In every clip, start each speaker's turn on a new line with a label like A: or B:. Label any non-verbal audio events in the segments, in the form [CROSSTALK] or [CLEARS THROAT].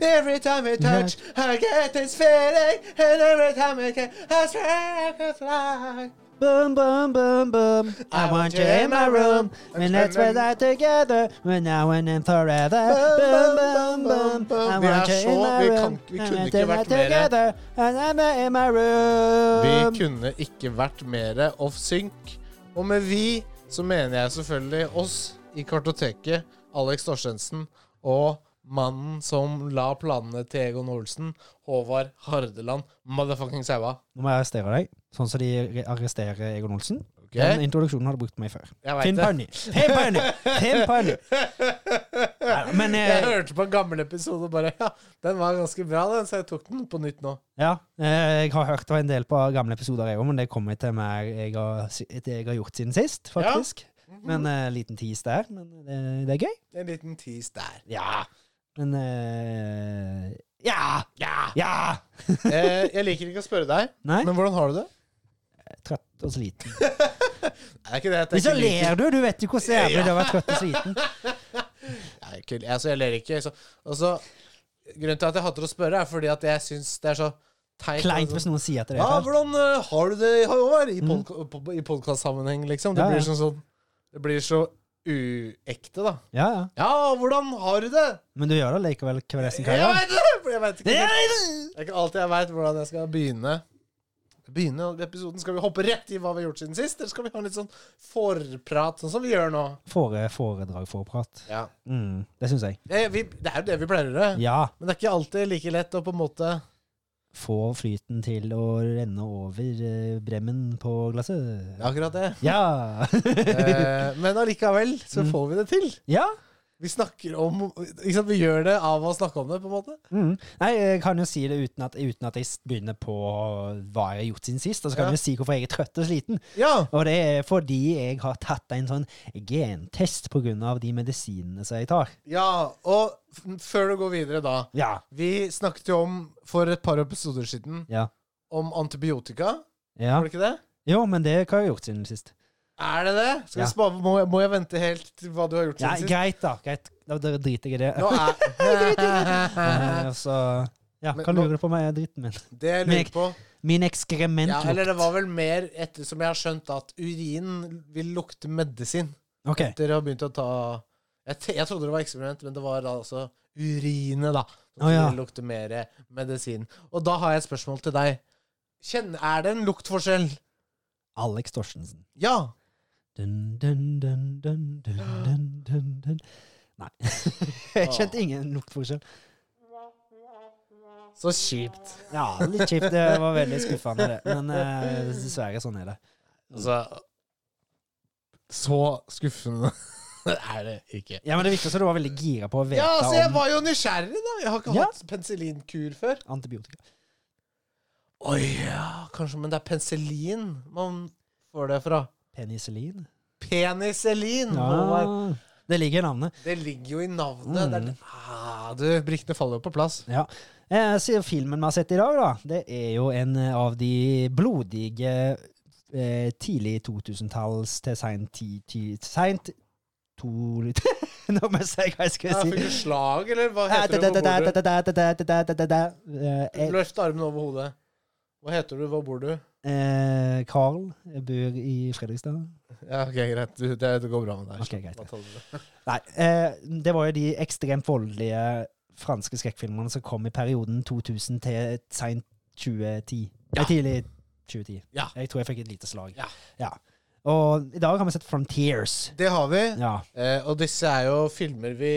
A: Every time we touch, I get this feeling. And every time I get, I swear I could fly.
B: Boom, boom, boom, boom. I want you in my room. And let's play that together. We're now and then forever. Boom, boom, boom. I
A: Vi er
B: want you
A: så-
B: in my
A: vi kan-
B: room.
A: vi
B: And
A: kunne
B: let's
A: ikke
B: play
A: vært
B: that
A: mere-
B: together. And I'm in my
A: Vi
B: room.
A: kunne ikke vært mer off sync. Og med vi så mener jeg selvfølgelig oss i kartoteket, Alex Torstensen, og mannen som la planene til Egon Olsen, Håvard Hardeland, motherfucking saua.
B: Nå må jeg arrestere deg, sånn som de re- arresterer Egon Olsen.
A: Ok?
B: Den introduksjonen har du brukt på meg før.
A: Jeg vet
B: Finn
A: det.
B: på en ny! Finn på en ny! Finn på
A: [LAUGHS]
B: en ny! Nei, Men
A: Jeg
B: eh,
A: hørte på en gammel episode og bare Ja, den var ganske bra, den, så jeg tok den på nytt nå.
B: ja, eh, jeg har hørt det var en del på gamle episoder, jeg òg, men det kommer til mer jeg har, si- det jeg har gjort siden sist, faktisk.
A: Mhm.
B: Men eh, liten tease der. Men det, det er gøy.
A: En liten tease
B: [LAUGHS]
A: der.
B: Ja. Men eh, Ja!
A: Ja!
B: Ja!
A: Eh, jeg liker ikke å spørre deg,
B: Nei?
A: men hvordan har du det?
B: Trøtt og sliten.
A: Det er ikke det at jeg
B: Men så
A: ikke liker
B: ler du! Du vet jo hvor jævlig det er å være trøtt og sliten.
A: Nei, ikke, altså, jeg ler ikke. Så, altså, grunnen til at jeg hater å spørre, er fordi at jeg syns det er så teit.
B: Kleint
A: Altså,
B: hvis noen sier til deg
A: ja,
B: at
A: hvordan eh, har du det i år? I, podka på- i podkast-sammenheng, liksom. Det
B: Ja, ja.
A: blir sånn sånn Det blir så uekte, da.
B: Ja, ja.
A: Ja, hvordan har du det?
B: Men du gjør det likevel hver resten av
A: Jeg
B: kvelden?
A: veit det! For jeg vet ikke, det er ikke alltid jeg veit hvordan jeg skal begynne. Begynne episoden Skal vi hoppe rett i hva vi har gjort siden sist, eller skal vi ha en litt sånn forprat, sånn som vi gjør nå?
B: Fore, foredrag, forprat.
A: Ja.
B: Mm, det syns jeg.
A: Eh, vi, det er jo det vi pleier å gjøre.
B: Ja.
A: Men det er ikke alltid like lett å på en måte
B: Få flyten til å renne over eh, bremmen på glasset.
A: Det er akkurat [LAUGHS] det.
B: [LAUGHS] Ja! [LAUGHS]
A: Eh, men allikevel så får vi det til.
B: ja.
A: Vi snakker om ikke sant, Vi gjør det av å snakke om det, på en måte.
B: Mm. Nei, jeg kan jo si det uten at, uten at jeg s- begynner på hva jeg har gjort siden sist. Og så kan
A: Ja.
B: jeg jo si hvorfor jeg er trøtt og sliten.
A: Ja.
B: Og det er fordi jeg har tatt en sånn gentest pga. de medisinene som jeg tar.
A: ja. Og f før du går videre, da.
B: Ja.
A: Vi snakket jo om, for et par episoder siden,
B: Ja.
A: om antibiotika.
B: ja.
A: Var det ikke det?
B: Jo, men det har jeg gjort siden sist.
A: Er det det? Skal
B: Ja.
A: vi spare, må, jeg- må jeg vente helt til hva du har gjort
B: Ja,
A: siden sist?
B: greit, da. Greit. Da da driter jeg i det.
A: Nå
B: [LAUGHS] Eh,
A: er
B: og så ja,
A: Men
B: hva
A: nå-
B: lurer du på meg? Dritten min.
A: [LAUGHS] Det jeg
B: Men jeg-
A: lurer på
B: Min ekskrement
A: ja, Eller det
B: lukt.
A: var vel mer etter som jeg har skjønt, at urinen vil lukte medisin.
B: Ok.
A: Dere har begynt å ta jeg, te- jeg trodde det var eksperiment, men det var da altså urine, da. Som
B: Å, ja.
A: lukter mer medisin. Og da har jeg et spørsmål til deg. Kjenn, er det en luktforskjell?
B: Alex Torstensen.
A: Ja.
B: Dun, dun, dun, dun, dun, dun, dun, dun. Nei. [LAUGHS] Jeg kjente ingen luktforskjell.
A: Så kjipt.
B: Ja, litt kjipt. Det var veldig skuffende, det. Men eh, dessverre, sånn er det.
A: Altså Så skuffende [LAUGHS] er det ikke.
B: Ja, Men det virka som du var veldig gira på å vite
A: Ja, altså, jeg
B: om
A: var jo nysgjerrig, da. Jeg har ikke
B: Ja.
A: hatt penicillinkur før.
B: antibiotika.
A: Å ja, kanskje, men det er penicillin man får det fra.
B: Penicillin?
A: Penicillin! Oh
B: Ja.
A: Håvard.
B: Det ligger i navnet.
A: Det ligger jo i navnet. Det er det- ah, du, brikkene faller jo på plass.
B: Ja. Eh, så filmen vi har sett i dag, da, det er jo en eh, av de blodige eh, tidlig 2000-talls til seint ti- ti- Seint to... [LAUGHS] Nå må jeg si hva
A: Ja,
B: jeg skal
A: fikk
B: si.
A: du slag, eller hva heter det? Hvor bor du?
B: Eh,
A: Løft armen over hodet. Hva heter du? Hvor bor du?
B: eh, Carl bor i Fredrikstad.
A: Ja, ok, greit. Du, det, det går bra med deg.
B: Ok, greit.
A: Da tar du det.
B: Nei, eh, det var jo de ekstremt voldelige franske skrekkfilmene som kom i perioden 2000 til seint 2010.
A: Ja.
B: Nei, tidlig 2010.
A: Ja.
B: Jeg tror jeg fikk et lite slag.
A: Ja.
B: Og i dag har vi sett Frontiers.
A: Det har vi.
B: Ja.
A: Eh, og disse er jo filmer vi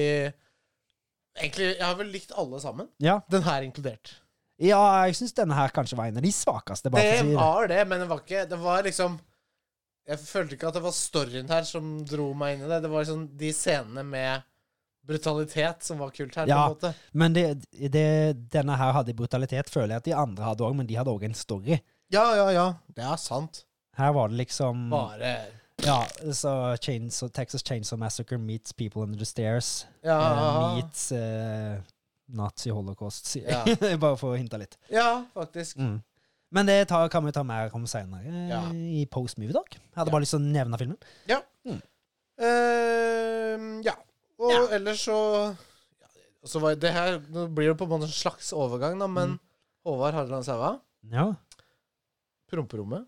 A: Egentlig, jeg har vel likt alle sammen.
B: Ja,
A: Den her inkludert.
B: ja jeg syns denne her kanskje var en av de svakeste.
A: Det
B: Bare for å si det.
A: var det, men det var ikke Det var liksom Jeg følte ikke at det var storyen her som dro meg inn i det. Det var liksom de scenene med brutalitet som var kult her.
B: Ja.
A: på en måte.
B: Men det, det, denne her hadde brutalitet, føler jeg at de andre hadde òg, men de hadde òg en story.
A: ja, ja, ja. Det er sant.
B: Her var det liksom
A: Bare
B: Ja, så Chainsaw, Texas Chainsaw Massacre meets People Under the Stairs.
A: Ja.
B: Eh, meets eh, Nazi holocaust, sier jeg. [LAUGHS] Bare for å hinte litt.
A: Ja, faktisk.
B: Mm. Men det tar, kan vi ta mer om seinere,
A: Ja.
B: i Post Movie Doc. Hadde bare lyst til å nevne filmen.
A: Ehm, ja. Og ellers så ja, Og så var det her, Nå blir det på en måte en slags overgang, da,
B: Mm.
A: men Håvard Harland Saua,
B: Ja. [LAUGHS]
A: promperommet,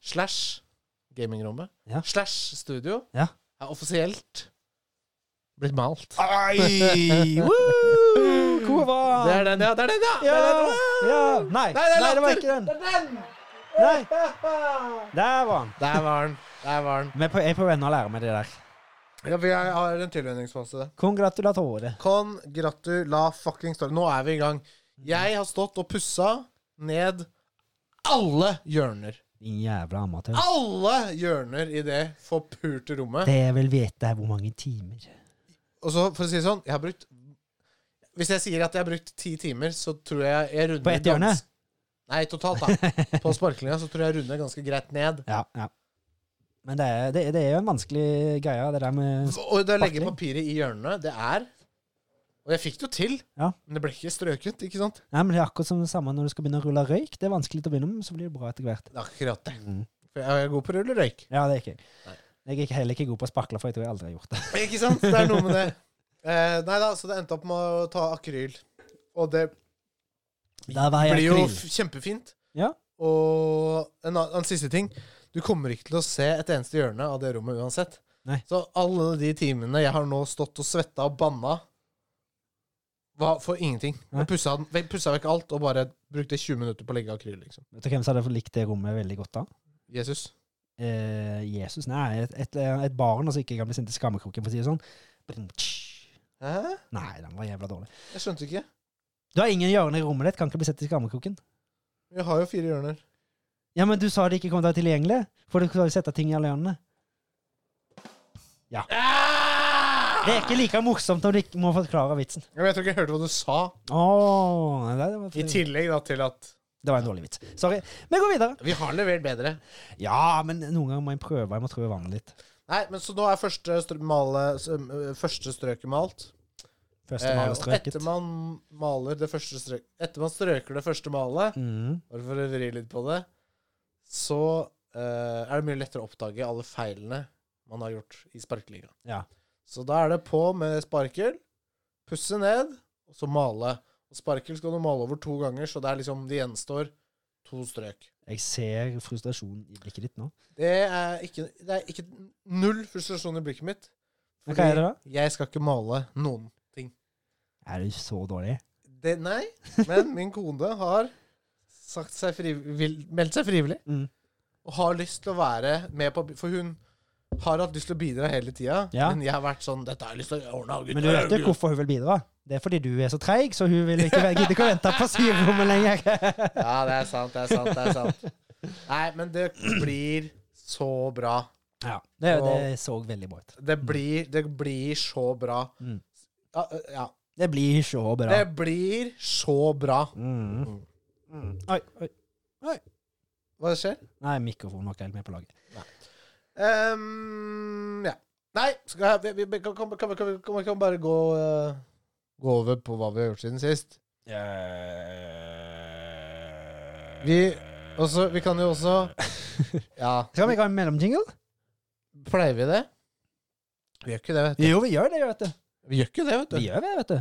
A: slash gamingrommet,
B: Ja.
A: slash studio,
B: Ja.
A: er offisielt blitt malt.
B: Ai! Woo! Kova!
A: [LAUGHS] Det er den, ja! Det er den, ja!
B: Ja!
A: Det er den,
B: ja.
A: Nei,
B: Nei.
A: det er
B: det var
A: latter!
B: ikke den.
A: Det er den! [LAUGHS]
B: Nei. Der var han.
A: Der var den. Der var den.
B: Men jeg er på vei å lære meg det der.
A: Ja, for jeg har en tilvenningsfase.
B: Congratulatore.
A: Kon, gratu, la fucking story. Nå er vi i gang. Jeg har stått og pussa ned alle hjørner.
B: Din jævla amatør.
A: Ah. Alle hjørner i det forpurte rommet.
B: Det jeg vil vite, er hvor mange timer.
A: Og så, for å si det sånn, jeg har brukt Hvis jeg sier at jeg har brukt ti timer, så tror jeg jeg runder
B: På ett hjørne?
A: gans- Nei, totalt, da. På sparklinga så tror jeg jeg runder ganske greit ned.
B: Ja, ja. Men det er, det, det er jo en vanskelig greie, det der med
A: Og det å legge
B: Sparkling?
A: papiret i hjørnene, det er Og jeg fikk det jo til,
B: Ja.
A: men det ble ikke strøket, ikke sant?
B: Nei, men Det er akkurat som det samme når du skal begynne å rulle røyk. Det er vanskelig til å begynne med, men så blir det bra etter hvert.
A: Det er Akkurat det.
B: Mm.
A: For jeg er god på å rulle røyk.
B: Ja, det er ikke jeg.
A: Nei.
B: Jeg er ikke- heller ikke god på å sparkle, for jeg tror jeg aldri har gjort det.
A: Ikke sant? Det er noe med det. Eh, nei da, så det endte opp med å ta akryl. Og det
B: [LAUGHS] Der var jeg
A: blir jo
B: akryl.
A: f- kjempefint.
B: Ja.
A: Og en, annen- en siste ting. Du kommer ikke til å se et eneste hjørne av det rommet uansett.
B: Nei.
A: Så alle de timene jeg har nå stått og svetta og banna, var for ingenting.
B: Nei.
A: Jeg pussa, den- jeg pussa vekk alt og bare brukte 20 minutter på å legge akryl, liksom.
B: Vet du hvem som hadde likt det rommet veldig godt da?
A: Jesus.
B: Eh, Jesus, nei. Et, et, et barn som ikke kan bli sendt til skammekroken, for å si det sånn. Brum, tsch.
A: Hæ?
B: Nei, den var jævla dårlig.
A: Jeg skjønte ikke.
B: Du har ingen hjørne i rommet ditt, kan ikke bli sett til skammekroken.
A: Vi har jo fire hjørner.
B: Ja, men du sa det ikke kom til å være tilgjengelig, for du skal jo sette ting i alle hjørnene. Det er ikke like morsomt når du ikke må forklare vitsen.
A: Ja, men Jeg tror ikke jeg hørte hva du sa.
B: Åh, nei, det,
A: I
B: var,
A: tillegg da til at
B: det var en dårlig vits. Sorry. Vi går videre.
A: Vi har levert bedre.
B: Ja, men noen ganger må jeg prøve. Jeg må trø vannet litt.
A: Nei, men Så nå er første, str- male, s- ø, første strøket malt.
B: Første
A: Eh,
B: maler
A: og
B: strøket.
A: etter man maler det første strøk Etter man strøker det første malet,
B: Mm.
A: bare for å vri litt på det, så eh, er det mye lettere å oppdage alle feilene man har gjort i sparkeliga.
B: Ja.
A: Så da er det på med sparkel, pusse ned, og så male. Og sparkel skal du male over to ganger, så det er liksom det gjenstår to strøk.
B: Jeg ser frustrasjonen i blikket ditt nå.
A: Det er ikke, det er ikke null frustrasjon i blikket mitt.
B: Men hva er det da?
A: Jeg skal ikke male noen.
B: Er du så dårlig?
A: Det, nei, men min kone har sagt seg friv- vil, meldt seg frivillig.
B: Mm.
A: Og har lyst til å være med på For hun har hatt lyst til å bidra hele tida.
B: Ja.
A: Men jeg har vært sånn Dette har jeg lyst til å ordne. gutter,
B: Men du vet jo
A: gutter."
B: hvorfor hun vil bidra. Det er fordi du er så treig, så hun vil ikke, gidder ikke å vente på syverommet lenger.
A: Ja, det er sant, det er sant. det er sant Nei, men det blir så bra.
B: Ja, [LAUGHS] det, det så veldig bra ut.
A: Det blir, det blir så bra.
B: Mm.
A: Ja, ja.
B: Det blir så bra.
A: Det blir så bra.
B: Mm. Mm. Oi, oi.
A: Hva skjer?
B: Nei, mikrofonen var ikke helt med på laget.
A: Ehm, ja. Nei, skal jeg, vi, vi kan, kan, kan, kan, kan, kan bare gå, eh, gå over på hva vi har gjort siden sist. Vi, også, vi kan jo også [LAUGHS] Ja,
B: Skal vi ikke ha en mellomjingle?
A: pleier vi det? Vi gjør ikke det, vet du.
B: Jo, vi gjør det, vet du.
A: Vi gjør ikke det, vet
B: Vi
A: du.
B: gjør det, vet du.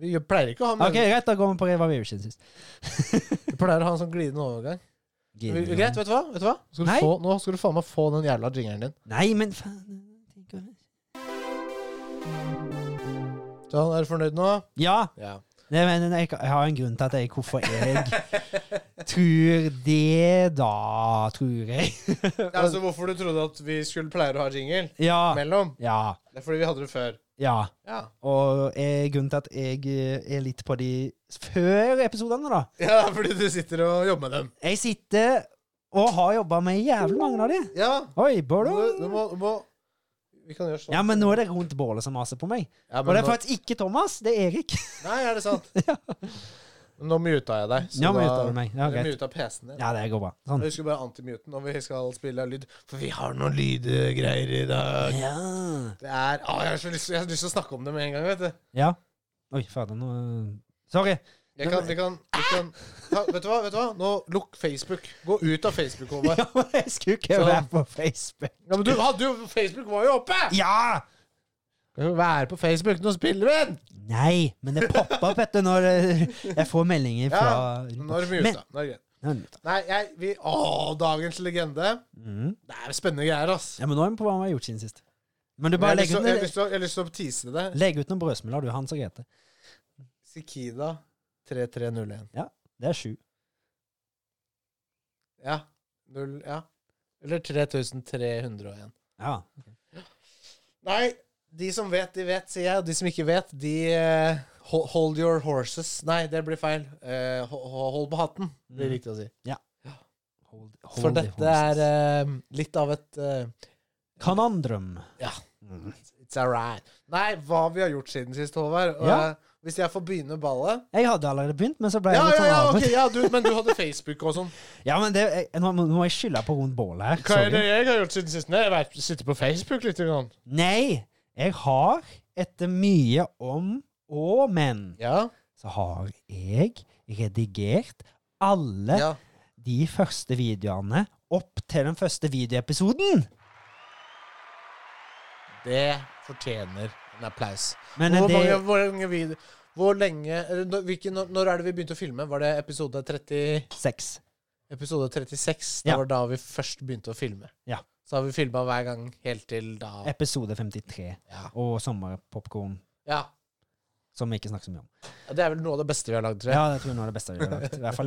A: Vi gjør- pleier ikke å ha
B: Ok, greit, da går vi på hva vi gjorde siden sist.
A: Vi pleier å ha en sånn glidende overgang. Vi, vi- greit, vet du hva? Vet du hva? Skal du
B: Nei.
A: få, nå skal du faen meg få den jævla jingeren din.
B: Nei, men faen tenk å-
A: Sånn, er du fornøyd nå?
B: Ja,
A: Ja.
B: det, men jeg, jeg har en grunn til at jeg
A: [LAUGHS]
B: Hvorfor jeg tror det, da, tror jeg.
A: Altså, hvorfor du trodde at vi skulle pleie å ha jingle
B: Ja.
A: mellom?
B: Ja.
A: Det er fordi vi hadde det før.
B: Ja.
A: Ja.
B: Og eh, grunnen til at jeg eh, er litt på de før episodene, da.
A: Ja, fordi du sitter og jobber med dem.
B: Jeg sitter og har jobba med jævlig mange av de.
A: Ja.
B: Oi,
A: Du,
B: Bård.
A: du, må, du må Vi kan gjøre sånn.
B: Ja, men nå er det rundt bålet som maser på meg.
A: Ja,
B: Og det er
A: nå-
B: faktisk ikke Thomas, det er Erik.
A: Nei, er det
B: [LAUGHS]
A: sant? Men nå muta jeg deg.
B: Ja, men utover meg. Ja,
A: jeg
B: greit.
A: muta PC-en din.
B: Ja, det går bra. Sånn.
A: Jeg husker bare antimuten når vi skal spille lyd. For vi har noen lydgreier i dag.
B: Ja.
A: Det er Å, jeg har så lyst, jeg har lyst til å snakke om det med en gang, vet du.
B: ja. Oi, fader, nå eh, Sorry. [LAUGHS]
A: Jeg kan, vi kan, vi kan ja, Vet du hva? vet du hva? Nå lukk Facebook. Gå ut av Facebook, Håvard.
B: Ja, men jeg skulle ikke
A: Sånn.
B: være på Facebook.
A: Ja, men du hadde jo Facebook var jo oppe!
B: Ja!
A: Kan jo være på Facebook, nå spiller vi den!
B: Nei, men det popper opp etter når eh, jeg får meldinger fra
A: Ja, Nå er det mye ute. Nå er det greit.
B: Men-
A: Nei, jeg vi, Å, dagens legende.
B: Mm.
A: Det er spennende greier, ass.
B: Ja, men nå er vi på hva vi har gjort siden sist. Men du
A: Men
B: bare
A: jeg
B: legg
A: har lyst til å- jeg har
B: ut,
A: lyst til å- jeg har lyst til å tease det.
B: legg ut noen brødsmuler, du, Hans og Grete.
A: Sikida 3301.
B: Det er sju.
A: Ja. Null, ja. Eller 3301.
B: Ja.
A: Nei, de som vet, de vet, sier jeg. Og de som ikke vet, de eh, ho- Hold your horses. Nei, det blir feil. Eh, ho- ho- hold på hatten, blir
B: Mm.
A: riktig å si.
B: Hold, hold
A: For
B: the
A: dette
B: horses.
A: er eh, litt av et eh,
B: Kanandrum.
A: Ja.
B: Mm.
A: It's alright. Nei, hva vi har gjort siden sist, Håvard. Og,
B: Ja.
A: eh, Hvis jeg får begynne ballet
B: Jeg hadde allerede begynt, men så ble jeg
A: Ja,
B: litt
A: ja,
B: sånn
A: ja,
B: avbrutt.
A: ok, ja du, men du hadde Facebook og sånn.
B: Ja, men det, jeg, nå, må- nå må jeg skylde på rundt bålet her.
A: Hva er det
B: Sorry.
A: jeg har gjort siden sist? Nei, Jeg har sittet på Facebook litt. Grann.
B: Nei, jeg har, etter mye om og men,
A: Ja.
B: så har jeg redigert alle
A: ja.
B: de første videoene opp til den første videoepisoden.
A: Det fortjener en applaus.
B: Men
A: Hvor,
B: det,
A: mange, hvor lenge vi Hvor lenge eller når- hvilken- når, når er det vi begynte å filme? Var det episode 30
B: seks.
A: Episode 36? Det
B: Ja.
A: var da vi først begynte å filme.
B: Ja.
A: Så har vi filma hver gang helt til da
B: Episode 53.
A: ja.
B: Og sommerpopkorn,
A: ja.
B: som vi ikke snakker så mye om.
A: Ja, Det er vel noe av det beste vi har lagd, tror jeg.
B: Ja, det tror jeg nå er det beste vi har lagt. I hvert fall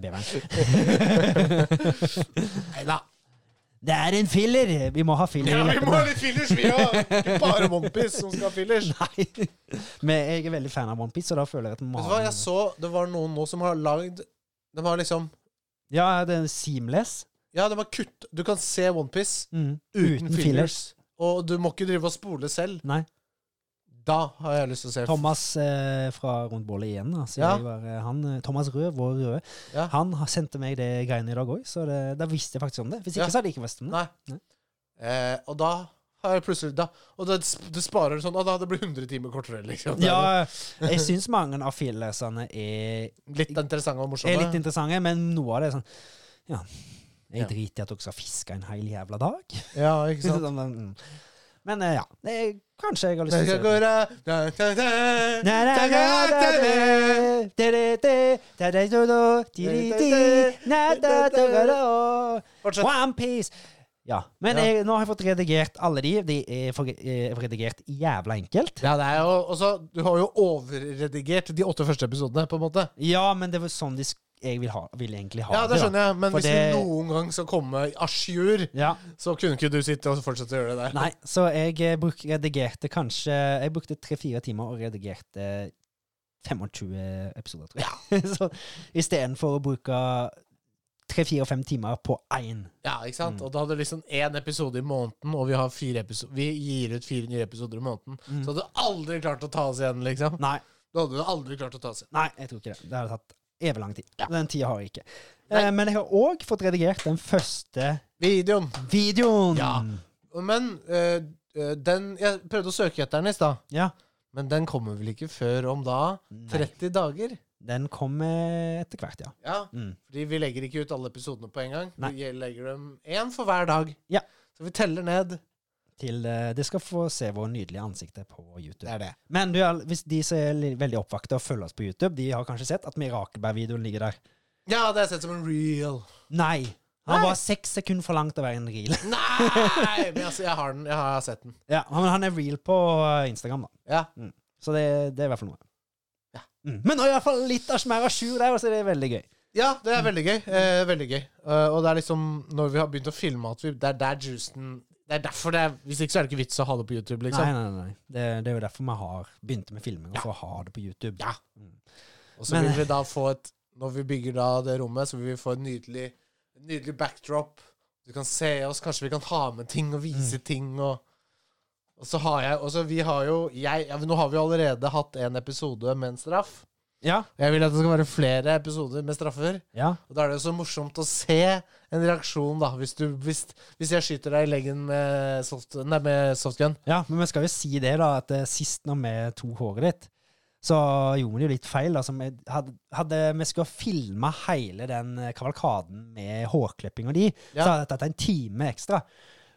A: [LAUGHS]
B: beveren.
A: Neida.
B: [LAUGHS] Det er en filler! Vi må ha filler.
A: Ja,
B: i
A: vi må ha litt fillers, vi òg! Ikke bare Mompis som skal ha fillers.
B: [LAUGHS] Nei. Men jeg er veldig fan av OnePiece, og da føler jeg at vi må
A: Vet du hva,
B: ha en-
A: jeg så det var noen nå som har lagd De har liksom
B: Ja, det er seamless.
A: Ja, de har kutt Du kan se Onepiece
B: Mm.
A: uten,
B: Uten
A: fillers.
B: fillers.
A: Og du må ikke drive og spole selv.
B: Nei.
A: Da har jeg lyst til å se
B: Thomas eh, fra Rundt bålet igjen, da. Så
A: Ja.
B: jeg var, eh, han, eh, Thomas Rød, vår røde,
A: Ja.
B: han har- sendte meg det greiene i dag òg, så det, da visste jeg faktisk om det. Hvis
A: Ja.
B: ikke, så hadde jeg ikke visst om det.
A: Nei. Eh, og da har jeg plutselig da, Og det, det sparer sånn Og da det blir 100 timer kortere, liksom. Det er
B: Ja, jeg syns mange av fillersene er,
A: jo Litt interessante og morsomme.
B: er litt interessante, men noe av det er sånn Ja, jeg
A: Ja.
B: driter i at dere skal fiske en hel jævla dag.
A: ja, ikke
B: [LAUGHS]
A: sant?
B: Sånn, men, mm. Men eh, ja, det er, kanskje jeg har lyst
A: Jeg
B: til å
A: skal
B: se
A: gå
B: det.
A: ra- da, da, da.
B: Na, na, na, da, da, da, da, da, da, da, da, da, di, di, di, na, da, da, da, da.
A: Fortsett.
B: One Piece! Ja. Men
A: Ja.
B: Jeg, nå har jeg fått redigert alle de. De er for, eh, redigert jævla enkelt.
A: Ja, det er jo også, Du har jo overredigert de åtte første episodene, på en måte.
B: Ja, men det var sånn de sk jeg vil, ha, vil egentlig ha
A: Ja, det skjønner jeg, men
B: For
A: hvis
B: det-
A: vi noen gang skal komme à jour,
B: Ja.
A: så kunne ikke du sitte og fortsette å gjøre det der.
B: Nei, så jeg eh, bruk, redigerte kanskje Jeg brukte tre-fire timer og redigerte 25 episoder, tror jeg. [LAUGHS] Ja. så istedenfor å bruke tre-fire-fem timer på én.
A: Ja, ikke sant?
B: Mm.
A: Og da hadde du liksom én episode i måneden, og vi, har fire episo- vi gir ut fire nye episoder i måneden.
B: Mm.
A: Så hadde du aldri klart å ta oss igjen, liksom.
B: Nei,
A: Da hadde du aldri klart å ta oss igjen.
B: nei, jeg tror ikke det. Det hadde tatt evig lang tid. Den tida har jeg ikke.
A: Nei.
B: Eh, men jeg har òg fått redigert den første
A: Videoen.
B: videoen.
A: Ja. Men øh, øh, den Jeg prøvde å søke etter den i stad,
B: Ja.
A: men den kommer vel ikke før om da
B: Nei,
A: 30 dager?
B: den kommer etter hvert, ja.
A: Ja.
B: Mm.
A: Fordi vi legger ikke ut alle episodene på en gang.
B: Nei.
A: Vi legger dem én for hver dag.
B: Ja.
A: Så vi teller ned.
B: Til eh, De skal få se våre nydelige ansikter på YouTube.
A: Det er det.
B: Men du, Al, hvis de som er li- veldig oppvakte og følger oss på YouTube, de har kanskje sett at Mirakelbær-videoen ligger der.
A: Ja, det er sett som en real.
B: Nei! Han
A: Nei.
B: var seks sekunder for langt å være en reel. [LAUGHS]
A: Nei! Men altså, jeg har den. Jeg har sett den.
B: Ja, men han er real på eh, Instagram, da. Mm.
A: Ja.
B: Så det, det er i hvert fall noe.
A: Ja.
B: Mm. Men nå er i hvert fall litt av mer à jour der, og så er det veldig gøy.
A: Ja, det er veldig gøy. Eh, veldig gøy. Eh, og det er liksom når vi har begynt å filme at vi, Det er der juicen Det er derfor det er Hvis ikke så er det ikke vits å ha det på YouTube,
B: Nei,
A: liksom.
B: nei, nei. nei. Det, det er jo derfor vi har begynte med filming, og for å ha det på YouTube.
A: Ja.
B: Mm.
A: Og så
B: Men-
A: vil vi da få et Når vi bygger da det rommet, så vil vi få en nydelig, en nydelig backdrop. Du kan se oss, kanskje vi kan ha med ting og vise ting og og så har jeg, og så vi har jo, jeg, ja, Nå har vi jo allerede hatt en episode med en straff.
B: Ja.
A: Jeg vil at det skal være flere episoder med straffer.
B: ja.
A: Og da er det jo så morsomt å se en reaksjon, da. Hvis, du, hvis, hvis jeg skyter deg i leggen med, soft, nei, med softgun.
B: Ja, men vi skal jo si det, da, at eh, sist når vi tok håret ditt, så gjorde vi det jo litt feil. Altså, vi hadde, hadde vi skulle filma hele den eh, kavalkaden med hårklipping og de, så
A: Ja.
B: hadde det tatt en time ekstra.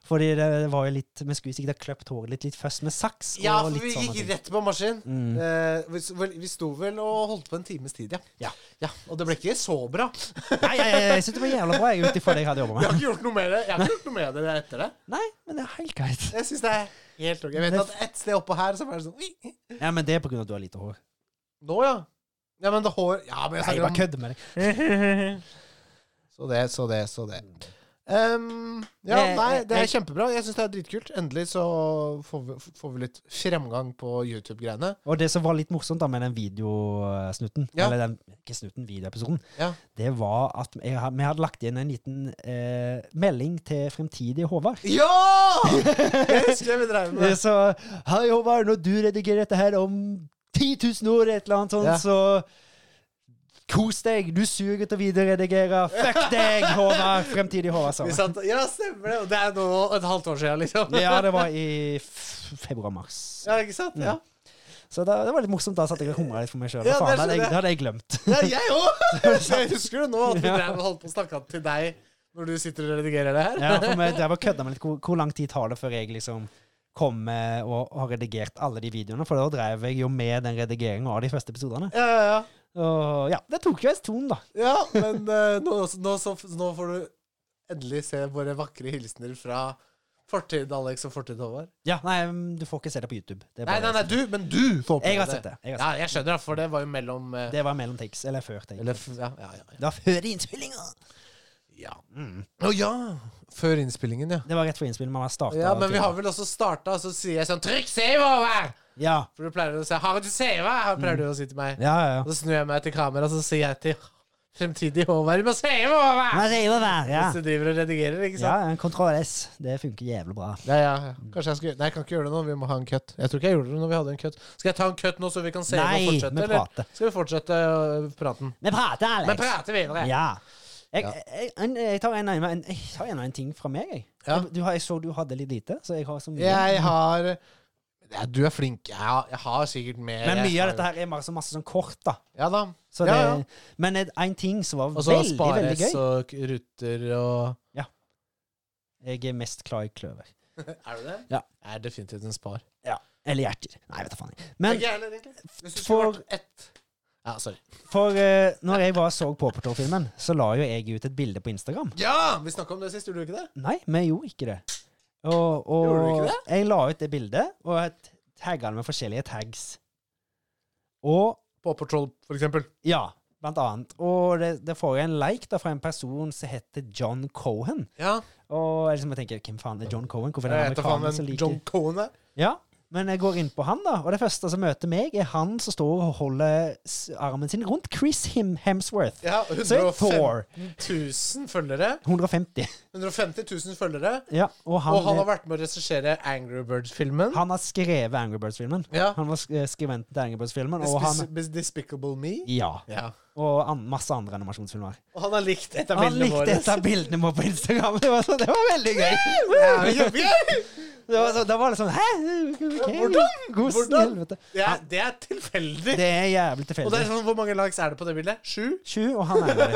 B: Fordi det var jo litt Vi skulle sikkert ha kløpt håret litt, litt først med saks.
A: Ja,
B: og
A: for
B: litt
A: vi
B: sånne
A: gikk
B: ting.
A: rett på maskin.
B: Mm.
A: Eh, vi, s- vel, vi sto vel og holdt på en times tid, ja.
B: Ja.
A: Og det ble ikke så [LAUGHS] bra.
B: Nei, jeg, jeg, jeg syns det var jævla bra, jeg, ut ifra det jeg hadde jobba
A: Jeg
B: med.
A: har ikke gjort noe med det Jeg har ikke gjort noe med det etter det.
B: Nei, men det er helt greit.
A: Jeg synes det er helt ok. Jeg vet
B: Det-
A: at et sted oppå her så var det sånn "Ui."
B: Ja, men det er på grunn av at du har lite hår.
A: Nå, ja. Ja, men det hår Ja, men jeg
B: Nei,
A: snakker
B: jeg bare
A: om
B: kødder med deg.
A: Så det, så det, så det.
B: Mm.
A: Ehm, ja,
B: Eh,
A: nei, det
B: eh,
A: er kjempebra. Jeg syns det er dritkult. Endelig så får vi, får vi litt fremgang på YouTube-greiene.
B: Og det som var litt morsomt da med den videosnutten,
A: Ja.
B: eller den, ikke snutten, videoepisoden,
A: Ja.
B: det var at jeg, had- vi hadde lagt inn en liten eh, melding til fremtidige Håvard. [LAUGHS]
A: Ja! Jeg husker vi drev med det.
B: Så Hei, Håvard, når du redigerer dette her om 10 000 år, et eller annet sånt,
A: Ja.
B: så Kos deg! Du suger til å videoredigere.
A: [LAUGHS]
B: Fuck deg, Håvard! Fremtidig Håvard, sa
A: Vi
B: han.
A: satt, ja, stemmer det. Og det er nå et halvt år siden, liksom.
B: [LAUGHS] Ja, det var i f- februar-mars.
A: Ja, ikke sant? Ja,
B: Mm. Så da, det var litt morsomt. Da satt jeg og humra litt for meg sjøl.
A: Ja,
B: Faen,
A: det
B: det hadde
A: skjønner
B: jeg-
A: jeg.
B: det hadde jeg glemt.
A: ja jeg òg! Jeg husker det nå, at vi
B: Ja.
A: drev og holdt på å snakke til deg når du sitter og redigerer det her.
B: Ja, for meg, det var kødda med litt hvor, hvor lang tid tar det før jeg liksom kommer og har redigert alle de videoene? For da drev jeg jo med den redigeringen av de første episodene.
A: Ja, ja, ja.
B: Og ja, det tok jo en stund, da.
A: Ja, men eh, nå, nå, så, nå får du endelig se våre vakre hilsener fra fortid Alex og fortid Håvard.
B: Ja, nei, mm, du får ikke se det på YouTube. Det er
A: Nei,
B: bare-
A: nei, nei, du, men du får oppleve
B: Jeg har sett det. Jeg har
A: Ja, jeg skjønner, for det var jo mellom eh,
B: sett. Det var mellom takes, eller før takes.
A: Eller, f- ja, ja, ja,
B: Det var før innspillinga!
A: ja. Å ja! Før innspillingen, ja.
B: Det var rett før innspillinga. Man har startet
A: Ja, men vi
B: til-
A: har vel også starta, og så sier jeg sånn 'Trykk save over!'
B: ja.
A: For du pleier å si 'Har du save?' Her pleier du å si til meg.
B: Mm. ja, ja, ja.
A: Og så snur jeg meg til kamera, og så sier jeg til fremtidig Håvard 'Du må save over!'
B: Nei, det er jo der, ja.
A: Hvis du driver og redigerer, ikke sant?
B: ja, en kontroll S. Det funker jævlig bra.
A: Ja, ja, ja. Kanskje jeg skal Nei, jeg kan ikke gjøre det nå. Vi må ha en cut. Jeg tror ikke jeg gjorde det når vi hadde en cut. Skal jeg ta en cut nå, så vi kan se
B: Nei,
A: og fortsette,
B: vi prater.
A: Skal vi fortsette øh, praten?
B: Vi prater, Alex!
A: Men prate videre.
B: Ja. Jeg,
A: Ja.
B: jeg, jeg, jeg tar en, en, en, jeg tar en, en ting fra meg, jeg.
A: Ja.
B: Du, har, jeg så du hadde litt lite, så jeg har så mye.
A: Jeg har ja, Du er flink. Jeg har, jeg har sikkert mer.
B: men mye av dette her er masse, masse sånn kort, da.
A: Ja da.
B: Så det,
A: Ja, ja.
B: Men en- en ting som var
A: Og så
B: veldig, veldig
A: spares
B: gøy
A: og k- ruter og
B: Jeg er mest glad i kløver.
A: Er du det?
B: Ja.
A: Jeg er definitivt en spar.
B: Eller hjerter. Nei, vet da faen. jeg. Men
A: jeg heller, egentlig. Hvis du
B: for-
A: skulle vært ett Ja, sorry.
B: for eh, når jeg var og så Pawpertor-filmen, så la jo jeg ut et bilde på Instagram.
A: Ja! Vi snakka om det sist, gjorde du ikke det?
B: Nei, vi gjorde ikke det. Og,
A: Gjorde
B: og
A: du ikke
B: jeg la ut det bildet, og jeg tagga det med forskjellige tags. Og
A: På Patrol, for eksempel.
B: Ja, blant annet. Og det, det får jeg en like da fra en person som heter John Cohen.
A: Ja.
B: Og jeg liksom jeg tenker, hvem faen er John Cohen? Hvorfor er det
A: Jeg
B: en
A: heter faen
B: amerikaner som
A: meg
B: liker
A: John Cohen her.
B: Ja, men jeg går inn på han, da. Og det første som møter meg, er han som står og holder s- armen sin rundt Chris Him Hemsworth.
A: Ja,
B: Så er Thor
A: 115 000 følgere.
B: 150.
A: 150 000 følgere.
B: Ja, og han,
A: Og han har vært med å regissere Angry Birds-filmen.
B: han har skrevet Angry Birds-filmen.
A: Ja.
B: Han var sk- skribenten til Angry Birds-filmen. Og han
A: Dis- Despicable Me.
B: Ja.
A: Ja.
B: Og an masse andre animasjonsfilmer.
A: Og han har likt et av
B: Han
A: bildene
B: likte
A: våre.
B: et av bildene våre på Instagram. Det var, så, det var veldig gøy.
A: Ja, kjempegøy!
B: Det var, så, da var det sånn Hæ? Okay.
A: Hvordan?
B: Hvordan? i
A: Hvordan?
B: helvete?
A: Det er, det er tilfeldig.
B: Det er jævlig
A: Og det
B: tilfeldig.
A: er sånn, Hvor mange likes er det på det bildet? [LAUGHS] Sju?
B: Sju, og han er der.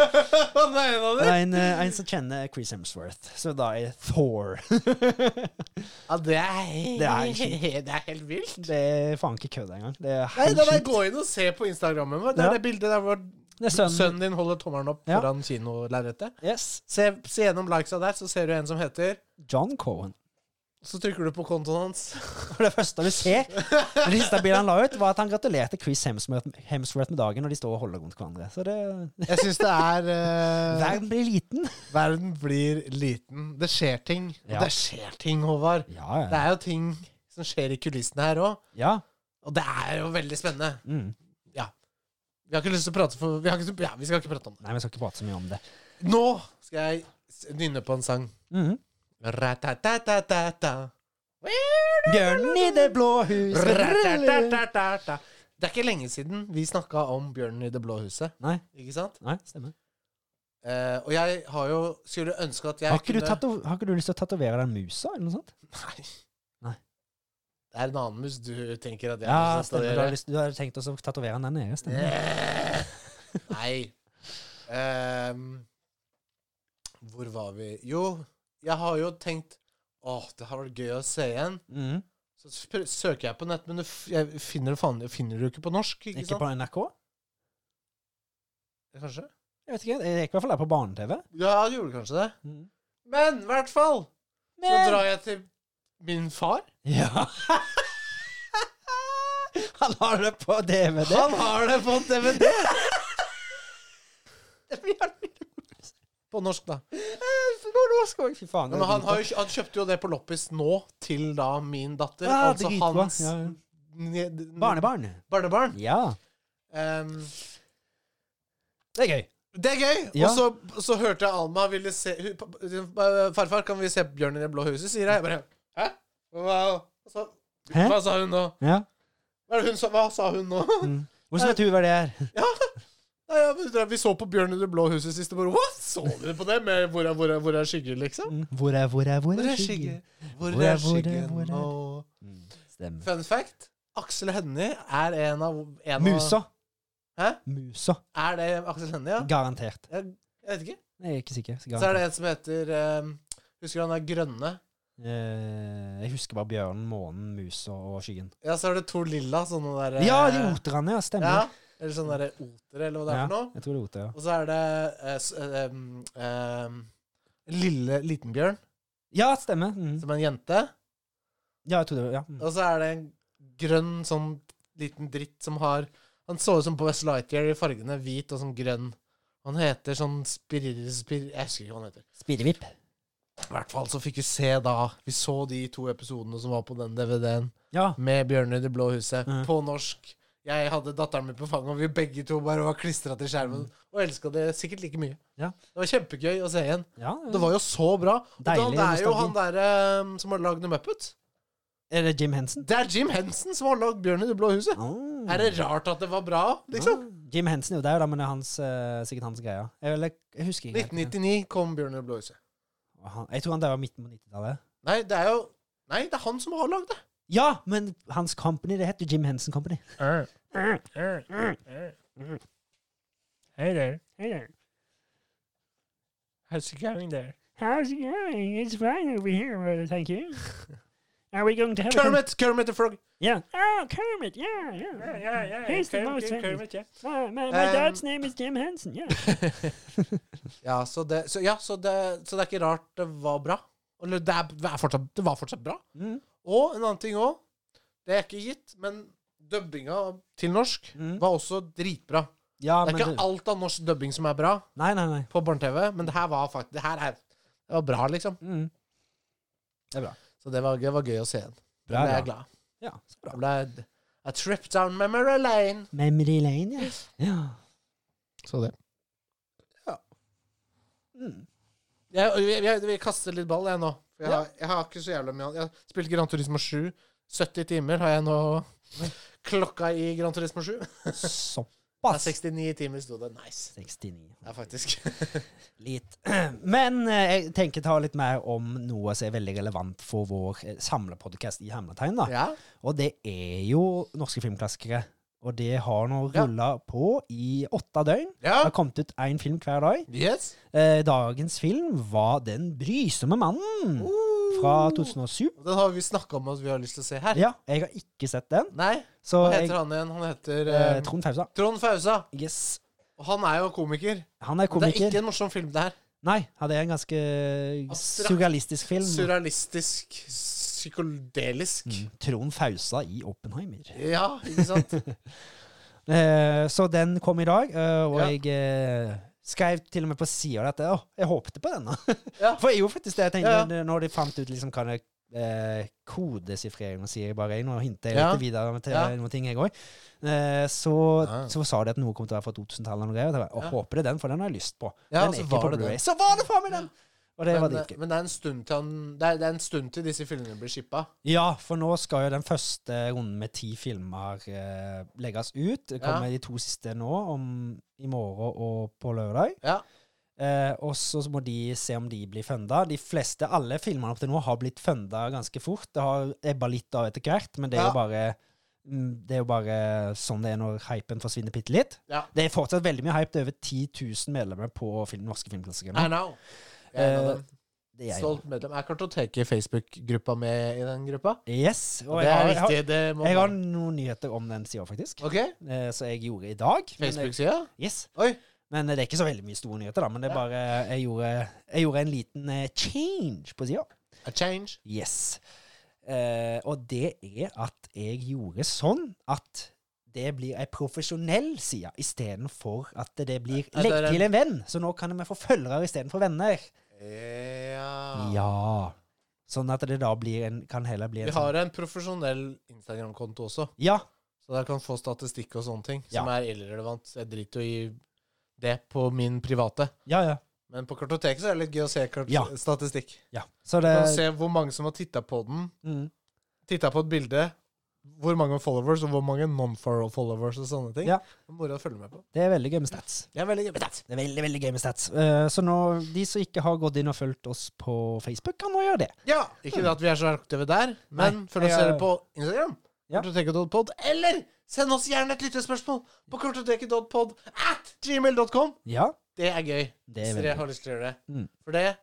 A: Han er en av
B: Det
A: dem.
B: er en, eh, en som kjenner Chris Hemsworth, så da er Thor. [LAUGHS]
A: Ja, det er, he-
B: Det er sjukt.
A: he- det er helt vilt.
B: Det er faen ikke kødd engang. Det er
A: Nei,
B: helt
A: da må jeg
B: sjukt.
A: Gå inn og se på Instagrammen vår. Det er
B: Ja.
A: det bildet der hvor
B: Det er sønnen.
A: sønnen din holder tommelen opp
B: Ja.
A: foran kinolerretet.
B: Yes.
A: Se, se gjennom likesa der, så ser du en som heter
B: John Cohen.
A: Så trykker du på kontoen hans.
B: Og det første du ser, når de siste bildet han la ut, var at han gratulerte Chris Hemsworth, Hemsworth med dagen, og de står og holder rundt hverandre. Så det
A: Jeg syns det er eh,
B: Verden blir liten.
A: Verden blir liten. Det skjer ting. Og
B: Ja.
A: det skjer ting, Håvard.
B: Ja,
A: Det er jo ting som skjer i kulissene her òg.
B: ja.
A: Og det er jo veldig spennende.
B: Mm.
A: Vi har ikke lyst til å prate for Vi, har ikke, ja, vi skal ikke prate om det.
B: Nei, vi skal ikke prate så mye om det.
A: Nå skal jeg s- nynne på en sang.
B: Mhm.
A: Ratatatatata.
B: Bjørnen i det blå hus
A: Ratatatatata. Det er ikke lenge siden vi snakka om bjørnen i det blå huset.
B: Nei,
A: Ikke sant?
B: nei, stemmer.
A: Eh, og jeg har jo Skulle ønske at jeg
B: Har ikke, du tato- har ikke du lyst til å tatovere den musa, eller noe sånt?
A: Nei.
B: Nei.
A: Det er en annen mus du tenker at jeg
B: Ja,
A: har lyst til å
B: stemmer. Du
A: gjøre.
B: har, lyst, du har tenkt også å tatovere den der nede, stemmer.
A: Eh, Nei. Ehm, hvor var vi? Jo, jeg har jo tenkt Åh, det har vært gøy å se igjen.
B: Mm.
A: Så sp- søker jeg på nett, men du f jeg finner det faen, jeg finner det jo ikke på norsk. Ikke,
B: Ikke
A: sant?
B: på NRK?
A: Kanskje?
B: Jeg vet ikke, det gikk i hvert fall der på barne-TV.
A: Ja, det gjorde kanskje det.
B: Mm.
A: Men i hvert fall så
B: Men-
A: drar jeg til min far.
B: [LAUGHS] Ja. Han har det på DVD.
A: Han har det på
B: [LAUGHS]
A: DVD!
B: Det blir han
A: [LAUGHS] På norsk, da.
B: På Eh, norsk òg, fy faen.
A: Men han, har jo, han kjøpte jo det på loppis nå til da min datter.
B: Ja, det
A: altså
B: er dritbra.
A: hans
B: Ja, ja.
A: ne- n-
B: Barnebarn.
A: barnebarn.
B: Ja.
A: Ehm,
B: Det er gøy.
A: det er gøy!
B: Ja.
A: Og så, så hørte jeg Alma ville se hun- pa- pa- Farfar, kan vi se Bjørn i det blå huset? sier jeg. jeg bare, Hæ? Hva, hva, sa-
B: Hæ?
A: hva sa hun nå?
B: Ja.
A: Hva, er det hun, sa- hva sa hun nå? [LAUGHS]
B: Mm. Hvordan vet du hva det er?
A: Nei, ja, men vi så på Bjørn i det blå huset sist. og bare, Hva? Så dere på det? Med hvor er, hvor er, hvor er skyggen, liksom?
B: Mm. Hvor er, hvor er, hvor
A: Hvor
B: er
A: er skyggen? Hvor
B: Hvor er-
A: er
B: hvor er- hvor
A: skyggen
B: er-
A: nå?
B: Mm. Stemmer.
A: Fun fact. Aksel Hennie er en av en
B: Musa.
A: Hæ?
B: Musa.
A: Av, er det Aksel Hennie, ja?
B: Garantert.
A: Jeg, jeg vet ikke.
B: Nei, Jeg er ikke sikker.
A: Så er
B: Garantert.
A: det en som heter eh, Husker du han er grønne?
B: Eh, Jeg husker bare bjørnen, månen, musa og skyggen.
A: Ja, så er det to lilla sånn sånne derre
B: Ja, de oterne, ja.
A: Eh, Ja,
B: Stemmer.
A: eller sånne derre otere, eller hva det er
B: Ja,
A: for noe.
B: Jeg tror det er oter, ja.
A: Og så er det eh, s- eh, em, em, Lille Litenbjørn,
B: Ja, stemmer. Mm.
A: som er en jente.
B: Ja, jeg tror det var, ja. Mm.
A: Og så er det en grønn sånn liten dritt som har Han så ut som på West Lightyear i fargene hvit og sånn grønn. Han heter sånn spir... spir jeg husker ikke hva han heter.
B: Speedevipp.
A: I hvert fall så fikk vi se da Vi så de to episodene som var på den DVD-en
B: Ja.
A: med Bjørne i det blå huset
B: Mhm.
A: på norsk. Jeg hadde datteren min på fanget, og vi begge to bare var klistra til skjermen. Og elska det sikkert like mye.
B: Mm. Ja.
A: Det var kjempegøy å se igjen.
B: ja.
A: Det var jo så bra. Og da-
B: Deilig
A: det er jo
B: nostalgi.
A: han derre som har lagd Muppet.
B: Er det Jim Henson?
A: Det er Jim Henson som har lagd Bjørn i det blå huset.
B: Ah.
A: Er det rart at det var bra, liksom?
B: Ah. Jim Henson er jo der, da, men det er hans, eh, sikkert hans greie. Eller, jeg husker ikke. helt.
A: 1999 kom Bjørn i det blå huset.
B: Og han- Jeg tror han der var midten på 90-tallet.
A: Nei, det er jo Nei, det er han som har lagd det.
B: Ja, men hans company, det heter Jim Henson Company.
A: Hei der. How's it going there?
C: How's it going? It's fine over here, uh,
A: [LAUGHS]
C: thank you. Are we going to have a... con-
A: Kermit, Kermit the Frog.
C: Yeah. Oh, Kermit, yeah, yeah.
D: yeah, yeah.
C: He's the
D: Kermit,
C: most
D: yeah,
C: famous.
D: Kermit, yeah.
C: Uh, my my
A: Um,
C: dad's name is Jim Henson, yeah.
A: Ja, så det, så, ja så, det, så det er ikke rart det var bra. Eller det, er, det, er fortsatt, det var fortsatt bra.
B: Mm.
A: Og en annen ting òg. Det er ikke gitt, men dubbinga til norsk
B: [LAUGHS] Mm.
A: var også dritbra.
B: Ja,
A: Det er
B: men
A: ikke
B: det,
A: alt av norsk dubbing som er bra
B: Nei, nei, nei.
A: på barne-TV, men det her var faktisk Det her er det var bra, liksom.
B: Mm. Det er bra.
A: Så det var, det var gøy å se igjen. Da
B: Bra,
A: ble jeg
B: bra.
A: glad.
B: Ja, så bra.
A: Da ble jeg A trip down memory lane.
B: Memory Lane, ja. ja.
A: Så det.
B: Mm.
A: Jeg, jeg, jeg, jeg kaster litt ball, jeg nå. For Jeg, har- jeg har ikke så jævla mye an- Jeg spilte Gran Turismo 7. 70 timer har jeg nå klokka i Gran Turismo 7. Det er
B: Såpass.
A: 69 timer, sto det. Nice.
B: 69.
A: Ja, faktisk.
B: Litt. [CLEARS THROAT] Men eh, jeg tenker ta litt mer om noe som er veldig relevant for vår eh, samlepodcast i Hermetegn. da.
A: [LAUGHS] Ja.
B: Og det er jo norske filmklassikere. Og det har nå
A: Ja.
B: rulla på i åtte døgn. Det
A: ja.
B: har kommet ut én film hver dag.
A: Yes.
B: Eh, dagens film var Den brysomme mannen
A: Uh.
B: fra 2007.
A: Den har vi snakka om at vi har lyst til å se her.
B: Ja, jeg har ikke sett den.
A: Nei,
B: Så
A: hva
B: jeg,
A: heter han igjen? Han heter
B: eh,
A: eh,
B: Trond Fausa.
A: Trond Fausa.
B: Yes.
A: Og han er jo komiker.
B: Han er
A: Det er
B: komiker.
A: ikke en morsom film, det her.
B: Nei, han er en ganske
A: Abstrakt.
B: surrealistisk film.
A: Surrealistisk, psykodelisk.
B: Mm. Trond Fausa i Oppenheimer.
A: Ja, ikke
B: [LAUGHS]
A: sant?
B: Eh, så den kom i dag, eh, og
A: Ja.
B: jeg eh, skrev til og med på sida at Å, jeg håpte på [LAUGHS] denne.
A: Ja.
B: For jeg gjorde faktisk det. Jeg tenkte,
A: Ja,
B: Når de fant ut liksom, hva det eh, kodesifreringen sier, jeg bare jeg, nå hinter jeg
A: Ja.
B: litt videre til
A: Ja.
B: noen ting, jeg òg, eh, så,
A: Ja.
B: så sa de at noe kom til å være fra 2000-tallet. Og greier, og jeg bare, «Å,
A: Ja.
B: håper det er den, for den har jeg lyst på.
A: Ja,
B: den
A: så
B: er ikke
A: var
B: på
A: det den.
B: Blu-ray. Så var det faen meg den! Og det var
A: Men, eh,
B: dritgøy.
A: men det er en stund til han det er, det er en stund til disse filmene blir shippa.
B: Ja, for nå skal jo den første runden med ti filmer eh, legges ut. Det kommer de to siste nå, om, i morgen og på lørdag.
A: Ja.
B: Eh, og så må de se om de blir funda. De fleste, alle filmene opp til nå, har blitt funda ganske fort. Det har ebba litt av etter hvert, men det er
A: Ja.
B: jo bare mm, det er jo bare sånn det er når hypen forsvinner bitte litt.
A: Ja.
B: Det er fortsatt veldig mye hype. Det er over 10 000 medlemmer på film, norske filmklassikere. nå.
A: I know. Jeg er en av
B: Eh,
A: dem.
B: Det er jeg.
A: Stolt medlem. Er kartoteket Facebook-gruppa med i den gruppa?
B: Yes. Og
A: det
B: jeg
A: er
B: har, jeg, har,
A: viktig. Det må
B: jeg har noen nyheter om den sida, faktisk.
A: OK?
B: Eh, Så jeg gjorde i dag. men jeg-
A: Facebook-sida?
B: Yes.
A: Oi.
B: Men eh, det er ikke så veldig mye store nyheter, da. Men det er
A: Ja.
B: bare eh, Jeg gjorde, jeg gjorde en liten eh, change på sida.
A: A change.
B: Yes. Eh, og det er at jeg gjorde sånn at det blir ei profesjonell side istedenfor at det blir
A: Er det
B: legg
A: en-
B: til en venn. Så nå kan vi få følgere istedenfor venner.
A: Ja.
B: Ja. Sånn at det da blir en, kan heller bli en
A: Ah. Vi har en profesjonell Instagram-konto også,
B: sånn Ja.
A: så der kan få statistikk og sånne ting
B: Ja.
A: som er irrelevant. Jeg driter jo i det på min private.
B: Ja, ja.
A: Men på kartoteket så er det litt gøy å se kart
B: Ja. Eh,
A: statistikk.
B: ja. Så
A: Du
B: det
A: kan se hvor mange som har titta på den,
B: mm.
A: titta på et bilde, hvor mange followers og hvor mange non-followers og sånne ting.
B: Ja.
A: Det er Moro å følge med på.
B: Det er veldig gøy med stats.
A: Det er veldig gøy.
B: Det er veldig, veldig gøy med stats. Eh, så nå, de som ikke har gått inn og fulgt oss på Facebook, kan nå gjøre det.
A: Ja, Ikke det at vi er så aktive der, men
B: Nei,
A: følg oss
B: jeg-
A: gjerne på Instagram.
B: Ja.
A: Kartoteket.pod, eller send oss gjerne et lyttespørsmål på kartoteket.pod at gmail.com.
B: Ja,
A: Det er gøy,
B: det
A: hvis
B: er
A: dere
B: veldig gøy.
A: har lyst til å gjøre det.
B: Mm.
A: For det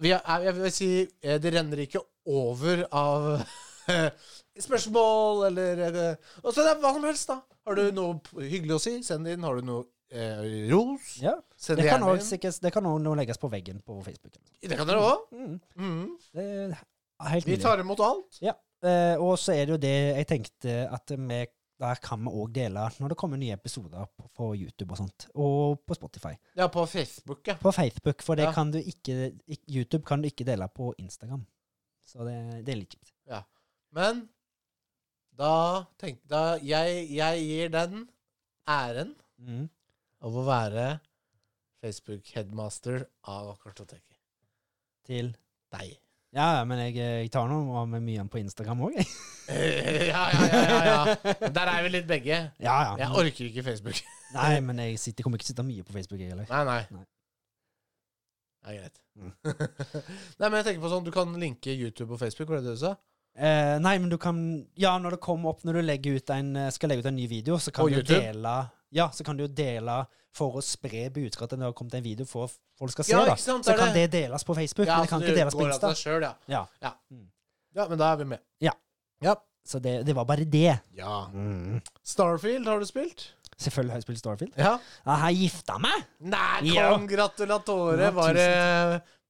A: vi er, Jeg vil si eh, det renner ikke over av [LAUGHS] spørsmål eller eh, Og så det er hva som helst, da. Har du noe p- hyggelig å si, send det inn. Har du noe eh, ros,
B: Ja.
A: send
B: Det
A: det
B: kan
A: gjerne
B: også
A: inn.
B: sikkert- det kan også nå legges på veggen på Facebook.
A: Det kan dere òg.
B: Mm.
A: Mm.
B: Det er helt
A: Vi
B: mulig.
A: tar imot alt.
B: Eh, og så er det jo det jeg tenkte at vi der kan vi òg dele når det kommer nye episoder på, på YouTube og sånt. Og på Spotify.
A: Ja, på Facebook, ja.
B: På Facebook, for det
A: Ja.
B: kan du ikke ik- YouTube kan du ikke dele på Instagram. Så det, det er litt kjipt.
A: Men da tenkte da, jeg, jeg gir den æren
B: Mm.
A: av å være Facebook-headmaster av Kartoteket.
B: Til
A: Deg.
B: Ja, ja, men jeg, jeg tar noe av mye på Instagram òg, jeg.
A: Eh, [LAUGHS] ja, ja, ja, ja, ja. Der er vi litt begge.
B: Ja, ja.
A: Jeg orker ikke Facebook. [LAUGHS] Eh,
B: Nei, men jeg sitter, kommer ikke til å sitte mye på Facebook, jeg heller.
A: Nei, nei.
B: Nei.
A: Det er greit. [LAUGHS] nei, men jeg tenker på sånn, Du kan linke YouTube og Facebook, var det det du sa?
B: Eh, nei, men du kan Ja, når det kommer opp Når du legger ut en, eh, skal legge ut en ny video, så
A: På
B: kan du jo
A: YouTube?
B: dele Ja, så kan du jo dele for å spre budskapet at det har kommet en video for at folk skal se.
A: Ja,
B: da.
A: ikke sant,
B: Så
A: det er
B: kan det deles på Facebook, men det kan
A: så
B: ikke deles på
A: går av
B: Insta.
A: seg selv, ja.
B: Ja.
A: Ja.
B: Mm.
A: ja, men da er vi med.
B: Så det, det var bare det.
A: Ja. Mm. Starfield har du spilt?
B: Selvfølgelig har jeg spilt Starfield.
A: Ja.
B: Ja, jeg gifta meg!
A: Nei,
B: Ja.
A: kongratulatore!
B: Ja,
A: Var det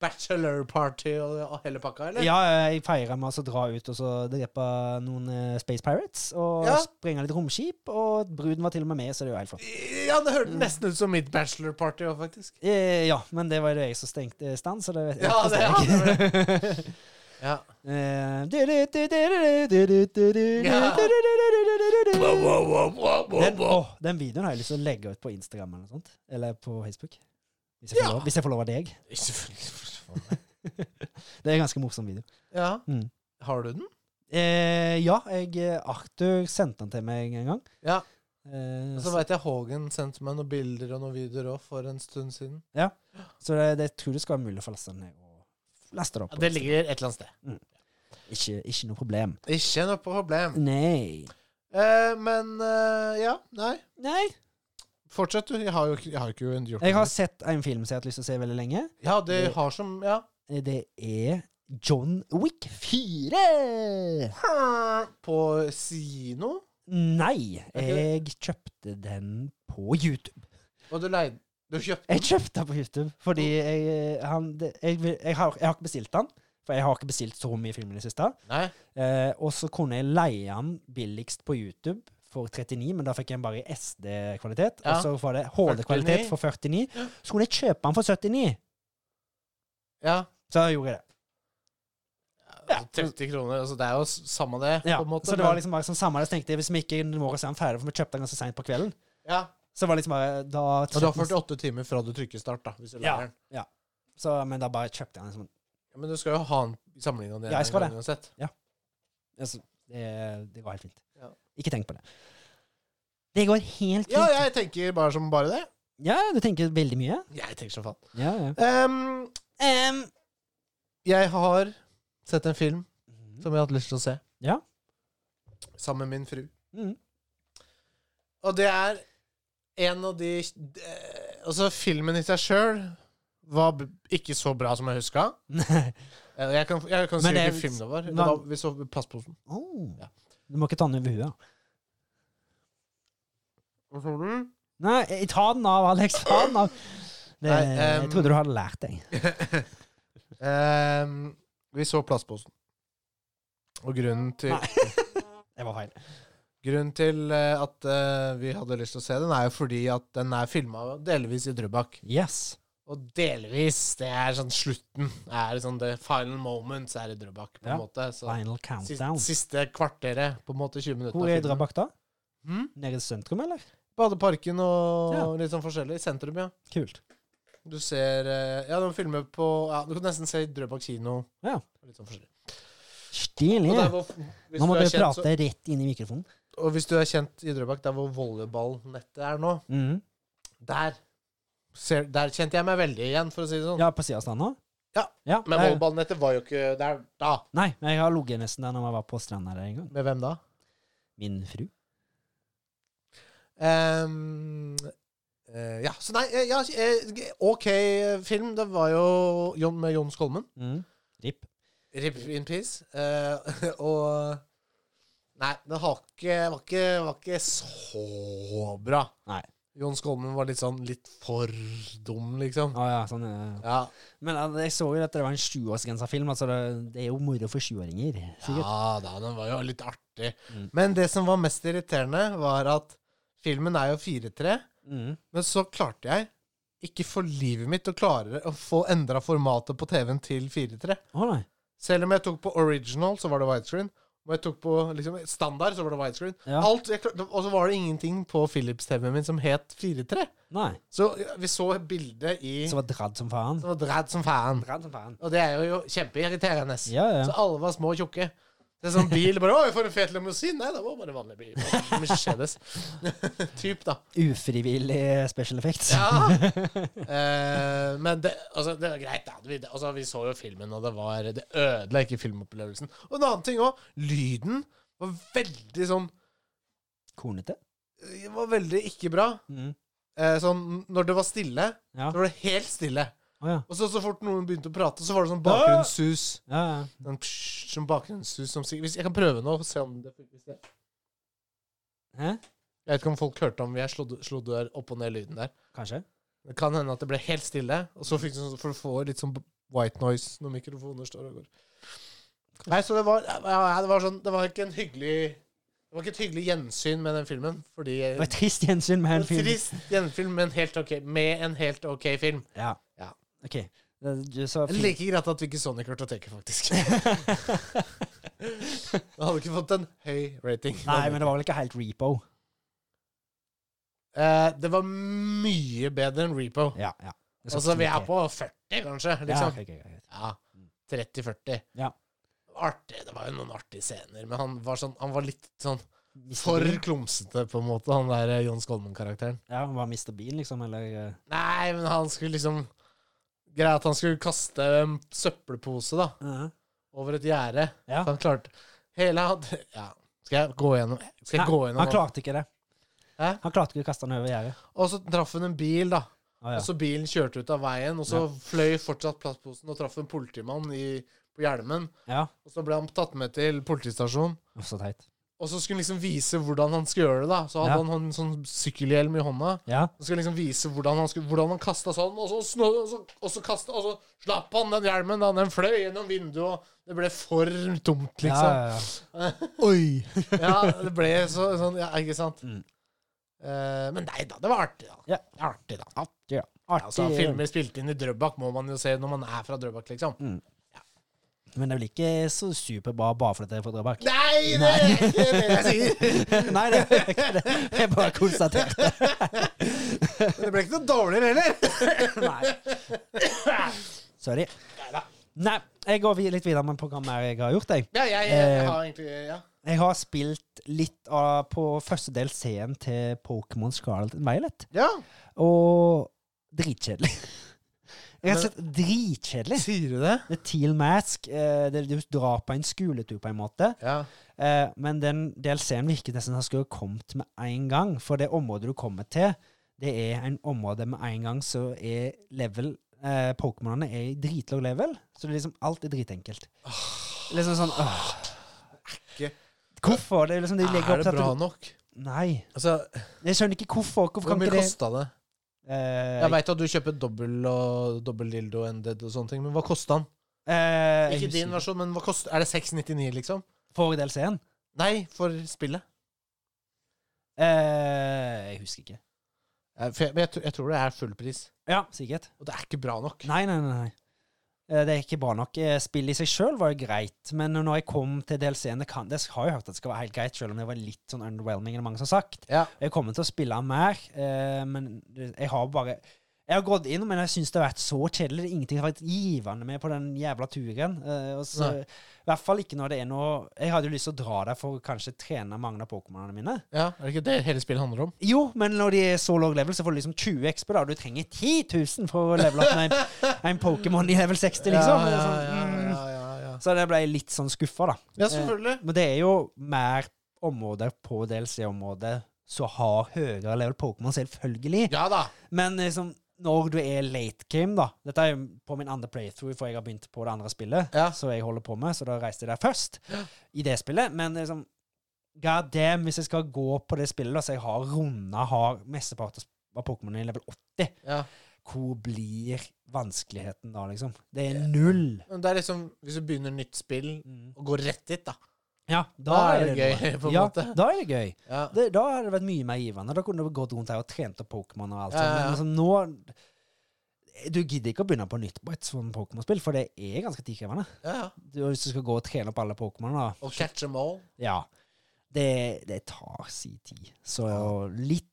A: bachelor-party og, og hele pakka, eller?
B: Ja, jeg feira med å så dra ut og så drepe noen eh, Space Pirates. Og
A: Ja.
B: sprenge litt romskip. Og bruden var til og med med, så det er jo helt flott.
A: Ja, det
B: Mm.
A: hørtes nesten ut som mitt bachelor-party òg, faktisk.
B: Eh, ja, men det var jo jeg som stengte eh, stand, så Eh, det
A: Ja, det- ja, det
B: [LAUGHS]
A: Ja.
B: Den, åh, den videoen har jeg lyst til å legge ut på Instagram eller noe sånt. Eller på Facebook. Hvis jeg får
A: Ja.
B: lov, hvis jeg får lov av deg. Det er en ganske morsom video.
A: ja.
B: Mm.
A: Har du den?
B: Eh, ja, jeg, Arthur sendte den til meg en gang.
A: Ja.
B: Eh,
A: Og så
B: så
A: veit jeg Haagen sendte meg noen bilder og noen videoer òg for en stund siden.
B: så det, det tror jeg skal være mulig å få laste den ned. Og laste den opp. på
A: det ligger et eller annet sted.
B: Instagram. Ikke, ikke noe problem.
A: Ikke noe
B: Mm.
A: problem.
B: Nei.
A: Eh, men eh, ja, nei.
B: Nei.
A: Fortsett, du. Jeg har jo ikke- jeg har ikke gjort
B: Jeg har sett en film som jeg har hatt lyst til å se veldig lenge.
A: Ja, det har som Ja.
B: Det er John Wick 4!
A: På Sino?
B: Nei,
A: Ok.
B: jeg kjøpte den på YouTube.
A: Og du leide Du kjøpte
B: Jeg kjøpte den på YouTube fordi
A: Oh.
B: jeg, eh, han, det- jeg, vil- jeg, har, jeg har ikke bestilt den. For jeg har ikke bestilt så mye film i det siste.
A: Nei.
B: Eh, og så kunne jeg leie den billigst på YouTube for 39, men da fikk jeg den bare i SD-kvalitet.
A: Ja.
B: Og så var det HD-kvalitet for 49. Så kunne jeg kjøpe den for 79.
A: Ja.
B: Så gjorde jeg det.
A: Ja, 30 kroner. Altså, det er jo s- samme det,
B: Ja,
A: på en måte.
B: så det
A: men-
B: var liksom bare sånn samme det. Så tenkte jeg hvis vi ikke når oss er den ferdig, for vi kjøpte den ganske seint på kvelden.
A: ja.
B: Så var det liksom bare da
A: Og du har 48 timer fra du trykker start, da, hvis du
B: Ja.
A: leier den.
B: så, Men da bare kjøpte jeg den. Liksom.
A: Ja, men du skal jo ha en sammenligning av det.
B: Ja, jeg
A: en
B: skal
A: gang
B: det.
A: Uansett.
B: Altså, det, det går helt fint.
A: Ja.
B: Ikke tenk på det. Det går helt fint.
A: Ja,
B: Ja,
A: jeg tenker bare som bare det.
B: du tenker veldig mye.
A: Jeg tenker som faen.
B: Ja, ja.
A: Ehm,
B: Em,
A: jeg har sett en film
B: så,
A: som jeg har hatt lyst til å se.
B: Ja.
A: Sammen med min fru.
B: mm, [LAUGHS]
A: Og det er en av de eh, Altså, filmen i seg sjøl var b- ikke så bra som jeg huska. Jeg kan, jeg kan si
B: Men det-
A: hvilken film det var. Det
B: hva-
A: var vi så Plastposen.
B: Oh.
A: Ja.
B: Du må ikke ta den over huet.
A: Hva tror du?
B: Nei, eh, ta den av, Alex. Ta den av. Det,
A: Nei, ehm,
B: jeg trodde du hadde lært deg.
A: Ehm, vi så Plastposen. Og grunnen til,
B: Nei. Det var feil.
A: grunnen til eh, at eh, vi hadde lyst til å se den, er jo fordi at den er filma delvis i Drøbak.
B: Yes.
A: Og delvis, det er sånn slutten. Det er sånn the final moments er i Drøbak, på en
B: Ja.
A: måte. Så
B: Final
A: sis-
B: countdown.
A: siste kvarteret, på en måte 20 minutter.
B: Hvor
A: av
B: er
A: filmen.
B: Drabak da?
A: Hm?
B: Nede i sentrum, eller?
A: Badeparken og
B: Ja.
A: litt sånn forskjellig. I sentrum, ja.
B: Kult.
A: Du ser eh, Ja, de filmer på ja, Du kan nesten se Drøbak kino.
B: Ja.
A: Litt sånn forskjellig.
B: Stilig.
A: Og der hvor, hvis,
B: Nå må
A: du
B: du
A: er kjent,
B: prate
A: så,
B: rett inn i mikrofonen.
A: og hvis du er kjent i Drøbak, der hvor volleyballnettet er nå,
B: Mhm.
A: der ser, Der kjente jeg meg veldig igjen, for å si det sånn.
B: Ja, på siden av stranda?
A: Ja,
B: ja
A: Men
B: der-
A: volleyballnettet var jo ikke der da.
B: Nei, men jeg har ligget nesten der når jeg var på stranda der en gang.
A: Med hvem da?
B: Min fru.
A: Ehm, eh, ja, så nei eh, ja, eh, OK film. Det var jo Jon, med Jon Skolmen.
B: Mhm. Rip.
A: Rip in peace. Eh, [LAUGHS] og Nei, det har ikke, var, ikke, var ikke så bra.
B: Nei.
A: Jon Skolmen var litt sånn litt for dum, liksom.
B: Å ja, sånn. eh.
A: Ja,
B: Men eh, jeg så jo at det var en sjuårsgrensa film, altså det, det er jo moro for sjuåringer. Sikkert.
A: ja da, den var jo litt artig.
B: Mm.
A: Men det som var mest irriterende, var at filmen er jo 4-3,
B: Mhm.
A: men så klarte jeg ikke for livet mitt å klare å få endra formatet på TV-en til 4-3.
B: Å nei.
A: Selv om jeg tok på original, så var det widescreen. Og jeg tok på liksom, standard, så var det widescreen.
B: Ja.
A: Alt, jeg, klarte- og så var det ingenting på Philips-TV-en min som het 4-3.
B: Nei.
A: Så vi så et bilde i
B: Så
A: som
B: var dradd som faen.
A: var dratt som fan.
B: Dradd som faen.
A: Og det er jo kjempeirriterende.
B: Ja, ja.
A: Så alle var små og tjukke. Det er sånn bil bare 'Å, for en fet limousin!' Nei, det var bare en vanlig bil. Mercedes. [LAUGHS] Typ, da.
B: Ufrivillig special effects.
A: Ja. [LAUGHS] Eh, men det, altså, det var greit, da. Vi, altså, vi så jo filmen, og det, var, det ødela ikke filmopplevelsen. Og en annen ting òg. Lyden var veldig sånn
B: Kornete.
A: Var veldig ikke bra.
B: Mhm.
A: Eh, sånn når det var stille,
B: Ja.
A: så var det helt stille.
B: Å ja.
A: Og så, så fort noen begynte å prate, så var det sånn bakgrunnssus.
B: Ja, ja.
A: Sånn pssst, sånn bakgrunnssus som sier Hvis jeg kan prøve nå, se om det funker. hvis det-
B: Hæ?
A: Jeg vet ikke om folk hørte om jeg slådde, slådde der opp og ned lyden der.
B: Kanskje?
A: Det kan hende at det ble helt stille, og så fikk du sånn, for du får litt sånn white noise når mikrofoner står og går. Nei, så det var, ja, ja, det var sånn Det var ikke en hyggelig Det var ikke et hyggelig gjensyn med den filmen, fordi
B: Det var et trist gjensyn med en
A: En
B: film.
A: trist gjenfilm med en helt ok, med en helt ok film.
B: Ja.
A: Ja.
B: OK. Det- Du sa
A: Det er Like greit at vi ikke så den i kartoteket,
B: [LAUGHS]
A: faktisk. Den hadde ikke fått en høy rating.
B: Nei, men det var vel ikke helt repo.
A: Eh, det var mye bedre enn Repo.
B: Ja, ja. Det skal
A: Altså, vi er
B: ikke-
A: på 40, kanskje.
B: Ja,
A: Liksom.
B: ok, ok, ok.
A: Ja, 30-40.
B: Ja.
A: Artig. Det var jo noen artige scener, men han var, sånn, han var litt sånn
B: Mr.
A: for
B: Bean?
A: klumsete, på en måte, han der eh, John Skolmen-karakteren.
B: Ja, han var Mr. Bean, liksom, eller eh,
A: Nei, men han skulle liksom Greit at han skulle kaste en søppelpose, da.
B: ja.
A: over et gjerde.
B: Ja.
A: Så han klarte Hele han ja. Skal jeg gå gjennom Skal jeg
B: Nei,
A: gå gjennom
B: Han klarte ikke det.
A: Hæ?
B: Han klarte ikke å kaste han over gjerdet.
A: Og så traff hun en bil, da.
B: Å, ja.
A: Og så bilen kjørte ut av veien, og så
B: Ja.
A: fløy fortsatt plastposen og traff en politimann i, på hjelmen.
B: ja.
A: Og så ble han tatt med til politistasjonen.
B: Uff, Så teit.
A: Og så skulle han liksom vise hvordan han skulle gjøre det. da Så hadde
B: Ja.
A: han en sånn sykkelhjelm i hånda.
B: Ja.
A: Og skulle liksom vise hvordan han, skulle, hvordan han kasta sånn, og så, snå, og, så, og, så kastet, og så slapp han den hjelmen. da Den fløy gjennom vinduet, og det ble for dumt, liksom.
B: Ja, ja, ja. Oi!
A: [LAUGHS] Ja, det ble så, sånn, ja, ikke sant?
B: Mm.
A: Eh, men nei da, det var artig, da.
B: Ja.
A: Det er Artig, da.
B: Ja.
A: Altså,
B: Artig.
A: filmer spilt inn i Drøbak må man jo se når man er fra Drøbak, liksom.
B: men det blir ikke så superbra bare fordi det er fra Drøbak.
A: Nei, det er ikke det jeg sier!
B: [LAUGHS] Nei, det er ikke det. Jeg bare konstaterte.
A: Men det ble ikke noe dårligere heller.
B: [LAUGHS] Nei. Sorry. Nei, jeg går vi- litt videre med programmet jeg har gjort, jeg.
A: Ja, jeg, jeg, jeg har egentlig Ja.
B: Jeg har spilt litt av, på første del C-en til Pokémon Scarlet and Violet,
A: ja.
B: og dritkjedelig. Rett og slett dritkjedelig.
A: Sier du det?
B: The Teal Mask, eh, det du drar på en skoletur på en måte,
A: Ja.
B: eh, men den DLC-en virket nesten som den skulle kommet med en gang, for det området du kommer til, det er en område med en gang som er level eh, Pokémonene er i dritlav level, så det er liksom alt er dritenkelt. Liksom sånn åh.
A: Ikke.
B: Hvorfor? Det er liksom de legger
A: Er det
B: opp til
A: bra
B: at du,
A: nok?
B: Nei.
A: Altså,
B: Jeg skjønner ikke hvorfor. Hvorfor
A: Hvor
B: kan
A: mye
B: ikke det
A: kosta det?
B: eh,
A: Jeg veit at du kjøper dobbel og dobbel dildo ended og sånne ting, men hva kosta den?
B: eh, jeg
A: Ikke din
B: husker
A: versjon, men hva kost, er det 699, liksom?
B: For DLC-en?
A: Nei, for spillet.
B: Eh, jeg husker ikke.
A: Eh, For jeg, men jeg, tr- jeg tror det er full pris.
B: Ja, sikkert.
A: Og det er ikke bra nok.
B: Nei, nei, nei. nei. Eh, Det er ikke bra nok. Eh, Spill i seg sjøl var jo greit, men når jeg kom til DLC-en Det kan- det har jeg hørt at det skal være helt greit, sjøl om det var litt sånn underwhelming, er det mange som har sagt.
A: Ja.
B: Jeg kommer til å spille han mer, eh, men jeg har bare Jeg har gått inn, men jeg syns det har vært så kjedelig. Det er ingenting som har vært givende med på den jævla turen. eh, og så,
A: Nei.
B: I hvert fall ikke når det er noe Jeg hadde jo lyst til å dra der for å kanskje trene mange av pokémonene mine.
A: ja, Er det ikke det hele spillet handler om?
B: Jo, men når de er så lav level, så får du liksom 20 XP, da. Du trenger 10 000 for å levele opp med en, en Pokémon i level 60, liksom.
A: Ja,
B: Det er
A: ja,
B: sånn,
A: ja,
B: mm.
A: ja, ja, ja. Eh,
B: Så det ble jeg litt sånn skuffa, da.
A: ja selvfølgelig.
B: Men det er jo mer områder på DLC-området som har høyere level Pokémon, selvfølgelig.
A: Ja da.
B: Men liksom, når du er late game, da Dette er jo på min andre playthrough, for jeg har begynt på det andre spillet.
A: Ja.
B: Så jeg holder på med, så da reiste jeg der først, i det spillet. Men liksom, god damn, hvis jeg skal gå på det spillet, da, så jeg har runda har mesteparten av Pokémon i level 80,
A: Ja.
B: hvor blir vanskeligheten da, liksom? Det er null.
A: Men det er liksom, hvis du begynner nytt spill
B: Mm.
A: og går rett dit, da.
B: Ja, da,
A: er det gøy,
B: noe.
A: på en
B: ja,
A: måte.
B: Da er det gøy.
A: Ja.
B: Det, da hadde det vært mye mer givende. Da kunne du gått rundt her og trent opp Pokémon og alt
A: Ja, ja, ja.
B: sånt. Men liksom, nå Du gidder ikke å begynne på nytt på et sånt Pokémon-spill, for det er ganske tidkrevende.
A: Ja, ja.
B: Du, hvis du skal gå og trene opp alle Pokémonene, da
A: Og catch them all.
B: Ja. Det, det tar si tid. Så litt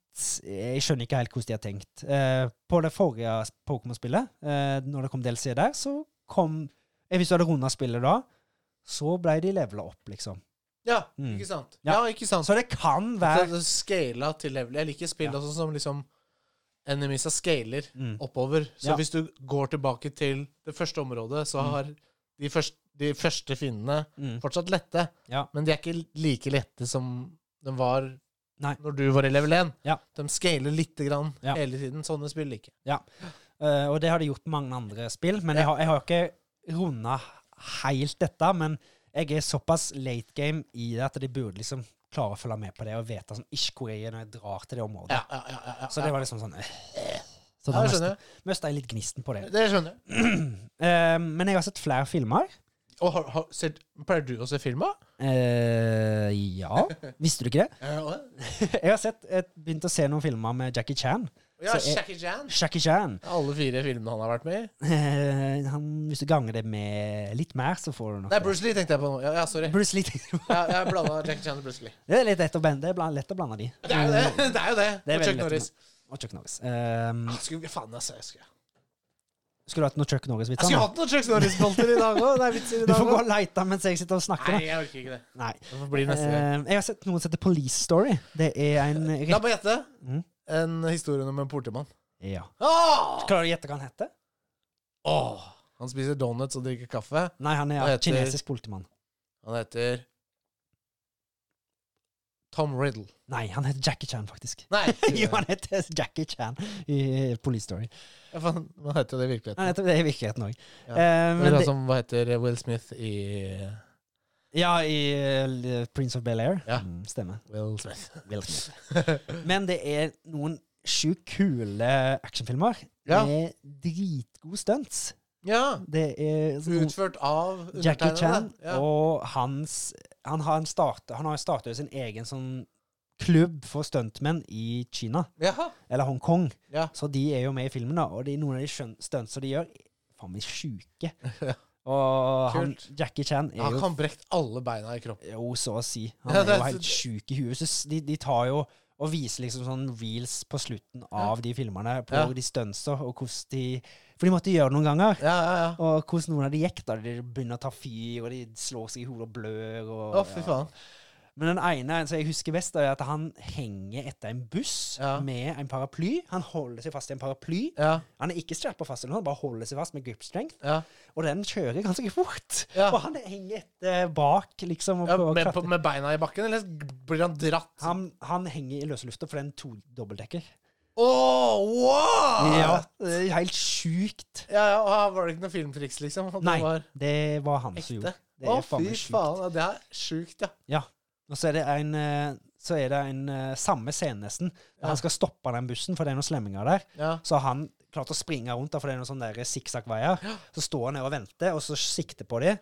B: Jeg skjønner ikke helt hvordan de har tenkt. Eh, på det forrige Pokémon-spillet, eh, når det kom DLC der, så kom eh, Hvis du hadde runda spillet da, så ble de levela opp, liksom.
A: Ja,
B: Mm.
A: ikke sant? Ja,
B: Ja.
A: ikke sant?
B: Så det kan
A: At
B: være
A: det er Scala til level. Jeg liker spill
B: Ja.
A: også som liksom Enemisa scaler
B: Mm.
A: oppover. Så
B: Ja.
A: hvis du går tilbake til det første området, så
B: Mm.
A: har de første, de første fiendene
B: mm.
A: fortsatt lette.
B: Ja.
A: Men de er ikke like lette som de var
B: Nei.
A: når du var i level 1.
B: Ja.
A: De scaler lite grann
B: Ja.
A: hele tiden. Sånne spill liker jeg.
B: Eh, og det har de gjort med mange andre spill. Men jeg har, jeg har ikke runda helt dette. Men jeg er såpass late game i det at de burde liksom klare å følge med på det og vite sånn, ikke hvor jeg er når jeg drar til det området.
A: Ja, ja, ja, ja, ja.
B: Så det var liksom sånn øh.
A: ja,
B: Så da
A: det
B: mista
A: skjønner jeg.
B: jeg litt gnisten på det. [CLEARS THROAT]
A: Det skjønner jeg.
B: Eh, men jeg har sett flere filmer.
A: Og har, har, ser, pleier du å se film, da?
B: Eh, ja. Visste du ikke det? [LAUGHS]
A: Ja,
B: Jeg har sett, jeg begynt å se noen filmer med Jackie Chan.
A: ja
B: Så jeg-
A: Jackie Chan.
B: Jackie Chan. [LAUGHS]
A: Alle fire filmene han har vært med i.
B: Eh, han, hvis du ganger det med litt mer, så får du nok
A: Nei, Bruce Lee tenkte jeg på nå. Ja, ja sorry.
B: det. Bruce Lee.
A: Ja, jeg blanda Jackie Chan og Bruce Lee.
B: Det er litt lett å blande, det er bland- lett å blande de.
A: Det er jo det! det, er jo det.
B: Mm. Det er
A: og
B: veldig
A: Chuck
B: lett å
A: Norris.
B: Og Chuck Norris. Ehm,
A: Ah, Skulle, faen, altså, jeg skulle,
B: skulle du hatt noe
A: jeg
B: Chuck
A: skulle
B: Norris-vitser?
A: hatt noen Chuck Norris-bolter i dag òg. Det er vitser i
B: [LAUGHS] Du
A: dag
B: får gå
A: også.
B: og leite mens jeg sitter og snakker.
A: Nei,
B: da.
A: jeg orker ikke det.
B: Nei.
A: Det får bli neste gang.
B: Ehm, jeg har sett noen som heter Police Story. Det er Eh, en
A: La
B: re-
A: meg gjette.
B: Mm.
A: En historie om en politimann.
B: Ja.
A: Åh!
B: Klarer du å gjette hva han heter?
A: Åh! Han spiser donuts og drikker kaffe.
B: Nei, han er
A: Han heter-
B: kinesisk politimann.
A: Han heter Tom Riddle.
B: Nei, han heter Jackie Chan, faktisk.
A: Nei,
B: [LAUGHS] Jo, han heter Jackie Chan i eh, Police Story.
A: Ja, faen, hva heter det i virkeligheten?
B: Han heter det i virkeligheten òg.
A: Ja. Det
B: men
A: er sånn-
B: det,
A: som, hva heter Will Smith i eh,
B: ja, i eh, Prince of Bel-Air.
A: Ja.
B: Mm, stemmer.
A: Will Smith. [LAUGHS]
B: Men det er noen sjukt kule actionfilmer.
A: Ja.
B: Med dritgode stunts.
A: Ja.
B: Det er sånn
A: Utført av
B: Jackie
A: undertegnede.
B: Chan
A: Ja.
B: og hans Han har en start, han har startet sin egen sånn klubb for stuntmenn i Kina,
A: Jaha.
B: eller Hongkong.
A: Ja.
B: Så de er jo med i filmen, da, og de, noen av de skjøn- stunts som de gjør, er faen meg sjuke.
A: [LAUGHS] Ja.
B: Og han,
A: Kult.
B: Jackie Chan er
A: Ja, Han
B: jo
A: kan brekt alle beina i kroppen.
B: Jo, så å
A: [LAUGHS]
B: si. Han
A: Ja,
B: er
A: det
B: jo
A: er-
B: helt sjuk i huet. Så s- de, de tar jo og viser liksom sånn reels på slutten av de filmene, på
A: Ja.
B: de stunsa, og hvordan de For de måtte gjøre det noen ganger.
A: Ja, ja, ja.
B: Og hvordan noen av de gikk, da. De begynner å ta fyr, og de slår seg i hodet og blør. Og,
A: Å, fy faen.
B: Men den ene som jeg husker best, er at han henger etter en buss
A: Ja.
B: med en paraply. Han holder seg fast i en paraply.
A: Ja,
B: Han er ikke strappa fast, i noe, han bare holder seg fast med grip strength.
A: ja.
B: Og den kjører ganske fort.
A: Ja.
B: Og han henger etter bak, liksom. Og
A: ja
B: prøver å
A: med,
B: klatre.
A: på, med beina i bakken, eller blir han dratt?
B: han, han henger i løse lufta, for det er en to dobbeltdekker.
A: Åh, wow!
B: Ja, det er eh, helt sjukt.
A: Ja, ja, og her var det ikke noe filmtriks, liksom? At
B: Nei,
A: Det var
B: det var han som
A: ekte?
B: gjorde det.
A: Å,
B: er faen
A: fy
B: meg sjukt.
A: faen. Ja, det er sjukt, ja.
B: Og så er det en, eh, så er det en eh, samme scene nesten.
A: Ja.
B: Der Han skal stoppe den bussen, for det er noen slemminger der.
A: ja.
B: Så har han klart å springe rundt, da, for det er noen sånne der sikksakk-veier. Så står han der og venter, og så sikter på dem.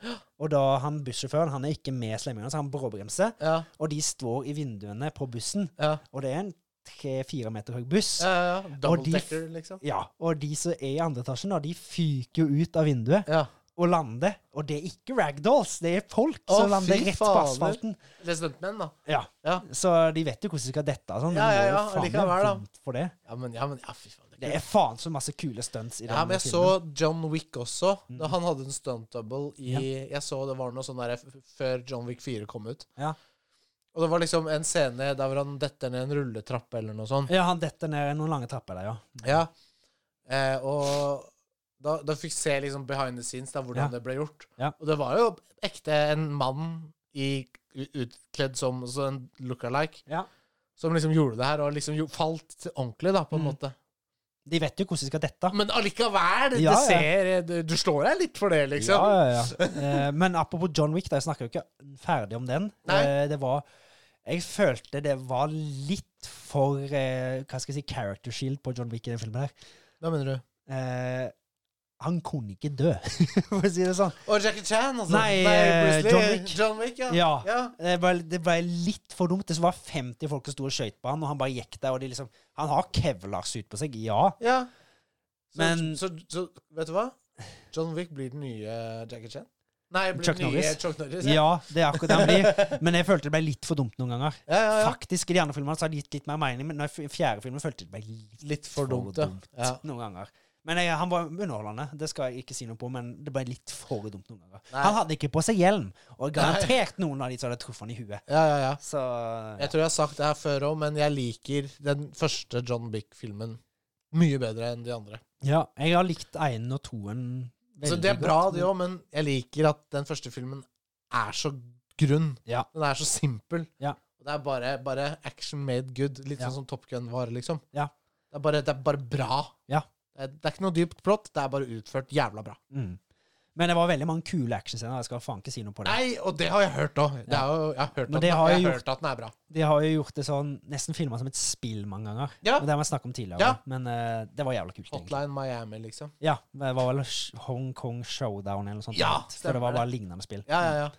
B: Og da han bussjåføren han er ikke med slemmingene, så han bråbremser.
A: Ja,
B: Og de står i vinduene på bussen,
A: ja,
B: og det er en tre-fire meter høy buss.
A: ja, ja. Double
B: de-
A: decker, liksom.
B: Ja, og de som er i andre etasjen, da, de fyker jo ut av vinduet
A: Ja.
B: og lander. Og det er ikke ragdolls, det er folk
A: Å,
B: som lander
A: fy
B: rett på
A: fader.
B: asfalten.
A: Det er stuntmenn, da.
B: Ja.
A: Ja.
B: Så de vet jo hvordan de skal dette. og Sånn.
A: Ja,
B: Det
A: ja,
B: må jo
A: ja,
B: faen meg
A: likevel, da.
B: vondt For det.
A: Ja, men ja, men, ja fy faen.
B: det er faen så masse kule stunts i
A: Ja, men
B: denne
A: jeg så
B: filmen.
A: John Wick også. Da han hadde en stunt double i
B: Mm. Ja.
A: Jeg så det var noe sånn der f- før John Wick 4 kom ut.
B: Ja.
A: Og det var liksom en scene der hvor han detter ned en rulletrapp eller noe sånt.
B: Ja, han detter ned noen lange trapper der, ja.
A: Ja. Eh, og da, da fikk se liksom behind the scenes da, hvordan
B: Ja.
A: det ble gjort.
B: Ja.
A: Og det var jo ekte en mann i, utkledd som altså en look-alike
B: Ja.
A: som liksom gjorde det her, og liksom jo, falt til ordentlig, da, på en
B: Mm.
A: måte.
B: De vet jo hvordan de skal dette.
A: Men allikevel,
B: Ja,
A: det
B: ja.
A: ser Du, du slår deg litt for det, liksom.
B: Ja, ja, ja. [LAUGHS] Eh, Men apropos John Wick, da, jeg snakker jo ikke ferdig om den.
A: Nei.
B: Eh, Det var Jeg følte det var litt for eh, Hva skal jeg si character shield på John Wick i den filmen her.
A: Hva mener du?
B: Eh, han kunne ikke dø, [LAUGHS] for å si det sånn.
A: Og Jackie Chan, altså.
B: Nei, eh,
A: Bruce Lee.
B: John Wick.
A: John Wick, ja.
B: Ja.
A: ja.
B: Det ble, det ble litt for dumt. Det var 50 folk som sto og skøyt på han, og han bare gikk der. Og de liksom, han har kevlarsyt på seg, ja.
A: ja. Så,
B: Men-
A: så, så, vet du hva? John Wick blir den nye Jackie Chan. Nei, blir
B: Chuck
A: den nye
B: Norris.
A: Chuck Norris.
B: Ja, det er akkurat det han blir. Men jeg følte det ble litt for dumt noen ganger.
A: Ja, ja, ja.
B: Faktisk, I de andre filmene så har det gitt litt mer mening, men i fjerde filmen følte jeg det ble litt,
A: Litt for dumt, ja. ja.
B: noen ganger. Men jeg, han var underholdende, det skal jeg ikke si noe på, men det ble litt for dumt noen ganger.
A: Nei.
B: Han hadde ikke på seg hjelm, og garantert noen av de som hadde truffet han i huet.
A: Ja, ja, ja.
B: Så
A: Jeg tror jeg har sagt det her før òg, men jeg liker den første John Wick-filmen mye bedre enn de andre.
B: ja, jeg har likt én og toen
A: Så
B: veldig
A: det er bra,
B: godt,
A: det òg, men jeg liker at den første filmen er så grunn.
B: Ja.
A: Den er så simpel.
B: Ja.
A: Og det er bare, bare action made good. Litt
B: Ja.
A: sånn som Top Gun var, liksom.
B: Ja.
A: Det, er bare, det er bare bra.
B: Ja.
A: Det, er, det er ikke noe dypt plott, det er bare utført jævla bra.
B: Mm. Men det var veldig mange kule actionscener. Jeg skal faen ikke si noe på det.
A: Nei, og det har jeg hørt òg. Jeg
B: Ja.
A: har hørt,
B: Men
A: at,
B: det
A: den-
B: har
A: jeg
B: jeg
A: har
B: gjort.
A: hørt at den er bra.
B: De har jo gjort det sånn nesten filma som et spill mange ganger.
A: Ja.
B: Og Det har vi snakket om tidligere,
A: Ja.
B: men eh, det var jævla kult. egentlig.
A: Hotline Miami, liksom.
B: Ja, Det var vel Sh- Hong Kong Showdown eller noe sånt.
A: Ja,
B: for
A: stemmer
B: det var
A: det.
B: bare lignende spill.
A: Ja, ja, ja.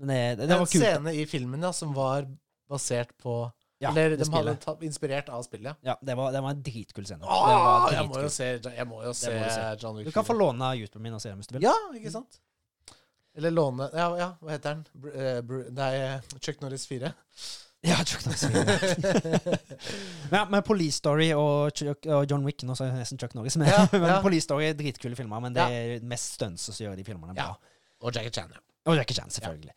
B: Men det, det, det
A: en
B: var kult.
A: scene i filmen ja, som var basert på
B: Ja,
A: Eller
B: det
A: de hadde
B: spillet.
A: tatt, inspirert av spillet.
B: Ja, det var, det var en dritkul scene.
A: Ja.
B: det var
A: Ah, jeg må
B: dritkul.
A: jo se, jeg må jo se,
B: må du se.
A: John Wick.
B: Du kan få låne YouTuben min og se den hvis du vil.
A: Ja, ikke sant? Eller låne Ja, ja hva heter den? Br eh, Br nei, eh, Chuck Norris 4.
B: Ja, Chuck Norris. [LAUGHS] ja, men Police Story og, Chuck, og John Wick Nå sa jeg nesten Chuck Norris. Men,
A: Ja,
B: [LAUGHS] men
A: ja.
B: Police Story er dritkule filmer, men det
A: Ja.
B: er mest stunts som gjør de filmene bra.
A: Ja. Og Jackie Chan, ja.
B: Og Jackie Chan, selvfølgelig.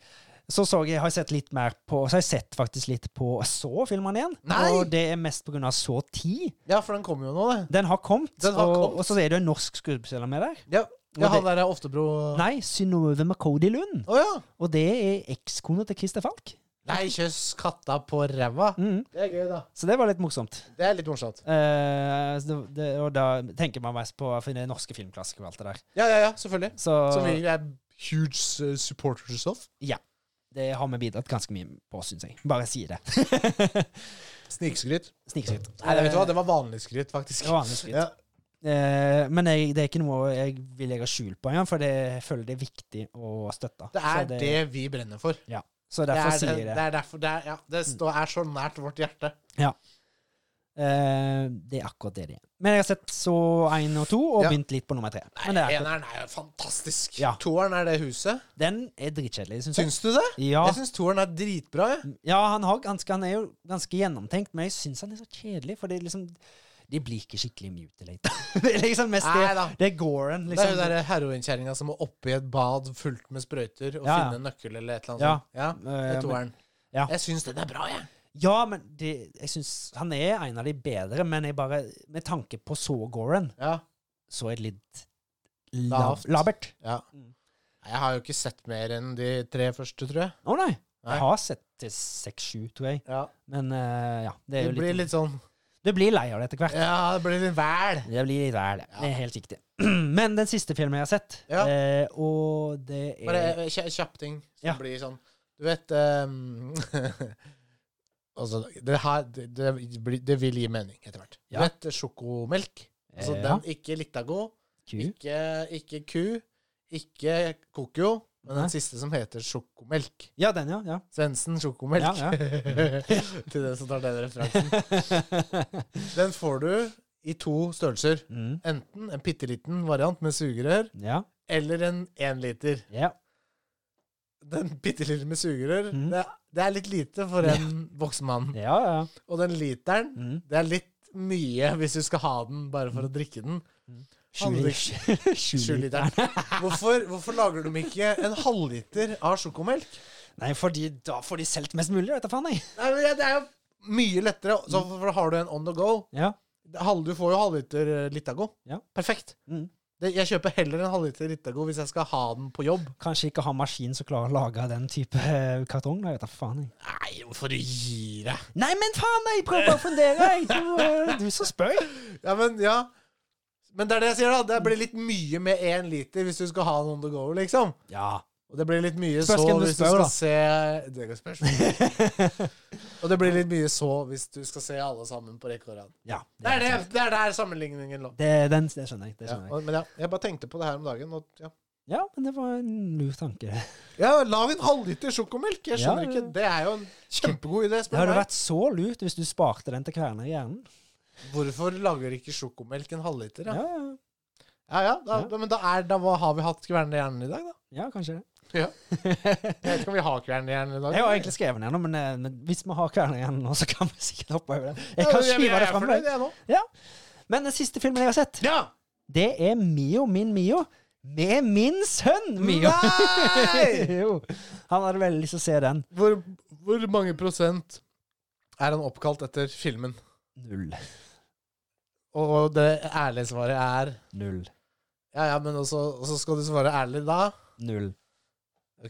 B: Så, så jeg, har jeg sett litt mer på Så har jeg sett faktisk litt på Så-filmene igjen.
A: Nei!
B: Og det er mest pga. Så 10.
A: Ja, for den kommer jo nå, det.
B: Den har kommet.
A: Den har
B: og,
A: kommet.
B: og så er det jo en norsk skuespiller med der.
A: Ja,
B: Og
A: ja han derre Oftebro Å
B: Nei, Synnøve McCody Lund.
A: ja!
B: Og det er ekskona til Christer Falk.
A: Nei, kjøss katta på ræva.
B: Mm.
A: Det er gøy, da.
B: Så det var litt morsomt.
A: Det er litt morsomt.
B: Eh, så det, det, og da tenker man mest på å finne norske filmklassikere og alt det der.
A: Ja, ja, ja, selvfølgelig.
B: Så
A: Som vi er huge eh, supporters of.
B: det har vi bidratt ganske mye på, syns jeg. Bare si det.
A: Snikskryt.
B: Snikskryt.
A: Nei, vet du hva, det var vanlig skryt, faktisk.
B: Det var vanlig skryt.
A: Ja.
B: Eh, men jeg, det er ikke noe jeg vil legge skjul på igjen, for det, jeg føler det er viktig å støtte.
A: Det er
B: så
A: det, vi brenner for.
B: Så
A: Det
B: derfor
A: er,
B: sier
A: den-
B: jeg det.
A: det er derfor det er, ja, det står, er så nært vårt hjerte.
B: Eh, det er akkurat det det er. Men jeg har sett så én og to, og
A: Ja.
B: begynt litt på nummer tre.
A: Nei,
B: Men det er akkurat,
A: Eneren er jo fantastisk.
B: Ja.
A: Toeren er det huset.
B: den er dritkjedelig, syns jeg.
A: Syns du det?
B: Ja,
A: Jeg syns toeren er dritbra. Jeg.
B: ja han, har ganske, han er jo ganske gjennomtenkt, men jeg syns han er så kjedelig, for det er liksom De blir ikke skikkelig mutilated. [LAUGHS] det er liksom mest
A: Nei
B: det.
A: da.
B: Det er Goran,
A: Det er
B: liksom.
A: hun derre heroinkjerringa som må oppi et bad fullt med sprøyter og
B: Ja, ja.
A: finne en nøkkel eller et eller
B: Ja.
A: annet. sånt. Ja, det
B: Eh,
A: er toeren.
B: ja.
A: Jeg syns den er bra, jeg.
B: Ja, men det, jeg syns han er en av de bedre, men jeg bare, med tanke på så Goran,
A: Ja.
B: så er det litt
A: Lavt.
B: lav- labert.
A: ja.
B: Mm.
A: Nei, Jeg har jo ikke sett mer enn de tre første, tror jeg.
B: Å nei.
A: Nei.
B: Jeg har sett til seks-sju, tror jeg.
A: Ja.
B: Men eh, ja, det
A: Det
B: er jo
A: blir
B: litt
A: litt sånn
B: Du blir lei av det etter hvert.
A: Ja, det blir litt væl.
B: Det blir litt vel, det. Det er helt riktig. [CLEARS THROAT] Men den siste filmen jeg har sett,
A: Ja.
B: eh, og det er
A: Bare eh, kja- kjapp ting som
B: Ja.
A: blir sånn Du vet ehm, [LAUGHS] Altså, det her det, det, blir, det vil gi mening etter hvert.
B: Ja.
A: Du vet eh, sjokomelk? Altså
B: Eh, ja.
A: den Ikke Litago,
B: Q.
A: ikke, ikke ku, ikke Kokyo, men
B: Nei.
A: den siste som heter sjokomelk.
B: Ja, den, ja. ja.
A: Svendsen sjokomelk.
B: Ja,
A: [LAUGHS] Til den som tar den referansen.
B: [LAUGHS]
A: Den får du i to størrelser.
B: mm.
A: Enten en bitte liten variant med sugerør,
B: Ja.
A: eller en én liter.
B: ja.
A: Den bitte lille med sugerør,
B: Mhm.
A: det, det er litt lite for en voksen mann.
B: Ja, ja.
A: Og den literen,
B: Mm.
A: det er litt mye hvis du skal ha den bare for å drikke den.
B: Mm. [LAUGHS]
A: Aldri-
B: Sjuliteren.
A: Sjuliteren. [LAUGHS] Hvorfor, hvorfor lager de ikke en halvliter av sjokomelk?
B: Nei, fordi da får de solgt mest mulig, vet du faen, jeg.
A: Nei, men Det er jo Mm. mye lettere. Så for har du en on the go
B: Ja.
A: halv- Du får jo halvliter eh, Litago.
B: Ja.
A: Perfekt.
B: Mm.
A: Det, jeg kjøper heller en halvliter Litago hvis jeg skal ha den på jobb.
B: Kanskje ikke ha maskin som klarer å lage den type eh, kartong, da, vet du faen, jeg.
A: Nei, hvorfor gir jeg?
B: Nei, men faen, jeg prøver bare å fundere, jeg. Du, eh, du som spør.
A: Ja, men ja. Men det er det jeg sier, da. Det blir litt mye med én liter hvis du skal ha en on the go, liksom.
B: Ja.
A: Og det blir litt mye
B: Spørs
A: så
B: hvem du
A: hvis du skal
B: spør, da.
A: se Det er et spørsmål. [LAUGHS] Og det blir litt mye så hvis du skal se alle sammen på rekke og rad.
B: ja
A: Det er det, det er der sammenligningen lå.
B: Det, den, det skjønner jeg. Det
A: Ja,
B: skjønner jeg.
A: og, men ja, jeg bare tenkte på det her om dagen. Og, ja.
B: Ja, men det var en lur tanke.
A: ja, lag en halvliter sjokomelk! Jeg
B: Ja,
A: skjønner
B: ja.
A: ikke. Det er jo en kjempegod idé.
B: Det
A: Spør
B: hadde
A: meg.
B: vært så lurt hvis du sparte den til kverner i hjernen.
A: Hvorfor lager ikke sjokomelk en halvliter?
B: Ja,
A: Ja,
B: ja,
A: ja, ja, da,
B: Ja.
A: men da, er, da har vi hatt kvernende hjerne i dag, da.
B: ja kanskje det.
A: Jeg vet ikke om vi har kvernende hjerne i dag.
B: Jeg har egentlig skrevet den igjen, men, eh, men hvis vi har kverner i hjernen nå, så kan vi sikkert hoppe over det. Jeg
A: Ja,
B: kan
A: men
B: skyve
A: jeg
B: det
A: er
B: frem.
A: fornøyd, jeg, nå.
B: Men den siste filmen jeg har sett,
A: Ja!
B: det er Mio, min Mio, med min sønn Mio.
A: Nei!
B: [LAUGHS] jo. Han hadde veldig lyst til å se den.
A: [LAUGHS] Hvor, hvor mange prosent er han oppkalt etter filmen?
B: Null.
A: Og det ærlige svaret er
B: Null.
A: Ja, ja, men også, og så skal du svare ærlig da?
B: Null.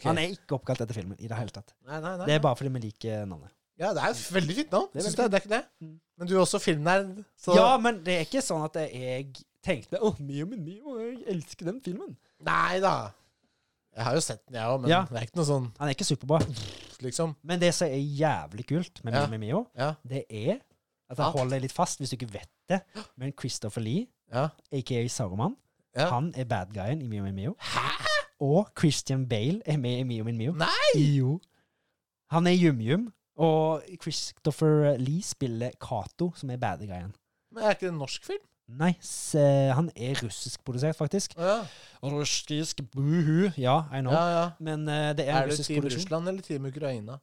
B: Han er ikke oppkalt etter filmen i det hele tatt.
A: Nei, nei, nei.
B: Det er bare fordi vi liker navnet.
A: Ja, det er et veldig fint navn.
B: Det er
A: Syns du
B: veldig
A: det? Det er ikke det?
B: Mm.
A: Men du er også filmnerd. Så
B: Ja, men det er ikke sånn at jeg tenkte Å, Mio, min Mio, jeg elsker den filmen.
A: Nei da. Jeg har jo sett den, jeg òg, men
B: Ja.
A: det er ikke noe sånn
B: Han er ikke superbra.
A: liksom.
B: Men det som er jævlig kult med
A: Ja.
B: Mimi Mio,
A: Ja.
B: det er at
A: Ja.
B: han holder deg litt fast, hvis du ikke vet det. Men Christopher Lee,
A: Ja.
B: aka Saruman,
A: Ja.
B: han er bad guyen i Mio Min Mio.
A: Hæ?
B: Og Christian Bale er med i Mio Min Mio.
A: Nei!
B: Jo. Han er Jum-Jum, og Christopher Lee spiller Cato, som er bad guyen.
A: Men er ikke det en norsk film?
B: Nei, se- han er russiskprodusert, faktisk.
A: Ja,
B: Russisk buhu. Ja, I know.
A: ja. ja.
B: Men eh, det er,
A: Er
B: en
A: du
B: russisk
A: Team
B: produksjon.
A: Russland eller Team Ukraina?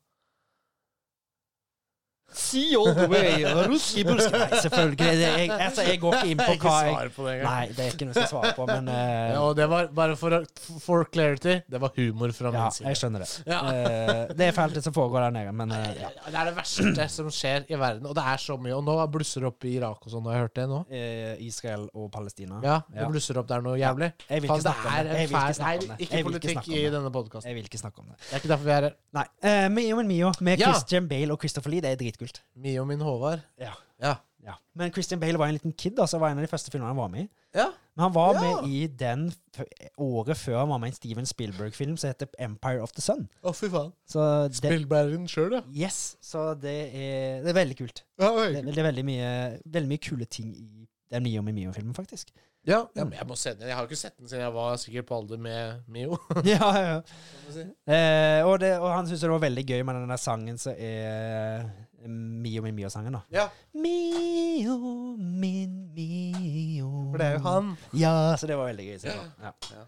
B: See all the [LAUGHS] way, russisk bullsk. Nei, selvfølgelig. Det, jeg, altså, jeg går ikke inn
A: [LAUGHS]
B: på hva jeg
A: på det
B: Nei, det er ikke noe jeg skal svare på, men eh,
A: Ja, og det var, bare for, å- for clarity, det var humor fra
B: ja,
A: min side.
B: jeg skjønner det.
A: Ja.
B: Eh, det er feltet som foregår der nede, men eh, ja.
A: Det er det verste som skjer i verden, og det er så mye. Og nå blusser det opp i Irak og sånn, har jeg hørt det nå?
B: Eh, Israel og Palestina.
A: Ja, det
B: Ja.
A: blusser opp der noe jævlig.
B: Jeg vil
A: Faen,
B: ikke
A: det
B: snakke om
A: er
B: det. Jeg
A: en
B: vil ikke
A: fæl
B: snakke
A: Nei,
B: om det.
A: ikke
B: Jeg vil ikke
A: politikk
B: snakke om
A: i
B: det.
A: denne podkasten.
B: Jeg vil ikke snakke om det.
A: Det er ikke derfor vi er her.
B: Nei. eh, Mio men Mio med
A: Ja.
B: Christian Bale og Christopher Lee, det er dritkult.
A: Mie og min Håvard.
B: Ja.
A: Ja.
B: Ja. Men Christian Bale var en liten kid, da, så det var en av de første filmene han var med i.
A: Ja.
B: Men han var
A: Ja.
B: med i den f året før han var med i en Steven Spielberg-film som heter Empire of the Sun.
A: Å, fy faen.
B: Så det,
A: Spillbæreren sjøl, ja.
B: yes, så det er, det er veldig kult.
A: Ja,
B: Det,
A: oi.
B: det er veldig mye, veldig mye kule ting i den Mio med Mio-filmen, [LAUGHS] faktisk.
A: ja, ja men jeg må se den. Jeg har ikke sett den siden jeg var sikkert på alder med Mio.
B: ja, ja.
A: kan du si.
B: Eh, og, det, og han syntes det var veldig gøy med den der sangen som er eh, Mio min Mio-sangen, da.
A: Ja,
B: Mio min Mio
A: for det er jo han.
B: Ja, så det var veldig gøy. Så, ja.
A: Ja.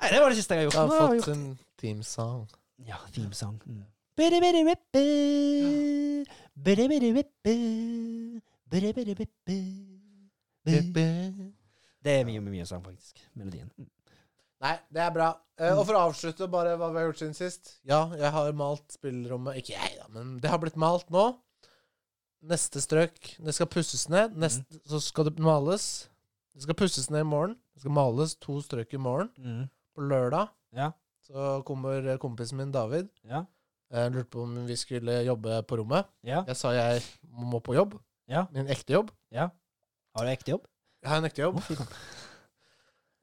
B: Nei, det var det siste jeg har gjort.
A: Han
B: Nå har
A: har
B: jeg
A: fått en theme song.
B: Ja, theme song. Mm. Bidi-bidi-bippi, bidi-bidi-bippi, bidi-bidi-bippi, bi-
A: Nei,
B: Det er mye, mye, mye sang, faktisk. Melodien. Mm.
A: det er bra. Eh, og for å avslutte bare hva vi har gjort siden sist. Ja, jeg har malt spillerommet Ikke jeg, da, men det har blitt malt nå. Neste strøk Det skal pusses ned.
B: Mm.
A: Neste, så skal det males. Det skal pusses ned i morgen. Det skal males to strøk i morgen.
B: Mm.
A: På lørdag
B: Ja.
A: så kommer eh, kompisen min David. Eh,
B: Ja.
A: Jeg lurte på om vi skulle jobbe på rommet.
B: Ja.
A: Jeg sa jeg må på jobb.
B: Ja.
A: Min ekte jobb.
B: Ja. Har du ekte jobb?
A: Jeg har en ekte jobb.
B: Å, fy faen.
A: [LAUGHS]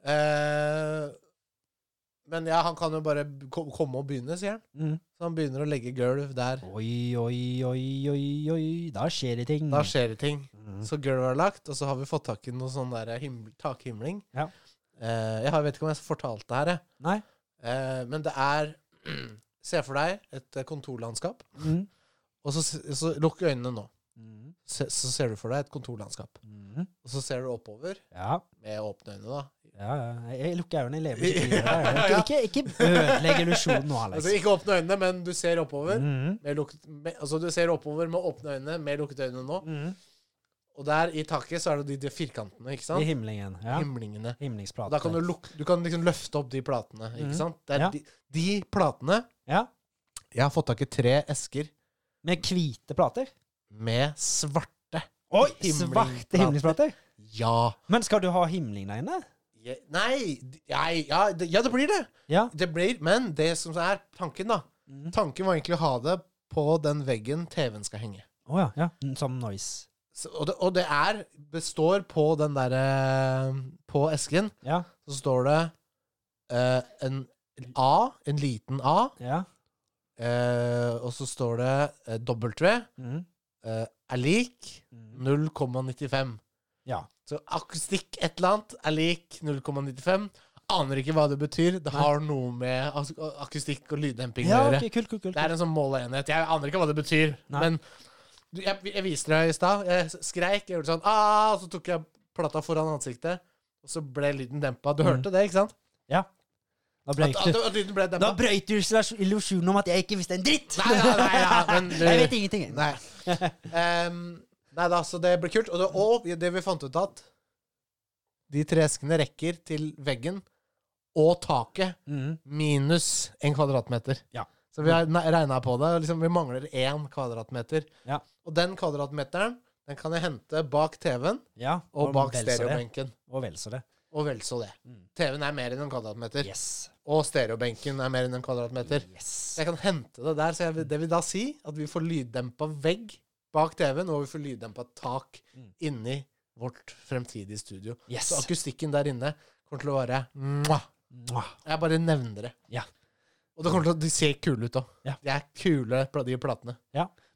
A: Eh, men ja, han kan jo bare b- ko- komme og begynne, sier han.
B: Mm.
A: Så han begynner å legge gulv der.
B: Oi, oi, oi, oi, oi. Da skjer det ting.
A: Da skjer det ting.
B: Mm.
A: Så gulvet er lagt, og så har vi fått tak i noe sånn der himl- takhimling.
B: Ja.
A: Eh, jeg har- vet ikke om jeg har fortalt det her, jeg.
B: Nei.
A: Eh, men det er [CLEARS THROAT] Se for deg et eh, kontorlandskap,
B: Mm.
A: og så, s- så lukk øynene nå.
B: Mm.
A: Se, så ser du for deg et kontorlandskap.
B: Mm.
A: Og så ser du oppover
B: Ja.
A: med åpne øyne, da.
B: Ja, ja. Jeg- Jeg lukker øynene. Jeg lever
A: [LAUGHS]
B: ikke videre.
A: Ja.
B: Ikke, ikke, ikke ødelegg illusjonen nå, Alex.
A: Altså ikke åpne øynene, men du ser oppover.
B: Mm.
A: Med lukket, med, altså du ser oppover med åpne øyne, med lukkede øyne nå.
B: Mm.
A: Og der i taket så er det de, de firkantene, ikke
B: I
A: sant?
B: himlingen. Ja.
A: Himlingene.
B: Himlingsplate.
A: Og da kan du, luk, du kan liksom løfte opp de platene, ikke
B: Mhm.
A: sant? Det er
B: Ja.
A: de, de platene
B: Ja.
A: Jeg har fått tak i tre esker
B: Med hvite plater.
A: med svarte
B: Oi,
A: himlingplater.
B: svarte himlingsplater.
A: Ja.
B: Men skal du ha himling der inne?
A: Je, nei, d- nei ja, det, ja, det blir det.
B: Ja.
A: Det blir, Men det som er tanken, da
B: Mhm.
A: Tanken var egentlig å ha det på den veggen TV-en skal henge.
B: Å ja. ja. Mm, Som noise.
A: Så, og, det, og det er består på den derre På esken
B: Ja.
A: så står det eh, en A, en liten A,
B: Ja.
A: eh, og så står det eh, W
B: Mm.
A: eh, er lik
B: Mm.
A: 0,95.
B: Ja.
A: Så akustikk et eller annet er lik 0,95. Aner ikke hva det betyr. Det har noe med ak akustikk og lyddemping å
B: Ja,
A: gjøre.
B: ok, kult, kult, kult.
A: Det er en sånn måleenhet. Jeg aner ikke hva det betyr.
B: Nei.
A: Men du, jeg, jeg viste deg i stad. Jeg s- skreik, jeg gjorde sånn ah, Og så tok jeg plata foran ansiktet, og så kult. lyden dempa. Du
B: Mm.
A: hørte det, ikke sant?
B: Da
A: At,
B: brøyt
A: at,
B: du,
A: at lyden ble
B: da
A: dempa.
B: brøyt du illusjonen om at jeg ikke visste en dritt!
A: Nei, nei, nei, ja, men du-
B: [LAUGHS] Jeg vet ingenting.
A: Nei. Ehm, nei da, så det blir kult. Og det, og det vi fant ut at de tre eskene rekker til veggen og taket
B: Mm.
A: minus en kvadratmeter.
B: Ja.
A: Så vi har regna på det. og Liksom, vi mangler én kvadratmeter.
B: Ja.
A: Og den kvadratmeteren den kan jeg hente bak TV-en
B: Ja,
A: og bak
B: vel så det.
A: stereobenken.
B: Og vel så det.
A: Og vel så det.
B: Mm.
A: TV-en er mer enn en kvadratmeter.
B: Yes.
A: Og stereobenken er mer enn en kvadratmeter.
B: yes.
A: Så jeg kan hente det der. Så jeg, vil- det vil da si at vi får lyddempa vegg bak TV-en, og vi får lyddempa tak
B: Mm.
A: inni vårt fremtidige studio.
B: Yes.
A: Så akustikken der inne kommer til å være mwah.
B: Mwah.
A: Jeg bare nevner det.
B: Ja.
A: Og det kommer til å de ser kule ut òg.
B: Ja.
A: De er kule, pla- de platene.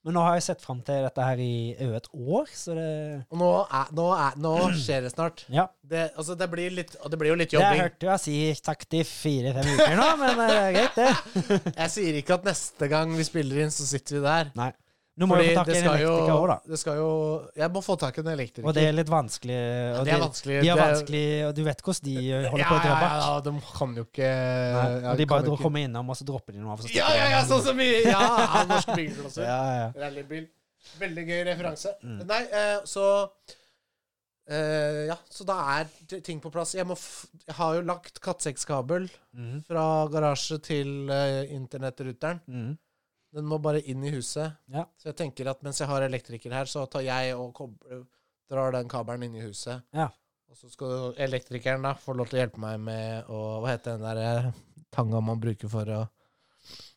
B: Men nå har jeg sett fram til dette her i over et år, så det
A: Og nå, er, nå, er, nå skjer det snart.
B: Ja.
A: Det, altså, det, blir litt, og det blir jo litt
B: Jeg
A: jobbing.
B: hørte jo jeg si takk til fire-fem uker nå, men det er greit, det.
A: Jeg sier ikke at neste gang vi spiller inn, så sitter vi der.
B: Nå må du
A: Fordi
B: få tak i
A: det
B: en
A: skal jo,
B: elektriker òg, da.
A: det skal jo Jeg må få tak i en elektriker.
B: Og det er litt vanskelig.
A: Ja,
B: Og
A: det er vanskelig.
B: De er
A: Det-
B: vanskelig, og du vet hvordan de holder på å dra
A: Ja,
B: bak.
A: ja, de kan jo ikke
B: Nei,
A: ja,
B: og de
A: kan jo
B: bare dro-
A: ikke-
B: kommer innom, og så dropper de noe av. og så
A: Ja,
B: stikker
A: ja,
B: de.
A: ja, sånn som i [LAUGHS] Ja, av norske bilklosser.
B: ja, ja.
A: Rallybil. Veldig gøy referanse.
B: Mm.
A: Nei, eh, så eh, Ja, så da er t- ting på plass. Jeg, må f jeg har jo lagt kattsekkskabel
B: Mhm,
A: fra garasje til eh, internettruteren.
B: mhm.
A: Den må bare inn i huset.
B: Ja.
A: Så jeg tenker at mens jeg har elektriker her, så tar jeg og kob- drar den kabelen inn i huset.
B: Ja.
A: Og så skal elektrikeren da få lov til å hjelpe meg med å Hva heter den der eh, tanga man bruker for å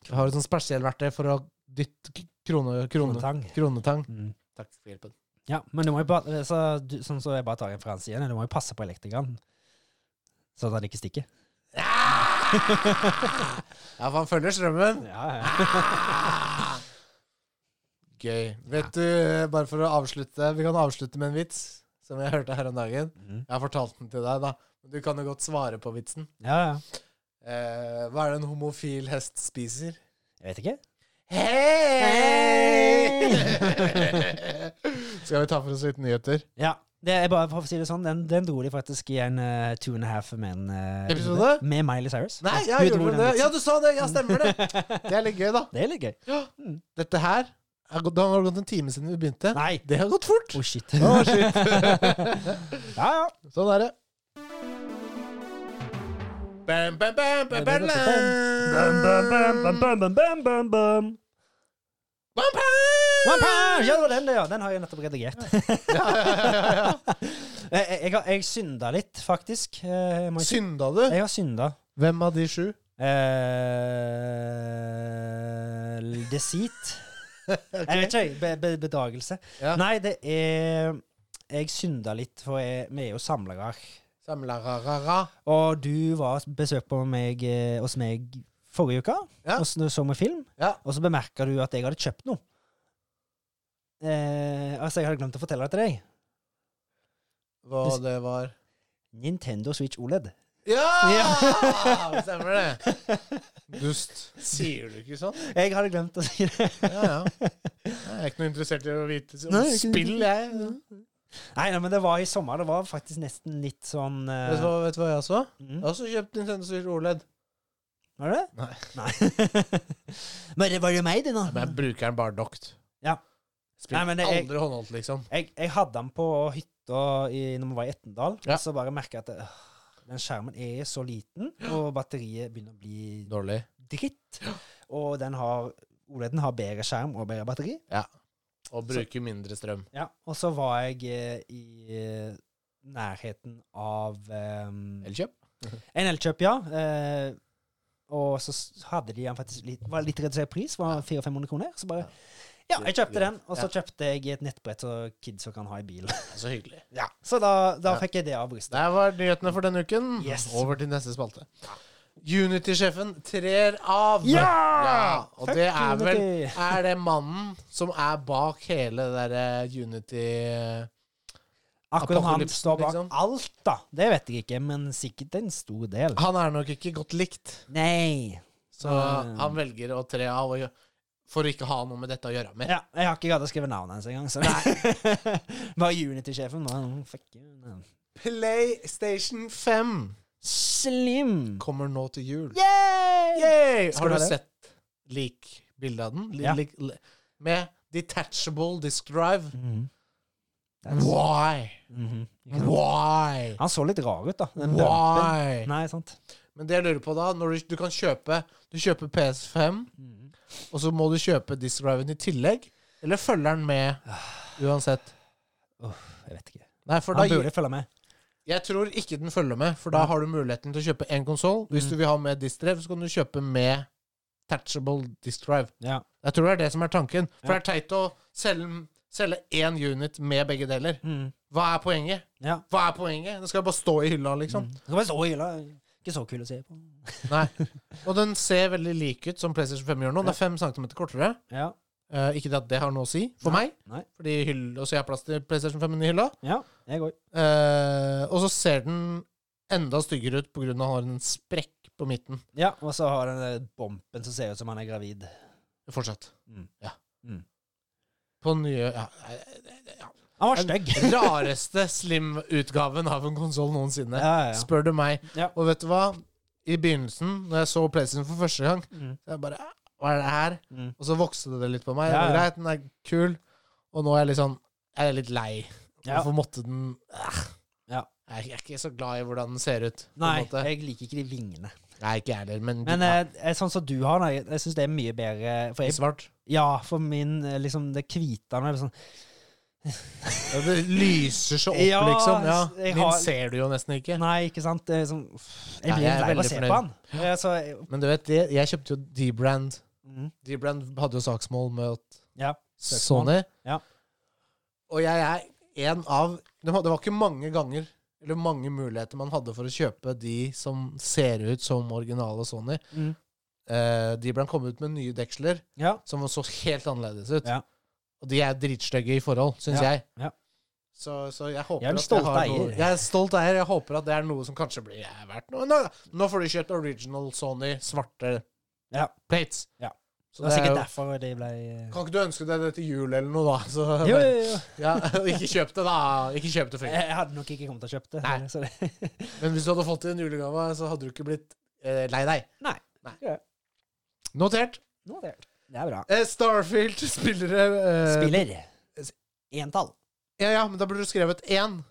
A: Jeg har et sånt spesialverktøy for å dytte k- krone, krone,
B: Kronetang.
A: kronetang.
B: Mhm.
A: Takk for hjelpen.
B: Ja, men du må jo bare så, du, Sånn som jeg bare tar referanse igjen, du må jo passe på elektrikeren, sånn at han ikke stikker.
A: Ja, for han følger strømmen.
B: Ja, ja.
A: Gøy. Vet du, eh, bare for å avslutte Vi kan avslutte med en vits som jeg hørte her om dagen.
B: Mhm.
A: Jeg har fortalt den til deg, da. Men du kan jo godt svare på vitsen.
B: [LAUGHS] ja, ja.
A: Eh, hva er det en homofil hest spiser?
B: Jeg vet ikke.
A: Hei! [LAUGHS] Skal vi ta for oss litt nyheter?
B: Ja. Det er bare for å si det sånn, Den, den dro de faktisk i en eh, Two and a Half Men eh,
A: Episode?
B: Med Miley Cyrus.
A: Nei, ja,
B: Hun dro
A: gjorde
B: den
A: du det?
B: vitsen.
A: Ja, du sa det! Ja, stemmer [LAUGHS] det. Det er litt gøy, da.
B: Det er litt gøy.
A: Dette her er gått- Det har gått en time siden vi begynte.
B: Nei.
A: Det har gått fort!
B: Oh, shit.
A: Å,
B: [LAUGHS] ja,
A: shit.
B: ja.
A: Sånn er det. Bam, bam, bam, bam, bam, bam, Bam, bam.
B: One pound! Ja, det var den, det, ja. Den har jeg nettopp
A: [LAUGHS]
B: redigert. [LAUGHS]
A: Ja, ja, ja, [LAUGHS] ja.
B: Jeg, jeg, jeg, har- jeg synda litt, faktisk. Eh, Jeg, må ikke-
A: Synda du?
B: jeg har synda.
A: Hvem [LAUGHS] av de sju? [LAUGHS]
B: Eh, Deceit. Jeg vet ikke, jeg. Be be bedagelse.
A: Ja.
B: Nei, det er Jeg synda litt, for jeg, vi er jo samlere.
A: Samlararara.
B: Og du var besøk på meg eh, hos meg forrige uke,
A: Ja.
B: og så så vi film.
A: Ja.
B: Og så bemerka du at jeg hadde kjøpt noe. Eh, altså, jeg hadde glemt å fortelle det til deg.
A: Hva det var
B: Nintendo Switch E OLED.
A: Ja! Stemmer Ah, det.
B: [LAUGHS]
A: Dust. Sier du ikke sånn?
B: Jeg hadde glemt å si det.
A: Ja, ja. Jeg er ikke noe interessert i å vite om
B: Nei, ikke-
A: spill, jeg.
B: Nei, nei, men det var i sommer. Det var faktisk nesten litt sånn eh,
A: Vet du, hva, vet du hva jeg så?
B: mm.
A: Jeg har også kjøpt Nintendo Switch E OLED.
B: Var det?
A: Nei.
B: Nei. [LAUGHS] men det var jo meg, det nå.
A: Nei, men jeg bruker den bare dokt.
B: Ja.
A: Spiller
B: Nei, men det- jeg-
A: aldri håndholdt, liksom.
B: Jeg, jeg hadde den på hytta i, når vi var i Etnedal,
A: Ja.
B: og så bare merka jeg at øh, den skjermen er så liten, og batteriet begynner å bli
A: Dårlig.
B: dritt. Og den har OLED-en har bedre skjerm og bedre batteri.
A: Og bruker mindre strøm.
B: Ja. Og så var jeg eh, i eh, nærheten av eh,
A: Elkjøp?
B: en Elkjøp, ja. Eh, og så s- hadde de den faktisk litt, var litt redusert pris, var 400-500 kroner. Så bare Ja, jeg kjøpte den, og så kjøpte jeg et nettbrett så kidsa kan ha i bilen. [LAUGHS]
A: Så hyggelig.
B: Ja, Så da, da
A: Ja.
B: fikk jeg det av brystet.
A: Der var nyhetene for denne uken.
B: Yes.
A: Over til neste spalte. Unity-sjefen trer av.
B: Ja!
A: Altså, Og
B: Fuck
A: det er vel
B: Unity.
A: Er det mannen som er bak hele det derre Unity
B: Akkurat han
A: Apokalypsen,
B: står bak
A: liksom.
B: alt, da. Det vet jeg ikke, men sikkert en stor del.
A: Han er nok ikke godt likt,
B: Nei.
A: så
B: Nei.
A: han velger å tre av og gjø- for å ikke ha noe med dette å gjøre mer.
B: Ja, jeg har ikke gadd å skrive navnet hans engang, så nei.
A: [LAUGHS]
B: Bare Unity-sjefen. nå, fuck you, nei.
A: PlayStation 5
B: Slim.
A: kommer nå til jul.
B: Yay!
A: Yay!
B: Skal
A: Har du
B: du ha det?
A: sett lik bildet av den? Li-
B: Ja.
A: lik- li- Med detachable disk drive.
B: Mhm. That's-
A: Why?
B: Mhm. Ikke sant?
A: Why?
B: Han så litt rar ut, da. Den bumpen.
A: Why?
B: Nei, sant.
A: Men det jeg lurer på da, når du, du kan kjøpe Du kjøper PS5,
B: Mhm.
A: og så må du kjøpe disk driven i tillegg? Eller følger den med uansett?
B: Jeg vet ikke.
A: Nei, for da
B: Ah. Han burde følge med.
A: Jeg tror ikke den følger med, for da
B: Nei.
A: har du muligheten til å kjøpe én konsoll. Hvis
B: Mm.
A: du vil ha med disk drive, så kan du kjøpe med Tatchable disk drive.
B: Ja.
A: Jeg tror det er det som er tanken. For
B: Ja.
A: det er teit å selge, selge én unit med begge deler.
B: Mhm.
A: Hva er poenget?
B: ja.
A: Hva er poenget? Den skal bare stå i hylla, liksom.
B: Mhm. Det var så ille. Ikke så kul å se på. [LAUGHS]
A: Nei. Og den ser veldig lik ut som PlayStation 5 gjør nå. Den er 5 cm kortere.
B: Ja.
A: Eh, ikke at det har noe å si for
B: Nei.
A: meg,
B: Nei.
A: Fordi hyll- også jeg har plass til PlayStation 5 i hylla.
B: Ja, jeg òg.
A: Eh, og så ser den enda styggere ut pga. at den har en sprekk på midten.
B: Ja, og så har den der bompen som ser ut som han er gravid.
A: Fortsatt.
B: Mm.
A: Ja.
B: Mm.
A: På den nye ja,
B: Han var stygg.
A: rareste [LAUGHS] slim-utgaven av en konsoll noensinne.
B: Ja, ja, ja.
A: Spør du meg.
B: Ja.
A: Og vet du hva? I begynnelsen, når jeg så PlayStation for første gang,
B: Mm.
A: så jeg bare Hva er det her?
B: Mm.
A: Og så vokste det litt på meg.
B: Ja,
A: Det var
B: ja.
A: greit, den er kul. Og nå er jeg litt sånn Jeg er litt lei.
B: Ja.
A: Hvorfor måtte den eh.
B: Ja.
A: Jeg er ikke så glad i hvordan den ser ut. på en
B: Nei,
A: måte.
B: jeg liker ikke de vingene.
A: Nei, ikke jeg heller, men,
B: Men
A: ja,
B: eh, eh, sånn som du har, da, jeg, jeg syns det er mye bedre. For jeg,
A: svart.
B: ja, for min eh, liksom Det hvite med sånn
A: Ja, det lyser så opp,
B: Ja,
A: liksom. Ja.
B: jeg
A: Min
B: har-
A: ser du jo nesten ikke.
B: Nei, ikke sant? Det er sånn, uff, jeg
A: Nei,
B: blir
A: jeg er
B: lei av å
A: veldig
B: se
A: fornøyd.
B: på han. Eh, Så, jeg-
A: Men du vet, det, jeg kjøpte jo D-Brand.
B: mm,
A: D-Brand hadde jo saksmål mot
B: ja. Søksmål.
A: Sony.
B: Ja.
A: Og jeg er en av Det var det var ikke mange ganger eller mange muligheter man hadde for å kjøpe de som ser ut som originale Sony.
B: Mm,
A: Eh, D-Brand kom ut med nye deksler
B: ja.
A: som så helt annerledes ut.
B: Ja.
A: Og de er dritstygge i forhold, syns
B: Ja,
A: jeg.
B: ja.
A: Så, så jeg håper
B: Jeg er en
A: at
B: stolt
A: har
B: eier.
A: Noe, jeg er en stolt eier. Jeg håper at det er noe som kanskje blir eh, verdt noe. Nå, nå får du kjøpt original Sony svarte
B: Ja.
A: plates.
B: Ja.
A: Så
B: Det
A: det
B: var
A: er jo,
B: sikkert derfor det ble eh,
A: kan ikke du ønske deg det til jul eller noe, da? Så,
B: Jo, jo, jo.
A: [LAUGHS] Ja, og ikke kjøp det, da. Ikke kjøp det før.
B: Jeg [LAUGHS]
A: jul.
B: jeg hadde nok ikke kommet til å kjøpe det.
A: Nei.
B: Så det
A: Men hvis du hadde fått det i en julegave, så hadde du ikke blitt eh, lei deg.
B: Nei. Ja.
A: Notert.
B: Nå er det, det er bra.
A: Eh, Starfield-spillere eh,
B: Spiller.
A: s-
B: Entall.
A: Ja, ja, men da burde du skrevet én.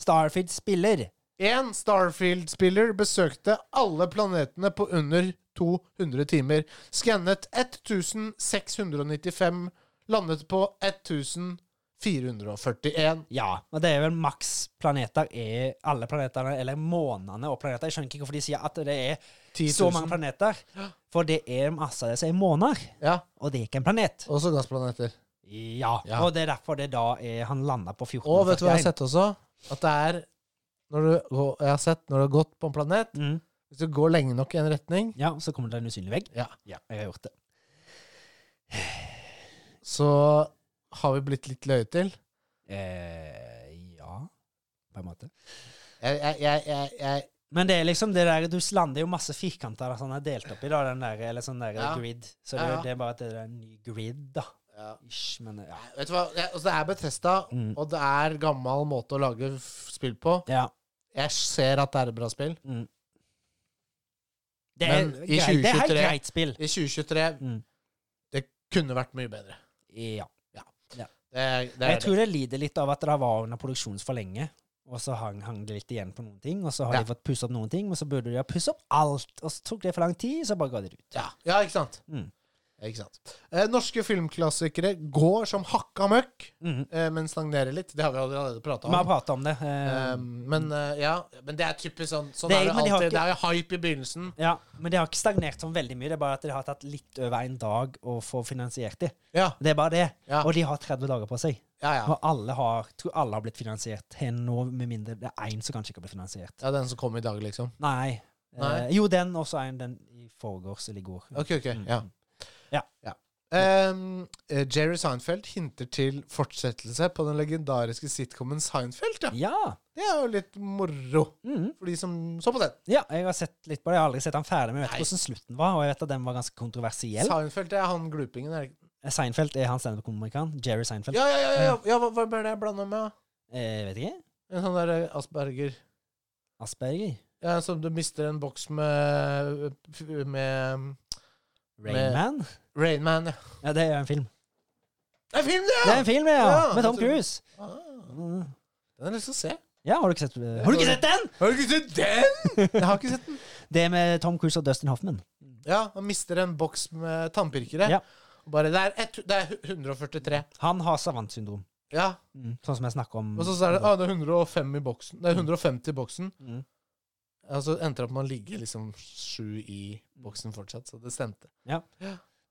B: Starfield spiller.
A: En Starfield-spiller besøkte alle planetene på under 200 timer. Skannet 1695, landet på 1500 441.
B: Ja, men det er vel maks planeter er alle planetene, eller månene og planeter. Jeg skjønner ikke hvorfor de sier at det er
A: 10
B: så mange
A: 000.
B: planeter. For det er masse av det som er måner,
A: Ja,
B: og det er ikke en planet.
A: også gassplaneter.
B: Ja,
A: Ja.
B: og det er derfor det da er han landa på 1441.
A: Og vet du hva jeg har sett også? At det er når du, går- Jeg har sett når du har gått på en planet
B: Mm.
A: Hvis du går lenge nok i en retning,
B: Ja, så kommer det en usynlig vegg.
A: Ja.
B: jeg har gjort det.
A: så har vi blitt litt løyet til.
B: Eh, ja, på en måte.
A: Jeg, jeg, jeg, jeg, jeg
B: Men det er liksom det der, du lander jo masse firkanter som er delt opp i, da, den der, eller sånn der
A: Ja.
B: grid. Så det,
A: Ja, ja.
B: det er bare at det er en ny grid, da.
A: ja.
B: Ish, men ja.
A: Vet du hva? Jeg, altså, det er Bethesda,
B: Mm.
A: og det er gammel måte å lage f- spill på.
B: ja.
A: Jeg ser at det er et bra spill.
B: Mm. Det, er,
A: Men i
B: greit, det er helt
A: 2023
B: greit spill.
A: I 2023
B: Mm.
A: Det kunne vært mye bedre.
B: Ja.
A: Det, er- det er
B: Jeg tror det lider litt av at det var under produksjon for lenge, og så hang, hang det litt igjen på noen ting, og så har
A: Ja.
B: de fått pusse opp noen ting, men så burde de ha pusset opp alt, og så tok det for lang tid, så bare ga de det ut.
A: Ja, ja ikke sant?
B: Mm.
A: Ja, Ikke sant? Eh, norske filmklassikere går som hakka møkk,
B: Mhm.
A: eh, men stagnerer litt. Det har vi allerede prata
B: Vi har
A: om.
B: pratet om det. eh,
A: Eh, men eh, ja, men det er typisk sånn. Sånn
B: Det er-
A: er det
B: men de har
A: alltid.
B: ikke-
A: Det er jo hype i begynnelsen.
B: Ja, men det har ikke stagnert sånn veldig mye. Det er bare at det har tatt litt over en dag å få finansiert de.
A: Ja,
B: Det er bare det.
A: Ja.
B: Og de har 30 dager på seg.
A: ja, ja.
B: Og alle har, tror alle har blitt finansiert hen nå, med mindre det er én som kanskje ikke har blitt finansiert.
A: ja den som kom i dag, liksom.
B: Nei.
A: Nei.
B: Eh, jo, den, og så en den i forgårs eller i går.
A: Ok, ok,
B: Mm.
A: ja.
B: Ja.
A: Ehm, eh, Jerry Seinfeld hinter til fortsettelse på den legendariske sitcomen Seinfeld. Ja.
B: Ja.
A: Det er jo litt moro
B: Mhm.
A: for de som så på den.
B: ja. Jeg har sett litt på det. Jeg har aldri sett den ferdig, men jeg vet
A: Nei.
B: hvordan slutten var. Og jeg vet at den var ganske kontroversiell. Eh,
A: Seinfeld det er han glupingen, er det ikke?
B: Seinfeld er han standup-komikeren. Jerry Seinfeld.
A: Ja, ja, ja, ja, ja hva, hva ble det jeg blanda med?
B: Eh, vet ikke.
A: En sånn der eh, asperger.
B: Asperger.
A: Ja, som du mister en boks med Med Med-
B: Rainman.
A: Rainman, ja.
B: Ja, det er jo en film.
A: Det er film, det!
B: Det er en film, ja!
A: Ja,
B: med Tom
A: jeg tror-
B: Cruise.
A: Ah,
B: Mm.
A: den har jeg lyst til å se.
B: Ja, har du ikke sett eh, Har du ikke sett den?!
A: Har du ikke sett
B: [LAUGHS]
A: den?! Jeg har ikke sett den.
B: Det med Tom Cruise og Dustin Hoffman.
A: Ja, Han mister en boks med tannpirkere.
B: Ja.
A: Og Bare, det, er ett- det er 143.
B: Han har savantsyndrom,
A: Ja.
B: mm. sånn som jeg snakka om.
A: Og så, så er det, ah, det er 105 i boksen. Det er 150 i boksen.
B: Mm.
A: Og så endte det opp med å ligge liksom sju i boksen fortsatt, så det stemte.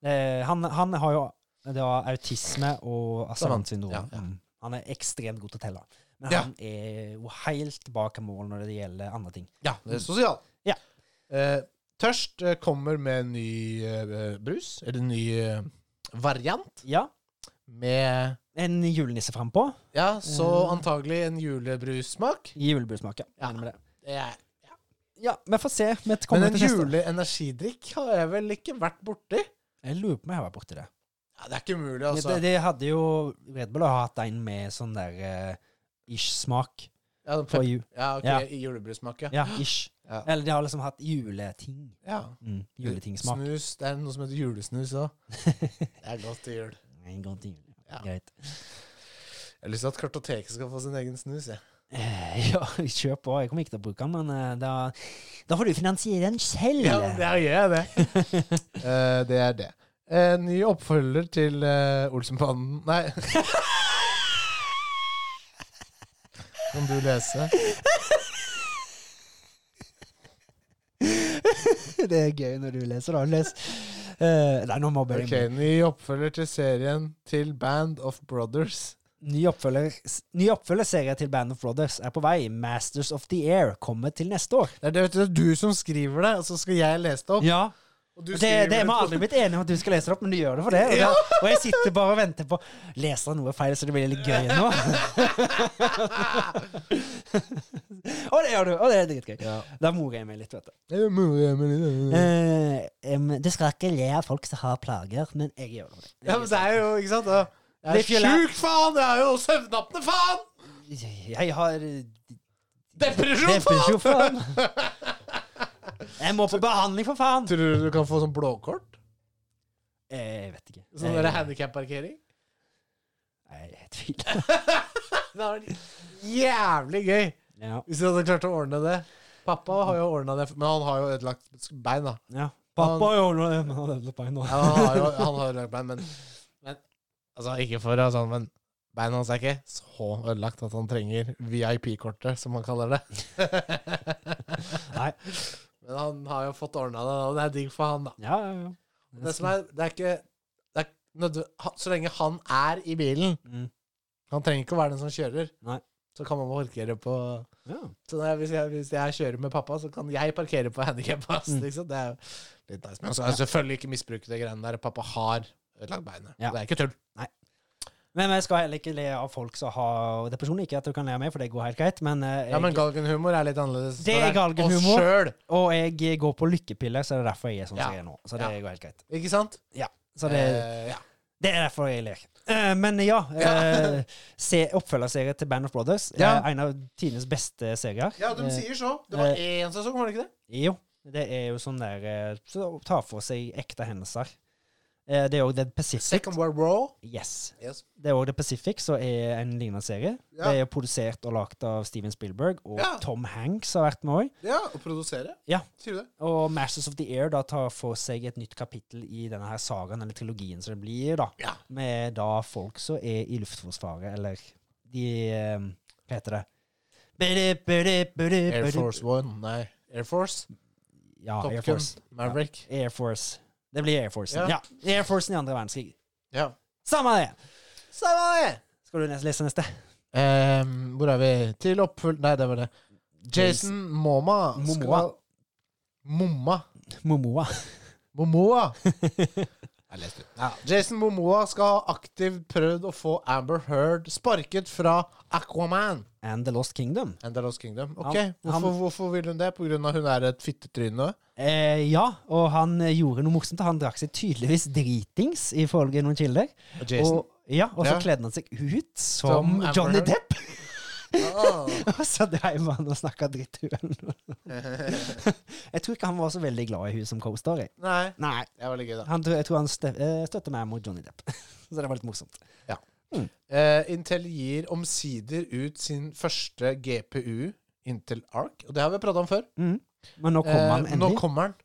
B: Eh, han, han har jo det var autisme og savantsyndrom.
A: Ja, ja.
B: Mm. Han er ekstremt god til å telle. Men
A: Ja.
B: han er jo helt bak mål når det gjelder andre ting.
A: Ja, det er sosial.
B: Ja.
A: Eh, tørst eh, kommer med en ny eh, brus, eller en ny eh, variant,
B: Ja,
A: med
B: en julenisse frampå.
A: Ja, så
B: Eh.
A: antagelig en julebrussmak.
B: Julebrussmak, ja.
A: Ja.
B: Enig med det.
A: Det er-
B: Ja, vi får se. Vi
A: Men
B: kommer
A: en
B: til neste.
A: juleenergidrikk har jeg vel ikke vært borti?
B: Jeg lurer på om jeg var borti det.
A: Ja, det er ikke mulig, altså.
B: det. Det hadde jo Red Bull har hatt en med sånn der eh, ish-smak
A: Ja,
B: på
A: pep-
B: jul.
A: ja, ok,
B: Ja.
A: i julebrussmak, ja.
B: Ja, ish.
A: Ja.
B: Eller de har liksom hatt juleting.
A: ja.
B: Mm, juletingsmak.
A: Snus. Det er noe som heter julesnus
B: [LAUGHS]
A: òg. Det er godt til jul.
B: En gang til jul.
A: Ja.
B: Greit.
A: Jeg har lyst til at kartoteket skal få sin egen snus, jeg.
B: Eh, [LAUGHS] ja, kjør på. Jeg kommer ikke til å bruke den, men eh, da, da får du finansiere den selv.
A: Ja, men der gjør jeg det.
B: [LAUGHS]
A: Eh, det er det. Eh, ny oppfølger til eh, Olsenbanden Nei.
B: [LAUGHS]
A: Kan du lese?
B: det er gøy når du leser, da. Les. Eh, nei, nå mobber jeg
A: Ok, Ny oppfølger til serien til Band of Brothers.
B: Ny oppfølger, ny oppfølgerserie til Band of Brothers er på vei. Masters of the Air kommer til neste år.
A: Det er, det, vet du, det er du som skriver det, og så skal jeg lese det opp.
B: Ja,
A: Og du
B: Det,
A: skriver
B: det er vi
A: [LAUGHS]
B: aldri blitt enige om at du skal lese det opp, men du gjør det for det. Og, da, og jeg sitter bare og venter på Leser han noe feil, så det blir litt gøy nå? [LAUGHS] og det gjør du! Og det er dritgøy.
A: Ja.
B: Da morer jeg meg litt, vet du.
A: Det er mulig, men-
B: Eh, em, du skal ikke le av folk som har plager, men jeg gjør det.
A: Ja, men det er jo, ikke sant? da?
B: Det er
A: Jeg er
B: fjell-
A: sjuk, faen! Jeg er jo søvnapne, faen!
B: Jeg har eh,
A: Depresjon, faen!
B: depresjon,
A: [LAUGHS]
B: faen! Jeg må på behandling, for faen!
A: Tror du du kan få sånn blåkort?
B: Eh, Jeg vet ikke.
A: Sånn
B: Eh,
A: der handikap-parkering?
B: Nei, jeg tviler.
A: Det hadde vært jævlig gøy
B: Ja.
A: hvis du hadde klart å ordne det. Pappa har jo ordna det, men han har jo ødelagt bein, da.
B: ja. Pappa gjorde det, men han levde på en nå.
A: Ja, han har jo han har ødelagt bein, men, men Altså, ikke for å sånn, men Beina hans er ikke så ødelagt at han trenger VIP-kortet, som han kaller det.
B: Nei.
A: Men han har jo fått ordna det, og det er digg for han, da.
B: Ja, ja, ja.
A: Det som er, sånn det er ikke det er nødv- ha- Så lenge han er i bilen
B: Mm.
A: Han trenger ikke å være den som kjører.
B: Nei.
A: Så kan man parkere på
B: ja.
A: så når jeg, hvis, jeg, hvis jeg kjører med pappa, så kan jeg parkere på handikappa.
B: Mm.
A: Liksom. Det er jo litt nice. Men så er det selvfølgelig ikke misbruke det greiene der. Pappa har ødelagt beinet.
B: Ja.
A: Det er ikke tull.
B: Men jeg skal heller ikke le av folk som har depresjon. Ikke at du kan le av meg, for det går helt greit. Men, eh, jeg,
A: Ja, men galgenhumor er litt annerledes.
B: Det er
A: Når
B: galgenhumor.
A: Oss sjøl,
B: og jeg går på lykkepiller, så det er derfor jeg er sånn
A: Ja.
B: som jeg er nå. Så det
A: Ja.
B: går helt greit.
A: ikke sant?
B: Så det,
A: Eh, ja.
B: det er derfor jeg ler. Eh, men ja,
A: Ja.
B: eh, [LAUGHS] se, oppfølgerserie til Band of Brothers.
A: Ja.
B: Eh, en av tidenes beste serier.
A: ja, de
B: Eh,
A: sier så. Det var
B: eh,
A: én sesong, var det ikke det?
B: Jo. Det er jo sånn der eh, Så tar for seg ekte hendelser. Eh, det er òg The Pacific.
A: Second World War.
B: Yes.
A: Yes.
B: Det er òg The Pacific, som er en lignende serie.
A: Ja.
B: Det er jo produsert og lagd av Steven Spielberg, og
A: Ja.
B: Tom Hanks har vært med òg.
A: Ja, å produsere.
B: Ja.
A: Sier du det?
B: Og Masters of the Air da tar for seg et nytt kapittel i denne her sagaen, eller trilogien som det blir, da.
A: Ja.
B: Med da folk som er i Luftforsvaret, eller de eh, Hva heter det? Bidi, bidi, bidi,
A: Air
B: bidi.
A: Force One. Nei, Air Force.
B: Ja,
A: Top
B: Air
A: Gun.
B: Force.
A: Maverick.
B: Air Force. Det blir Air Force. Ja.
A: Ja.
B: Air Force i andre verdenskrig.
A: Ja.
B: Samme det!
A: Samme det!
B: Skal du nes- lese neste?
A: Ehm, hvor er vi? Til oppfølg... Nei, det var det. Jason Moma skal-
B: Momoa.
A: Momma.
B: Momoa.
A: Momoa. Jeg leste det. Ja. Jason Momoa skal ha aktivt prøvd å få Amber Heard sparket fra Aquaman
B: And The Lost Kingdom.
A: and The Lost Kingdom. Ok,
B: Han- han-
A: hvorfor, hvorfor vil hun det? På grunn av hun er et fittetryne?
B: Eh, ja, og han eh, gjorde noe morsomt. Han drakk seg tydeligvis dritings, ifølge noen kilder.
A: Og Jason?
B: Og, ja, og så
A: Ja.
B: kledde han seg ut som,
A: Som Amber
B: Johnny
A: Heard.
B: Depp. [LAUGHS]
A: Ah.
B: Og så dreiv han og snakka dritt til
A: [LAUGHS]
B: henne. Jeg tror ikke han var så veldig glad i hun som co-star. jeg.
A: Nei,
B: Nei,
A: det er veldig gøy, da.
B: han, tror- jeg tror han stø eh, støtter meg mot Johnny Depp. [LAUGHS] Så det var litt morsomt.
A: Eh, Intel gir omsider ut sin første GPU, Intel Arc. Og det har vi prata om før.
B: Mm. Men nå kom han
A: Eh, nå
B: endelig.
A: kommer den.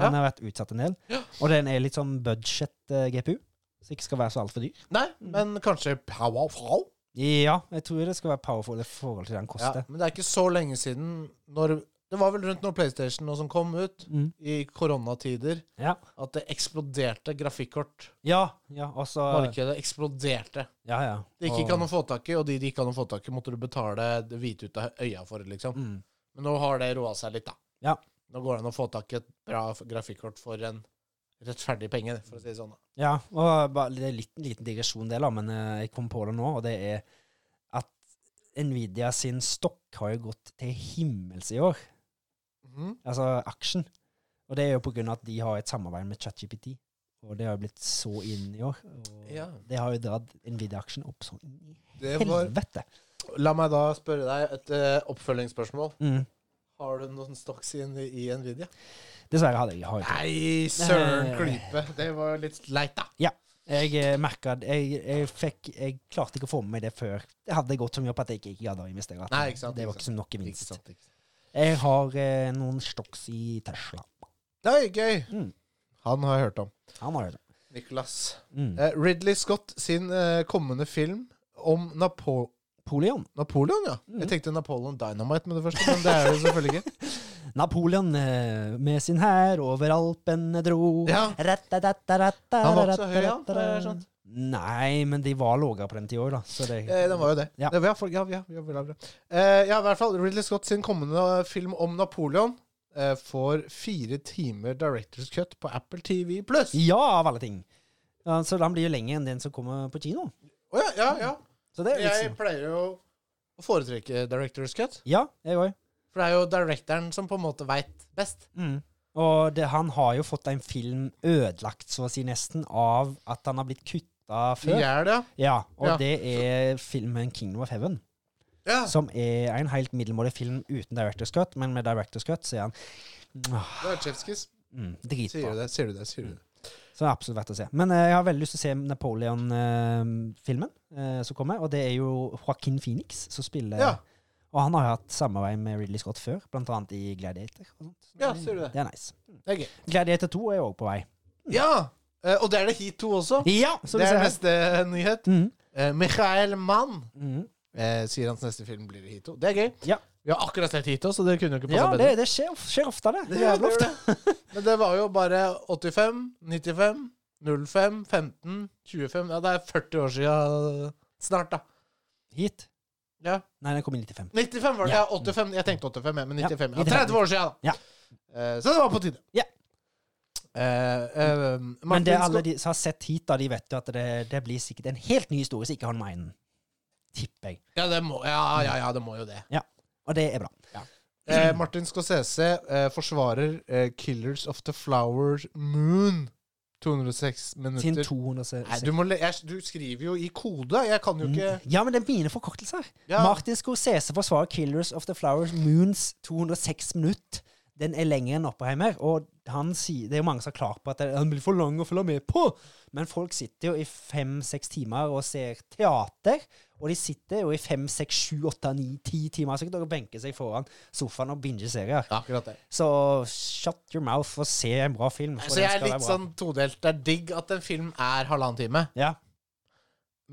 A: ja.
B: Han har vært utsatt en del. Og den er litt sånn budget-GPU, så ikke skal være så altfor dyr.
A: Nei, men kanskje Powerfall?
B: Ja, jeg tror det skal være powerful i forhold til det han
A: Ja,
B: koster.
A: men det er ikke så lenge siden når Det var vel rundt når PlayStation og som kom ut,
B: Mm.
A: i koronatider,
B: Ja.
A: at det eksploderte grafikkort.
B: Ja, ja, og så
A: Markedet eksploderte.
B: Ja, ja.
A: Det gikk
B: Og-
A: ikke an å få tak i, og de det gikk an å få tak i, måtte du betale det hvite ut av øya for, liksom.
B: mm.
A: Men nå har det roa seg litt, da.
B: Ja.
A: Nå går det an å få tak i et bra f- grafikkort for en rettferdig penge, for å si det sånn. da.
B: Ja, og bare, det er en liten, liten digresjon det, da, men eh, jeg kom på det nå, og det er at Nvidia sin stokk har jo gått til himmels i år,
A: Mhm.
B: altså aksjen. Og det er jo på grunn av at de har et samarbeid med ChatGPT, og det har jo blitt så inn i år. Og
A: Ja.
B: det har jo dratt Nvidia-aksjen opp sånn i
A: Det var
B: helvete.
A: La meg da spørre deg et eh, oppfølgingsspørsmål.
B: Mm.
A: Har du noen stocks i, i Nvidia?
B: Dessverre hadde jeg, har jeg ikke.
A: Nei, søren klype. Det var jo litt leit, da.
B: Jeg eh, merket, jeg, jeg, fikk, jeg klarte ikke å få med meg det før. Det hadde gått så mye opp at jeg ikke, ikke hadde investert. at
A: Nei, ikke sant,
B: Det
A: ikke
B: var ikke så nok gevinst.
A: sant, ikke sant.
B: Jeg har eh, noen stokks i Tesla.
A: Det er gøy.
B: Mm.
A: Han har jeg hørt om.
B: Han har jo det.
A: Nicholas.
B: Mm.
A: Eh, Ridley Scott sin eh, kommende film om Napo
B: Napoleon.
A: Napoleon, ja.
B: Mhm.
A: Jeg tenkte Napoleon Dynamite med det første, men det er det selvfølgelig
B: [LAUGHS]
A: ikke.
B: Napoleon eh, med sin hær over Alpene dro.
A: Ja. Han
B: Han
A: var ikke så høy, han, for det er sånn.
B: Nei, men de var lågere på den tida òg, da. Så det,
A: Eh, den var jo det.
B: Ja.
A: det var, ja, for- ja, ja, ja, bra, bra. Eh, ja, i hvert fall. Ridley Scott sin kommende eh, film om Napoleon eh, får fire timer Directors Cut på Apple TV pluss.
B: Ja, av alle ting. Ja, så den blir jo lenger enn den som kommer på kino.
A: Å ja, ja, ja.
B: Så det er jo
A: Jeg
B: liksom.
A: pleier jo å foretrekke Directors Cut.
B: Ja, jeg òg.
A: For det er jo directoren som på en måte veit best.
B: Mm. Og det, han har jo fått en film ødelagt, så å si, nesten, av at han har blitt kutta
A: Vi
B: før. Ja,
A: er det,
B: og
A: Ja.
B: det er filmen 'Kingdom of Heaven'.
A: ja.
B: Som er en helt middelmådig film uten director's cut, men med director's cut så er han Mwah,
A: Det er Chefskis.
B: mm,
A: Sier
B: dritbra.
A: du det, sier du det, sier du det.
B: Så det er absolutt verdt å se. Men eh, jeg har veldig lyst til å se Napoleon-filmen eh, som kommer. Og det er jo Joaquin Phoenix som spiller
A: Ja.
B: Og han har jo hatt samarbeid med Ridley Scott før, blant annet i Gladiator. Og sånt. Så
A: Ja, sier du det.
B: Det er nice.
A: Det er gøy.
B: Gladiator 2 er jo òg på vei.
A: Ja! eh, Og det er det Heat 2 også.
B: Ja! Så
A: det er
B: du ser her.
A: neste nyhet.
B: Mm.
A: Eh, Michael Mann
B: Mhm.
A: eh, sier hans neste film blir Hito. Det er gøy.
B: Ja.
A: Vi har akkurat sett Hito, så det kunne jo ikke passa
B: Ja,
A: bedre.
B: det, det skjer, of- skjer ofte, det.
A: Det
B: det Jævla
A: gjør
B: ofte.
A: det. [LAUGHS] Men det var jo bare 85, 95, 05, 15, 25 Ja, det er 40 år siden eh, snart, da.
B: Hit.
A: Ja.
B: Nei, den kom i 95.
A: 95 var det.
B: Ja.
A: Ja, 85. Jeg tenkte 85, ja, men
B: Ja,
A: 95. Ja,
B: 95.
A: 30 år siden, da.
B: Ja.
A: Eh, Så det var på tide.
B: Ja.
A: Eh, eh,
B: Men
A: Martin
B: det alle
A: Scott-
B: de som har sett hit, da, de vet jo at det, det blir sikkert en helt ny historie som ikke har noe med enden. Tipper jeg.
A: ja, det må, ja, ja, ja, det må jo det.
B: Og det er bra.
A: Eh, Martin Scorsese eh, forsvarer eh, 'Killers of the Flower Moon' 206
B: Siden
A: minutter.
B: 200 se-
A: Nei, du, må le jeg, du skriver jo i kode. Jeg kan jo ikke
B: Ja, men det er mine forkortelser.
A: Ja.
B: Martin Scorsese forsvarer 'Killers of the Flowers Moons' 206 minutt. Den er lengre enn Oppenheimer, og han sier, det er jo mange som er klar på at den blir for lang å følge med på, men folk sitter jo i fem-seks timer og ser teater, og de sitter jo i fem, seks, sju, åtte, ni, ti timer sikkert og benker seg foran sofaen og bingeserier.
A: Ja, akkurat det.
B: Så shut your mouth og se en bra film. for
A: Så
B: den
A: jeg er
B: skal være
A: litt
B: bra.
A: sånn todelt. Det er digg at en film er halvannen time,
B: Ja,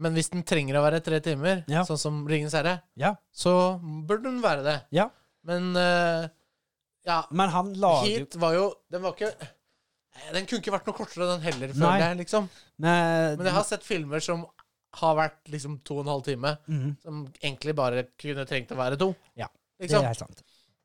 A: men hvis den trenger å være tre timer,
B: Ja.
A: sånn som 'Ringenes herre',
B: ja,
A: så burde den være det.
B: ja.
A: Men eh, ja,
B: Men han lager jo...
A: Heat var jo Den var ikke Nei, Den kunne ikke vært noe kortere, den heller,
B: Nei.
A: føler jeg. liksom
B: Men,
A: Men jeg har sett filmer som har vært liksom to og en halv time,
B: Mhm,
A: som egentlig bare kunne trengt å være to.
B: Ja, det er
A: Liksom.
B: helt sant.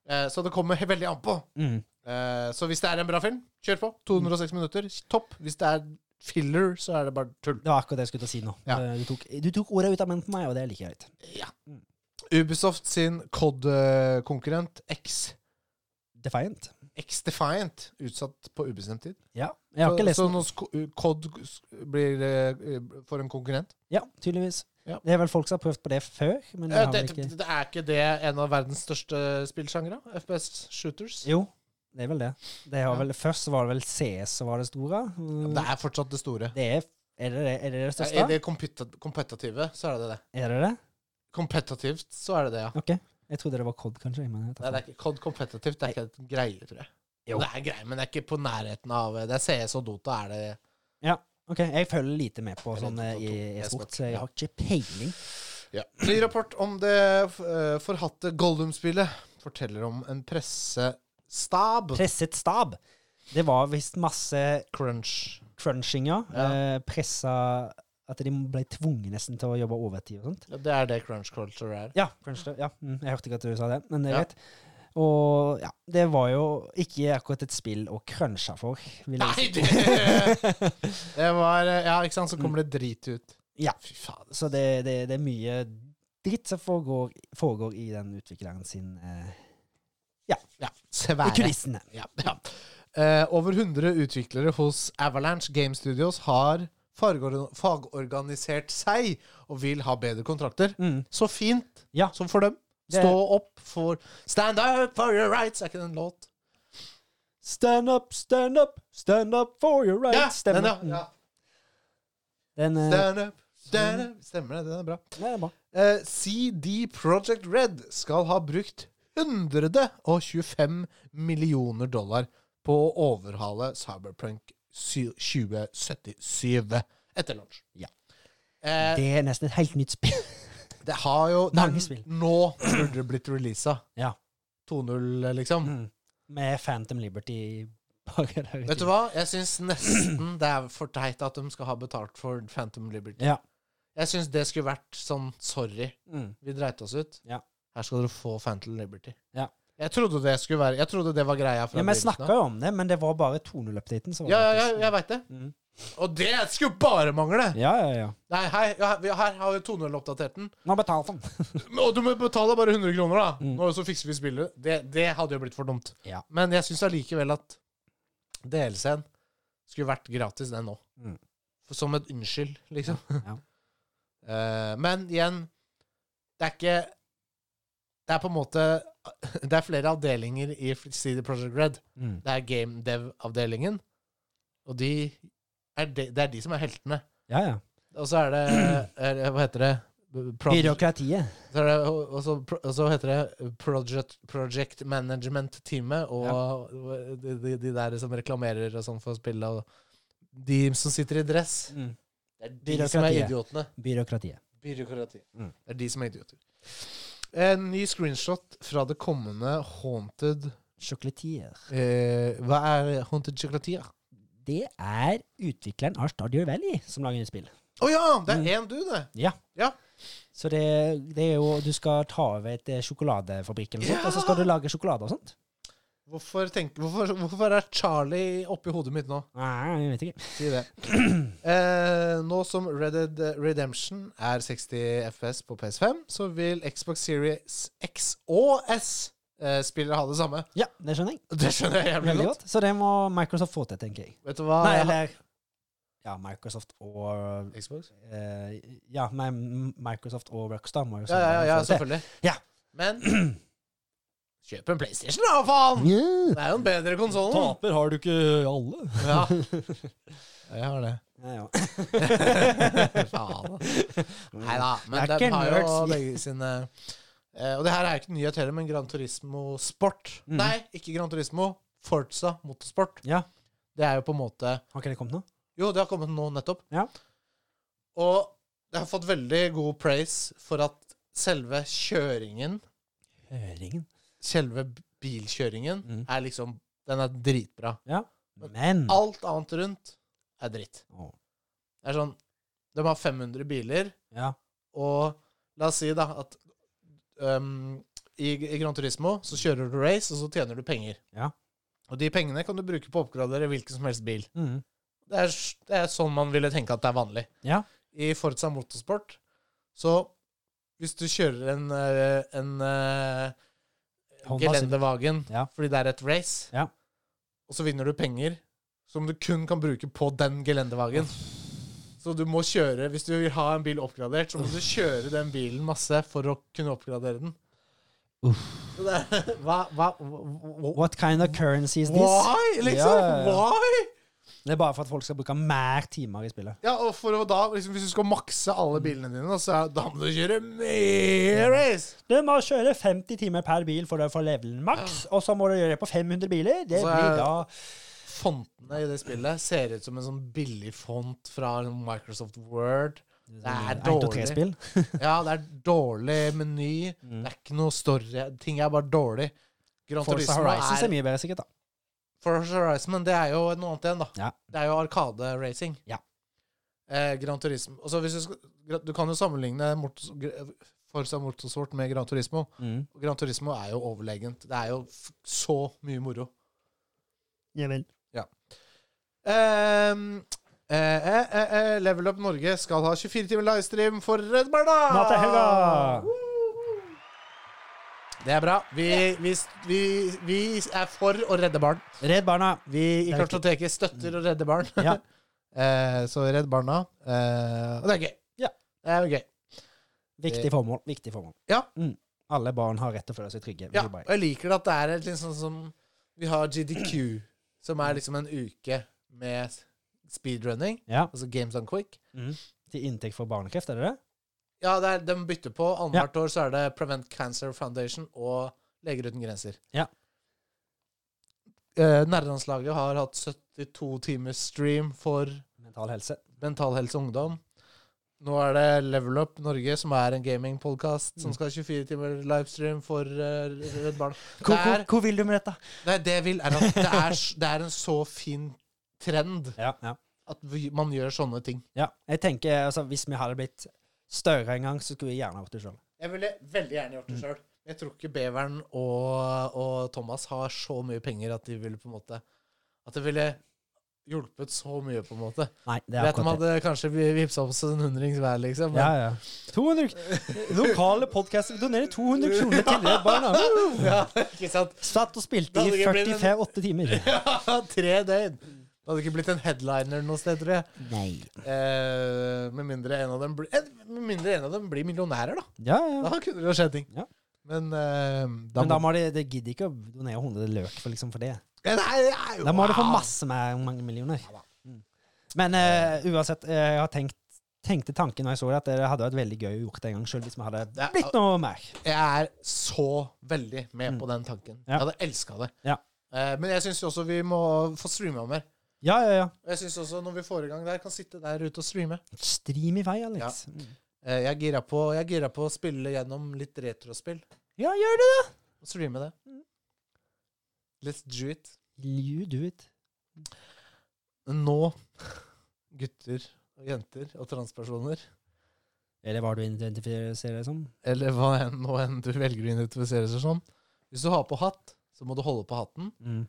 A: Eh, Så det kommer he- veldig an på.
B: Mhm.
A: Eh, Så hvis det er en bra film, kjør på. 206 minutter, topp. Hvis det er filler, så er det bare tull.
B: Det var akkurat det jeg skulle til å si nå.
A: Ja.
B: Eh, Du, tok, du tok ordet ut av munnen på meg, og det liker jeg litt.
A: Ja. Ubisoft sin COD-konkurrent X,
B: Defiant.
A: X Defiant utsatt på ubestemt tid.
B: Ja. Jeg har ikke lest
A: så
B: den.
A: nå sk- COD sk- blir, eh, får en konkurrent.
B: Ja, tydeligvis.
A: Ja.
B: Det er vel folk som har prøvd på det før, men det
A: Eh,
B: har
A: Det,
B: vel
A: det,
B: ikke
A: det er ikke det en av verdens største spillsjangre? FPS Shooters?
B: Jo, det er vel det. det
A: Ja.
B: har vel, først var det vel CS som var det store. Mm,
A: Det er fortsatt det store.
B: Det er, er, det, det- er det det største?
A: Er det kompeta- kompetitive, så er det det.
B: Er det det?
A: Kompetitivt, så er det det, ja.
B: Ok. Jeg trodde det var COD, kanskje. Men jeg
A: Nei,
B: tar
A: det
B: feil.
A: er ikke, COD kompetitivt det er ikke en greie, tror jeg.
B: Jo.
A: Det er en greie, men det er ikke på nærheten av Det er CS og Dota, er det
B: Ok, Jeg følger lite med på
A: Eller
B: sånn eh,
A: Dota 2,
B: i e-sport,
A: e-sport,
B: så jeg
A: ja.
B: har ikke peiling.
A: Ny rapport om det eh, forhatte Goldum-spillet forteller om en pressestab.
B: Presset stab. Det var visst masse
A: Crunch.
B: crunchinger.
A: Ja.
B: Eh, pressa At de ble tvunget nesten til å jobbe overtid og sånt.
A: Ja, det er det crunch culture er.
B: Ja, crunch, det- ja. Mm, jeg hørte ikke at du sa det, men det er
A: Ja.
B: greit. Og ja, det var jo ikke akkurat et spill å crunche for. Vil jeg
A: Nei,
B: si.
A: det Det [LAUGHS] var eh, Ja, ikke sant, så kommer det drit ut.
B: Mm. Ja.
A: Fy faen.
B: [LAUGHS] Så det, det, det er mye dritt som foregår, foregår i den utvikleren sin eh,
A: Ja,
B: I
A: svære.
B: kulissene.
A: Ja, [LAUGHS] ja. Eh, over 100 utviklere hos Avalanche Game Studios har fargeor- fagorganisert seg og vil ha bedre kontrakter.
B: Mm.
A: Så fint
B: Ja.
A: som for dem.
B: Det-
A: Stå opp for Stand up for your rights! Er ikke det en låt?
B: Stand up, stand up, stand up for your rights.
A: Ja,
B: Stemmer.
A: den,
B: Mm.
A: ja.
B: Den,
A: ja.
B: eh,
A: Stand up, stand up. Stemmer det. Den er bra.
B: den er bra.
A: Eh, CD Project Red skal ha brukt 125 millioner dollar på å overhale Cyberpunk sy- 2077 etter launch.
B: Ja.
A: Eh,
B: Det er nesten et helt nytt spill. [LAUGHS]
A: det har jo det er-
B: Mange spill.
A: Nå burde det blitt releasa.
B: Ja.
A: 2.0, liksom.
B: Mm. Med Phantom Liberty [LAUGHS] bak der.
A: Vet du hva? Jeg syns nesten det er for teit at de skal ha betalt for Phantom Liberty.
B: Ja.
A: Jeg syns det skulle vært sånn sorry.
B: Mm.
A: Vi dreit oss ut.
B: Ja.
A: Her skal dere få Phantom Liberty.
B: Ja.
A: Jeg trodde det skulle være Jeg trodde det var greia fra
B: Ja, men jeg
A: begynnelsen
B: snakka jo om det, men det var bare 2.0-updaten som var
A: Ja, ja, ja,
B: faktisk-
A: jeg veit det.
B: Mm.
A: Og det skulle bare mangle!
B: ja, ja, ja.
A: Nei, hei, ja, vi- her har vi 2.0 oppdatert den.
B: Nå betalte han.
A: Men- Og du må betale bare 100 kroner, da!
B: Mm.
A: Nå så fikser vi spillet. Det, det hadde jo blitt for dumt.
B: Ja.
A: Men jeg syns allikevel at DLC-en skulle vært gratis, den òg.
B: Mm.
A: Som et unnskyld, liksom.
B: Ja.
A: [LAUGHS] Eh, men igjen, det er ikke Det er på en måte [LAUGHS] Det er flere avdelinger i CD Project Red.
B: Mm.
A: Det er Game Dev-avdelingen, og de er de, det er de som er heltene.
B: Ja, ja.
A: Og så er
B: [CLEARS THROAT]
A: det er, Hva heter det? Pro-
B: Byråkratiet.
A: så er det, og, og så, pro- og så heter det Project, project Management-teamet, og de, de, de der som reklamerer og sånn for spillet, og de som sitter i dress.
B: Mm.
A: Det er de som er
B: Byråkratiet.
A: idiotene.
B: Byråkratiet.
A: Byråkrati.
B: Mm.
A: Det er de som er idioter. En ny screenshot fra det kommende Haunted
B: Chocolatier.
A: eh, Hva er Haunted Chocolatier?
B: Det er utvikleren av Stardew Valley som lager nytt spill.
A: Å ja! Det er én du, det.
B: Ja.
A: Ja.
B: Så det, det er jo Du skal ta over et eh, sjokoladefabrikk eller noe sånt, og så
A: Ja.
B: skal du lage sjokolade og sånt.
A: Hvorfor, tenk, hvorfor, hvorfor er Charlie oppi hodet mitt nå?
B: Nei, jeg vet ikke.
A: Si
B: [CLEARS THROAT]
A: det. Eh, nå som Red Dead Redemption er 60 FPS på PS5, så vil Xbox Series X og S-spillere ha det samme.
B: Ja, det skjønner jeg.
A: Det skjønner jeg jævlig
B: Veldig
A: godt.
B: godt. Så det må Microsoft få til, tenker jeg.
A: Vet du hva?
B: Nei,
A: jeg har-
B: eller Ja, Microsoft og
A: Xbox?
B: eh, Ja, nei, M- Microsoft og Rockstar må jo
A: Ja, ja, ja, ja, selvfølgelig.
B: Ja. [CLEARS THROAT]
A: Men kjøp en PlayStation, da, faen! Det er jo en bedre konsoll.
B: har du ikke alle. [LAUGHS]
A: Ja. jeg har det.
B: Ja, ja.
A: [LAUGHS] Faen. Nei da, men
B: Det er
A: den
B: ikke
A: Mm. har jo
B: nerds, vi.
A: begge sine eh, Og det her er jo ikke nyhet heller, men Gran Turismo Sport
B: Mm.
A: Nei, ikke Gran Turismo. Forza Motorsport.
B: Ja.
A: Det er jo på en måte
B: Har ikke det kommet nå?
A: Jo, det har kommet nå nettopp.
B: Ja.
A: Og det har fått veldig god praise for at selve kjøringen,
B: Høringen.
A: selve bilkjøringen,
B: Mm.
A: er liksom Den er dritbra.
B: Men
A: Alt annet rundt er dritt.
B: Å,
A: Det er sånn De har 500 biler.
B: Ja.
A: Og la oss si da at øhm, i, i Gran Turismo så kjører du race, og så tjener du penger.
B: Ja.
A: Og de pengene kan du bruke på å oppgradere hvilken som helst bil.
B: Mm.
A: Det er, s- det er sånn man ville tenke at det er vanlig.
B: Ja.
A: I Forza Motorsport så hvis du kjører en, øh, en øh,
B: Honda
A: gelendevagen
B: Ja.
A: fordi det er et race,
B: Ja.
A: og så vinner du penger som du kun kan bruke på den gelendevagen. Så du må kjøre, hvis du vil ha en bil oppgradert, så må du kjøre den bilen masse for å kunne oppgradere den. Så det er- [LAUGHS] Hva, hva, hva,
B: What kind of currency is this?
A: Why? Liksom?
B: Ja, ja, ja.
A: Why?
B: Det er bare for at folk skal bruke mer timer i spillet.
A: Ja, og for å da, liksom, Hvis du skal makse alle bilene dine, da, så er- da må du kjøre mer race!
B: Du må kjøre 50 timer per bil for å få levelen maks, og så må du gjøre det på 500 biler. Det
A: Så
B: blir
A: er-
B: da
A: Fontene i det spillet ser ut som en sånn billig font fra Microsoft Word. Det er
B: Ett og
A: dårlig.
B: tre spill.
A: Ja, det er dårlig meny. Det er ikke noe story. Ting er bare dårlig. Gran
B: Forza
A: Turismo
B: Horizons er
A: er
B: mye bedre, sikkert. da.
A: Forza Horizon, men det er jo noe annet igjen, da.
B: Ja.
A: Det er jo Arkade-racing.
B: Ja.
A: Eh, Gran Turismo Og så hvis du, skal, Gra- du kan jo sammenligne Mortos, Gr- Forza Motorsport med Gran Turismo.
B: Mm.
A: Og Gran Turismo er jo overlegent. Det er jo f så mye moro.
C: Ja vel.
A: Ehm, eh, eh, eh, eh, Level Up Norge skal ha 24 timer livestream for Redd Barna!
B: Nå til helga!
A: Det er bra. Vi, vi, vi, vi er for å redde barn.
B: Redd Barna.
A: Vi i
B: Det er viktig.
A: Kartoteket støtter å redde barn.
B: [LAUGHS] Ja.
A: [LAUGHS] Eh, så Redd Barna. eh, og det er gøy.
B: Ja.
A: Det er jo gøy.
B: Viktig formål. Viktig formål.
A: Ja.
B: Mm. Alle barn har rett til å føle seg
A: Ja,
B: trygge. vil jeg
A: og
B: bare-
A: jeg liker at det er et litt sånn som Vi har GDQ, som er liksom en uke med speedrunning,
B: ja.
A: altså Games on Quick.
B: Til inntekt for barnekreft, er det det?
A: Ja, det er, de bytter på. Annethvert år så er det Prevent Cancer Foundation og Leger uten grenser.
B: Ja.
A: Eh, Nerdelandslaget har hatt 72 timers stream for
B: Mental helse.
A: Mental Helse Ungdom. Nå er det Level Up Norge, som er en gamingpodkast, som skal ha 24 timer livestream for eh, Redd Barn.
B: Hvor,
A: Det er-
B: hvor, hvor vil du med dette?
A: Nei, det jeg vil, er at det er, s- det er en så fin trend
B: Ja, ja.
A: at vi, man gjør sånne ting.
B: ja. Jeg tenker, altså, Hvis vi hadde blitt større en gang, så skulle vi gjerne gjort det sjøl.
A: Jeg ville veldig gjerne gjort det sjøl. Mm. Jeg tror ikke Beveren og, og Thomas har så mye penger at de ville på en måte At det ville hjulpet så mye, på en måte.
B: Nei, det er
A: Vet om
B: akkurat
A: hadde
B: det.
A: kanskje vippsa oss en hundrings hver, liksom.
B: Ja,
A: Men,
B: ja. 200,
A: [LAUGHS]
B: k- lokale podcaster donerer 200 kroner til Redd Barna. Woo!
A: [LAUGHS] ja. ikke sant?
B: Satt og spilte
A: Det
B: i
A: hadde ikke blitt en-
B: 48 timer.
A: [LAUGHS] Ja, tre døgn! Det hadde ikke blitt en headliner noe sted, tror jeg.
B: Nei.
A: Eh, med, mindre en av dem bli, eh, med mindre en av dem blir millionærer, da.
B: Ja, ja.
A: Da kunne det jo skjedd ting.
B: Ja.
A: Men eh, da
B: Men da
A: må,
B: må de, de gidder ikke å donere 100 løk for, liksom, for det.
A: Nei, nei,
B: Da må du få
A: wow.
B: masse mer mange millioner.
A: Ja da.
B: Mm. Men eh, uansett, eh, jeg har tenkt tenkte tanken når jeg så det, at det hadde vært veldig gøy å gjort det en gang sjøl, hvis vi hadde
A: Det er-
B: blitt noe mer.
A: Jeg er så veldig med på den tanken.
B: Mm. Ja.
A: Jeg hadde elska det.
B: Ja.
A: Eh, men jeg syns også vi må få streama mer.
B: Ja, ja, ja.
A: Og jeg syns også når vi får i gang der, kan sitte der ute og streame.
B: Stream i vei, Alex. Mm.
A: Eh, Jeg er gira på, jeg er gira på å spille gjennom litt retrospill
B: Ja, gjør det, da!
A: og streame det.
B: Mm.
A: Let's do it.
B: You do it.
A: Nå, [LAUGHS] gutter og jenter og transpersoner,
B: Eller hva du identifiserer deg som.
A: eller hva enn, nå enn du velger å identifisere seg som Hvis du har på hatt, så må du holde på hatten.
B: Mm.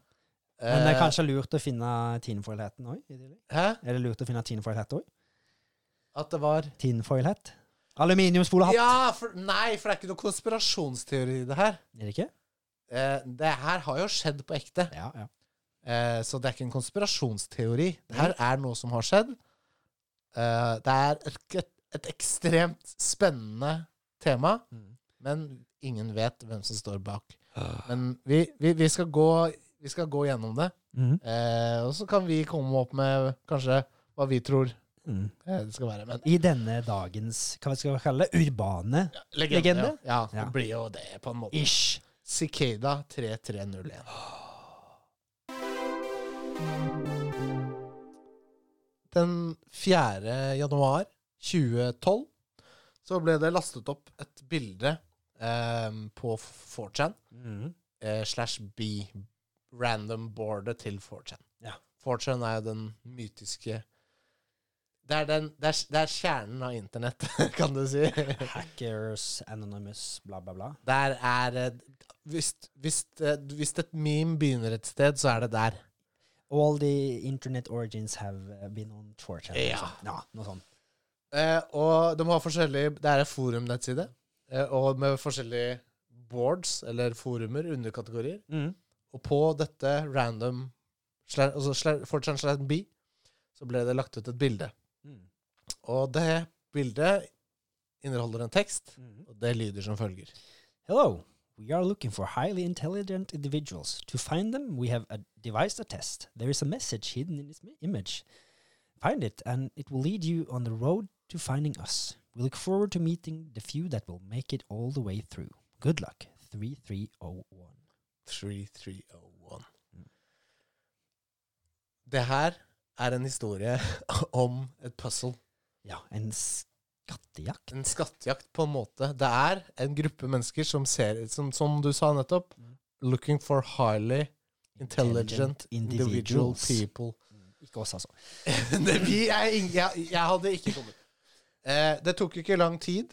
B: Men det er
A: Eh,
B: kanskje lurt å finne tinfoil-hatten òg?
A: Hæ?
B: Er det lurt å finne tinfoil-hatt òg?
A: At det var
B: Tinfoil-hatt? Aluminiumsfolehatt,
A: Ja! For, nei, for det er ikke noe konspirasjonsteori i det her.
B: er det ikke?
A: Eh, det her har jo skjedd på ekte.
B: Ja, ja.
A: Eh, så det er ikke en konspirasjonsteori. Det her er noe som har skjedd. Eh, det er et, et, et ekstremt spennende tema,
B: Mm.
A: men ingen vet hvem som står bak.
B: Ah.
A: Men vi, vi, vi, skal, gå, vi skal gå gjennom det,
B: Mm.
A: eh, og så kan vi komme opp med kanskje hva vi tror
B: Mm.
A: eh, det skal være. Men
B: I denne dagens, hva skal vi kalle det, urbane
A: legende,
B: Legende?
A: Ja. ja,
B: Ja.
A: det blir jo det, på en måte.
B: ish.
A: Cicada 3301. Den 4. januar 2012 så ble det lastet opp et bilde eh, på 4chan
B: Mm.
A: eh, slash B random boardet til 4chan.
B: Ja.
A: 4chan er jo den mytiske det er, den, det, er, det er kjernen av internett, [LAUGHS] kan du si.
B: Hackers Anonymous, bla, bla, bla.
A: Der er eh, hvis, hvis, eh, hvis et meme begynner et sted, så er det der.
B: All the internet origins have uh, been on 4chan.
A: Ja.
B: eller sånt. ja, noe sånt.
A: Eh, og de har forskjellige Det er en forumnettside, eh, og med forskjellige boards, eller forumer, underkategorier.
B: Mm.
A: Og på dette random sla- altså sla- Fortran slash B, så ble det lagt ut et bilde.
B: Mm.
A: Og det bildet inneholder en tekst,
B: Mm.
A: og det lyder som følger.
B: Hello. We are looking for highly intelligent individuals. To find them, we have uh, devised a test. There is a message hidden in this mi- image. Find it, and it will lead you on the road to finding us. We look forward to meeting the few that will make it all the way through. Good luck. 3301.
A: 3301. Det her er en historie [LAUGHS] om et puzzle.
B: Ja, en skattejakt.
A: en skattejakt på en måte. Det er en gruppe mennesker som ser som, som du sa nettopp, looking for highly intelligent,
B: Intelligent
A: individual
B: individuals.
A: people. [LAUGHS]
B: Ikke oss, altså.
A: Det- Vi er ingen, jeg, jeg hadde ikke kommet. Eh, det tok ikke lang tid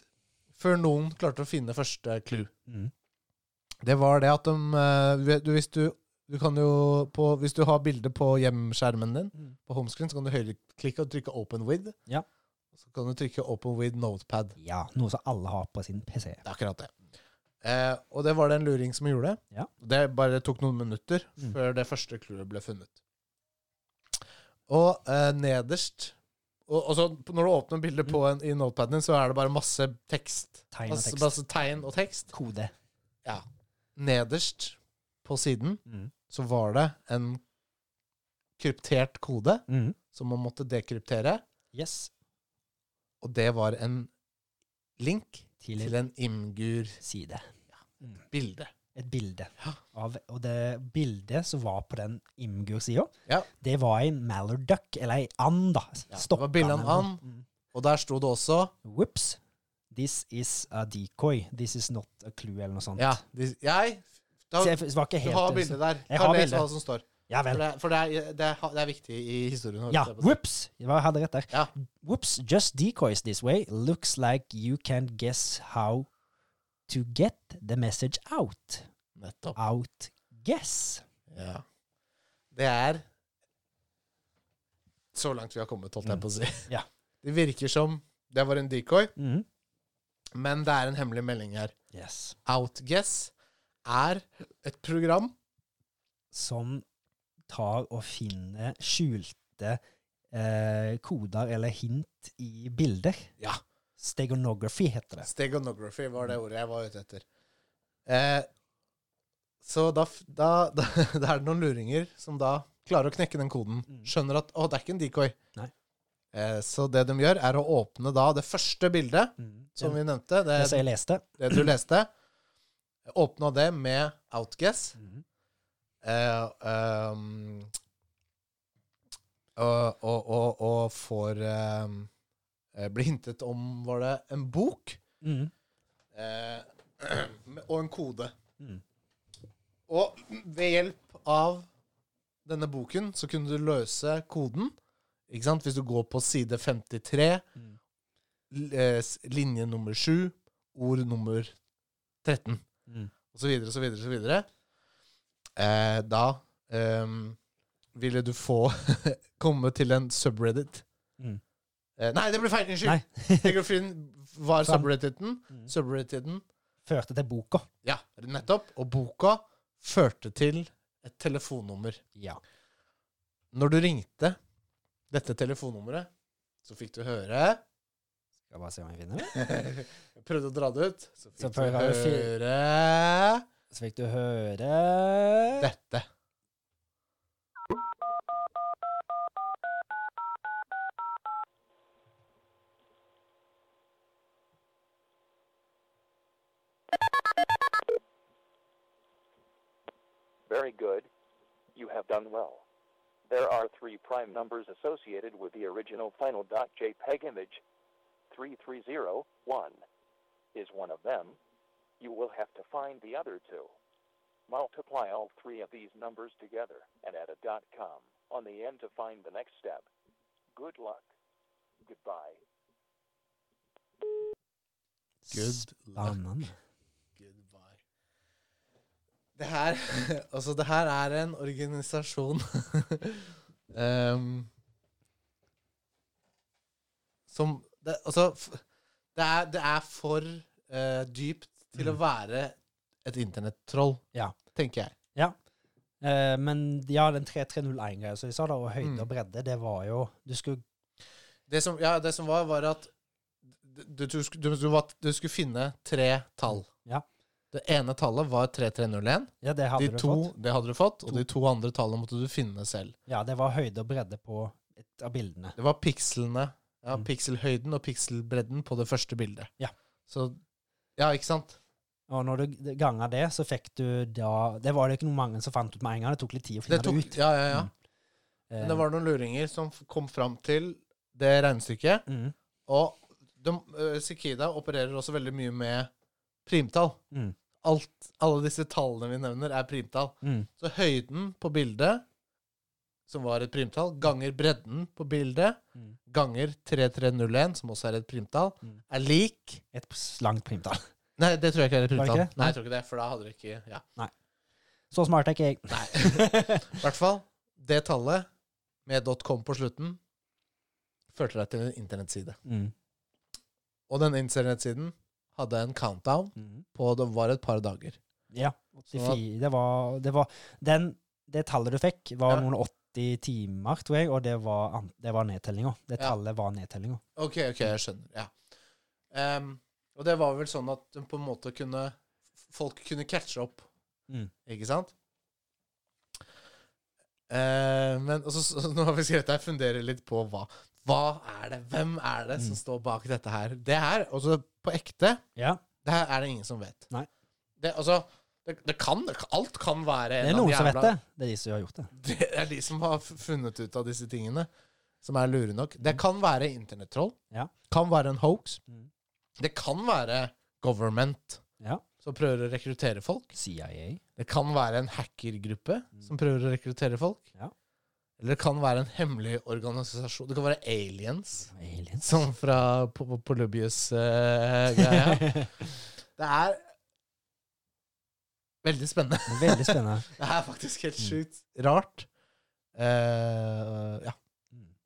A: før noen klarte å finne første clue.
B: Mm.
A: Det var det at de eh, vet du, Hvis du, du kan jo på, Hvis du har bilde på hjemskjermen din,
B: Mm.
A: på homescreen, så kan du høyreklikke og trykke 'open with'.
B: Ja.
A: Så kan du trykke 'open with notepad'.
B: Ja, noe som alle har på sin PC.
A: Det er akkurat det. Eh, og det var det en luring som gjorde.
B: Ja.
A: Det bare tok noen minutter
B: Mm.
A: før det første clouet ble funnet. Og eh, nederst og, og så p- Når du åpner bildet på en, i notepaden din, så er det bare masse tekst.
B: Tegn og
A: Masse,
B: tekst.
A: masse tegn og tekst.
B: Kode.
A: Ja. Nederst på siden
B: Mm.
A: så var det en kryptert kode
B: Mm.
A: som man måtte dekryptere,
B: Yes.
A: og det var en link
B: Til
A: til en imgur-bilde.
B: Side. Et bilde.
A: Ja.
B: Av, og det bildet som var på den Imgur-sida,
A: Ja.
B: det var ei Mallarduck, eller ei and, da.
A: Ja, det
B: Stokka
A: var bilde av en
B: eller noe.
A: and. Og der sto det også
B: Mm. Whoops. This is a decoy. This is not a clue, eller noe sånt.
A: Ja, de, jeg da,
B: Så jeg f- var ikke
A: Du
B: helt sånn-
A: har bildet der.
B: Jeg
A: Kan
B: har
A: lese
B: bildet.
A: hva som står.
B: Ja
A: For
B: vel.
A: det, for det, er, det, er, det er viktig i historien. holdt
B: Ja,
A: jeg på å si.
B: whoops! Jeg var- hadde rett der.
A: Ja.
B: Whoops, just decoys this way. Looks like you can guess how to get the message out.
A: Nettopp.
B: Out guess.
A: Ja. Det er så langt vi har kommet, holdt jeg på å si.
B: Mm. Ja.
A: Det virker som det var en decoy,
B: Mm.
A: men det er en hemmelig melding her.
B: Yes.
A: Outguess er et program
B: som tar og finner skjulte eh, koder eller hint i bilder.
A: Ja.
B: Stegonography heter det.
A: Steganography var
B: Mm.
A: det ordet jeg var ute etter. Eh, så da, f- da, da, [LAUGHS] da er det noen luringer som da klarer å knekke den koden.
B: Mm.
A: Skjønner at 'å, det er ikke en decoy'.
B: Nei.
A: Eh, så det de gjør, er å åpne da det første bildet, som
B: det,
A: vi nevnte, det,
B: det som jeg leste.
A: det du leste. Åpna det med outguess. Eh, ehm, og, og, og, og får ehm, eh, ble hintet om Var det en bok
B: Mm.
A: eh, og en kode.
B: Mm.
A: Og ved hjelp av denne boken så kunne du løse koden. Ikke sant? Hvis du går på side 53,
B: Mm.
A: l- eh, s- linje nummer 7, ord nummer 13,
B: Mm.
A: og så videre, så videre, så videre. Eh, da ehm, ville du få [LAUGHS] komme til en subreddit.
B: Mm.
A: Eh, nei, det ble feil! Unnskyld! [LAUGHS]
B: Nei.
A: Egilfriden var
B: Fram.
A: subredditen.
B: Mm.
A: Subredditen
B: Førte til boka.
A: ja, nettopp. Og boka førte til et telefonnummer.
B: Ja.
A: Når du ringte dette telefonnummeret, så fikk du
B: [LAUGHS]
A: høre
B: Skal bare se om jeg finner det.
A: Jeg prøvde å dra det ut. Så fikk
B: Så prøver
A: du
B: jeg å fi-
A: høre
B: Så fikk du høre
A: dette.
D: Very good. You have done well. There are three prime numbers associated with the original final.jpg image. 3301 is one of them. You will have to find the other two. Multiply all three of these numbers together and add a .com on the end to find the next step. Good luck. Goodbye.
A: Good luck.
B: Spennende.
A: Goodbye. Det her [LAUGHS] Altså, det her er en organisasjon [LAUGHS] ehm, Som det, Altså, f- det er, det er for eh, dypt til å være et internettroll,
B: Mm. Ja.
A: tenker jeg.
B: Ja. Eh, men ja, den 3301-greia som jeg sa, da, og høyde
A: Mm.
B: og bredde, det var jo Du skulle
A: Det som, ja, det som var, var at du, du, sk- du, du, var, du skulle finne tre tall.
B: Ja.
A: Det ene tallet var 3301.
B: Ja, det hadde
A: De
B: du
A: to,
B: fått.
A: det hadde du fått, og de to andre tallene måtte du finne selv.
B: Ja, det var høyde og bredde på et av bildene.
A: Det var pikslene. Ja,
B: Mm.
A: Pikselhøyden og pikselbredden på det første bildet.
B: Ja.
A: Så Ja, ikke sant?
B: Og når du ganga det, så fikk du da Det var det ikke noe mange som fant ut med en gang. Det tok litt tid å
A: Det
B: finne det,
A: tok,
B: ut.
A: ja, ja, ja.
B: Mm.
A: Men det var noen luringer som f- kom fram til det regnestykket.
B: mm,
A: Og de, eh, Sikida opererer også veldig mye med primtall.
B: mm,
A: Alt, alle disse tallene vi nevner, er primtall.
B: mm,
A: Så høyden på bildet, som var et primtall, ganger bredden på bildet,
B: Mm.
A: ganger 3301, som også er et primtall,
B: Mm.
A: er lik
B: Et langt primtall.
A: Nei, det tror jeg ikke er et
B: Var det
A: primtall.
B: ikke det?
A: Nei, jeg tror ikke det, for da hadde du ikke Ja.
B: Så smart er ikke jeg.
A: [LAUGHS] I hvert fall, det tallet med .com på slutten førte deg til en internettside.
B: Mm,
A: Og den internettsiden hadde en countdown
B: mm.
A: på det var et par dager.
B: Ja.
A: Så
B: 84, det var, det var den, Det tallet du fikk, var
A: Ja.
B: noen 80 timer, tror jeg, og det var, an- det var nedtellinga. Det
A: Ja.
B: tallet var nedtellinga.
A: OK, ok, jeg skjønner. Ja. Em, og det var vel sånn at de på en måte kunne Folk kunne catche opp,
B: Mm.
A: ikke sant? Eh, men og så, så, nå har vi skrevet her, funderer litt på hva. Hva er det? Hvem er det
B: Mm.
A: som står bak dette her? Det her, altså på ekte,
B: Ja.
A: Det her er det ingen som vet.
B: Nei.
A: Det, altså, det, det kan, alt kan være
B: Det er
A: en av
B: noen
A: de
B: som vet
A: jævla-
B: det. Det er de som har gjort det.
A: Det er de som har f- funnet ut av disse tingene, som er lure nok. Det kan være internettroll.
B: Mm. Ja.
A: Kan være en hoax.
B: Mm.
A: Det kan være government
B: Ja.
A: som prøver å rekruttere folk.
B: CIA.
A: Det kan være en hackergruppe som prøver å rekruttere folk.
B: Mm. Ja.
A: Eller det kan være en hemmelig organisasjon. Det kan være aliens.
B: Aliens.
A: Som fra Po- Po- Polybius-greia. eh,
B: [LAUGHS]
A: det er veldig spennende. [LAUGHS]
B: Veldig spennende.
A: Det er faktisk
B: Mm.
A: helt sjukt rart. Eh, ja.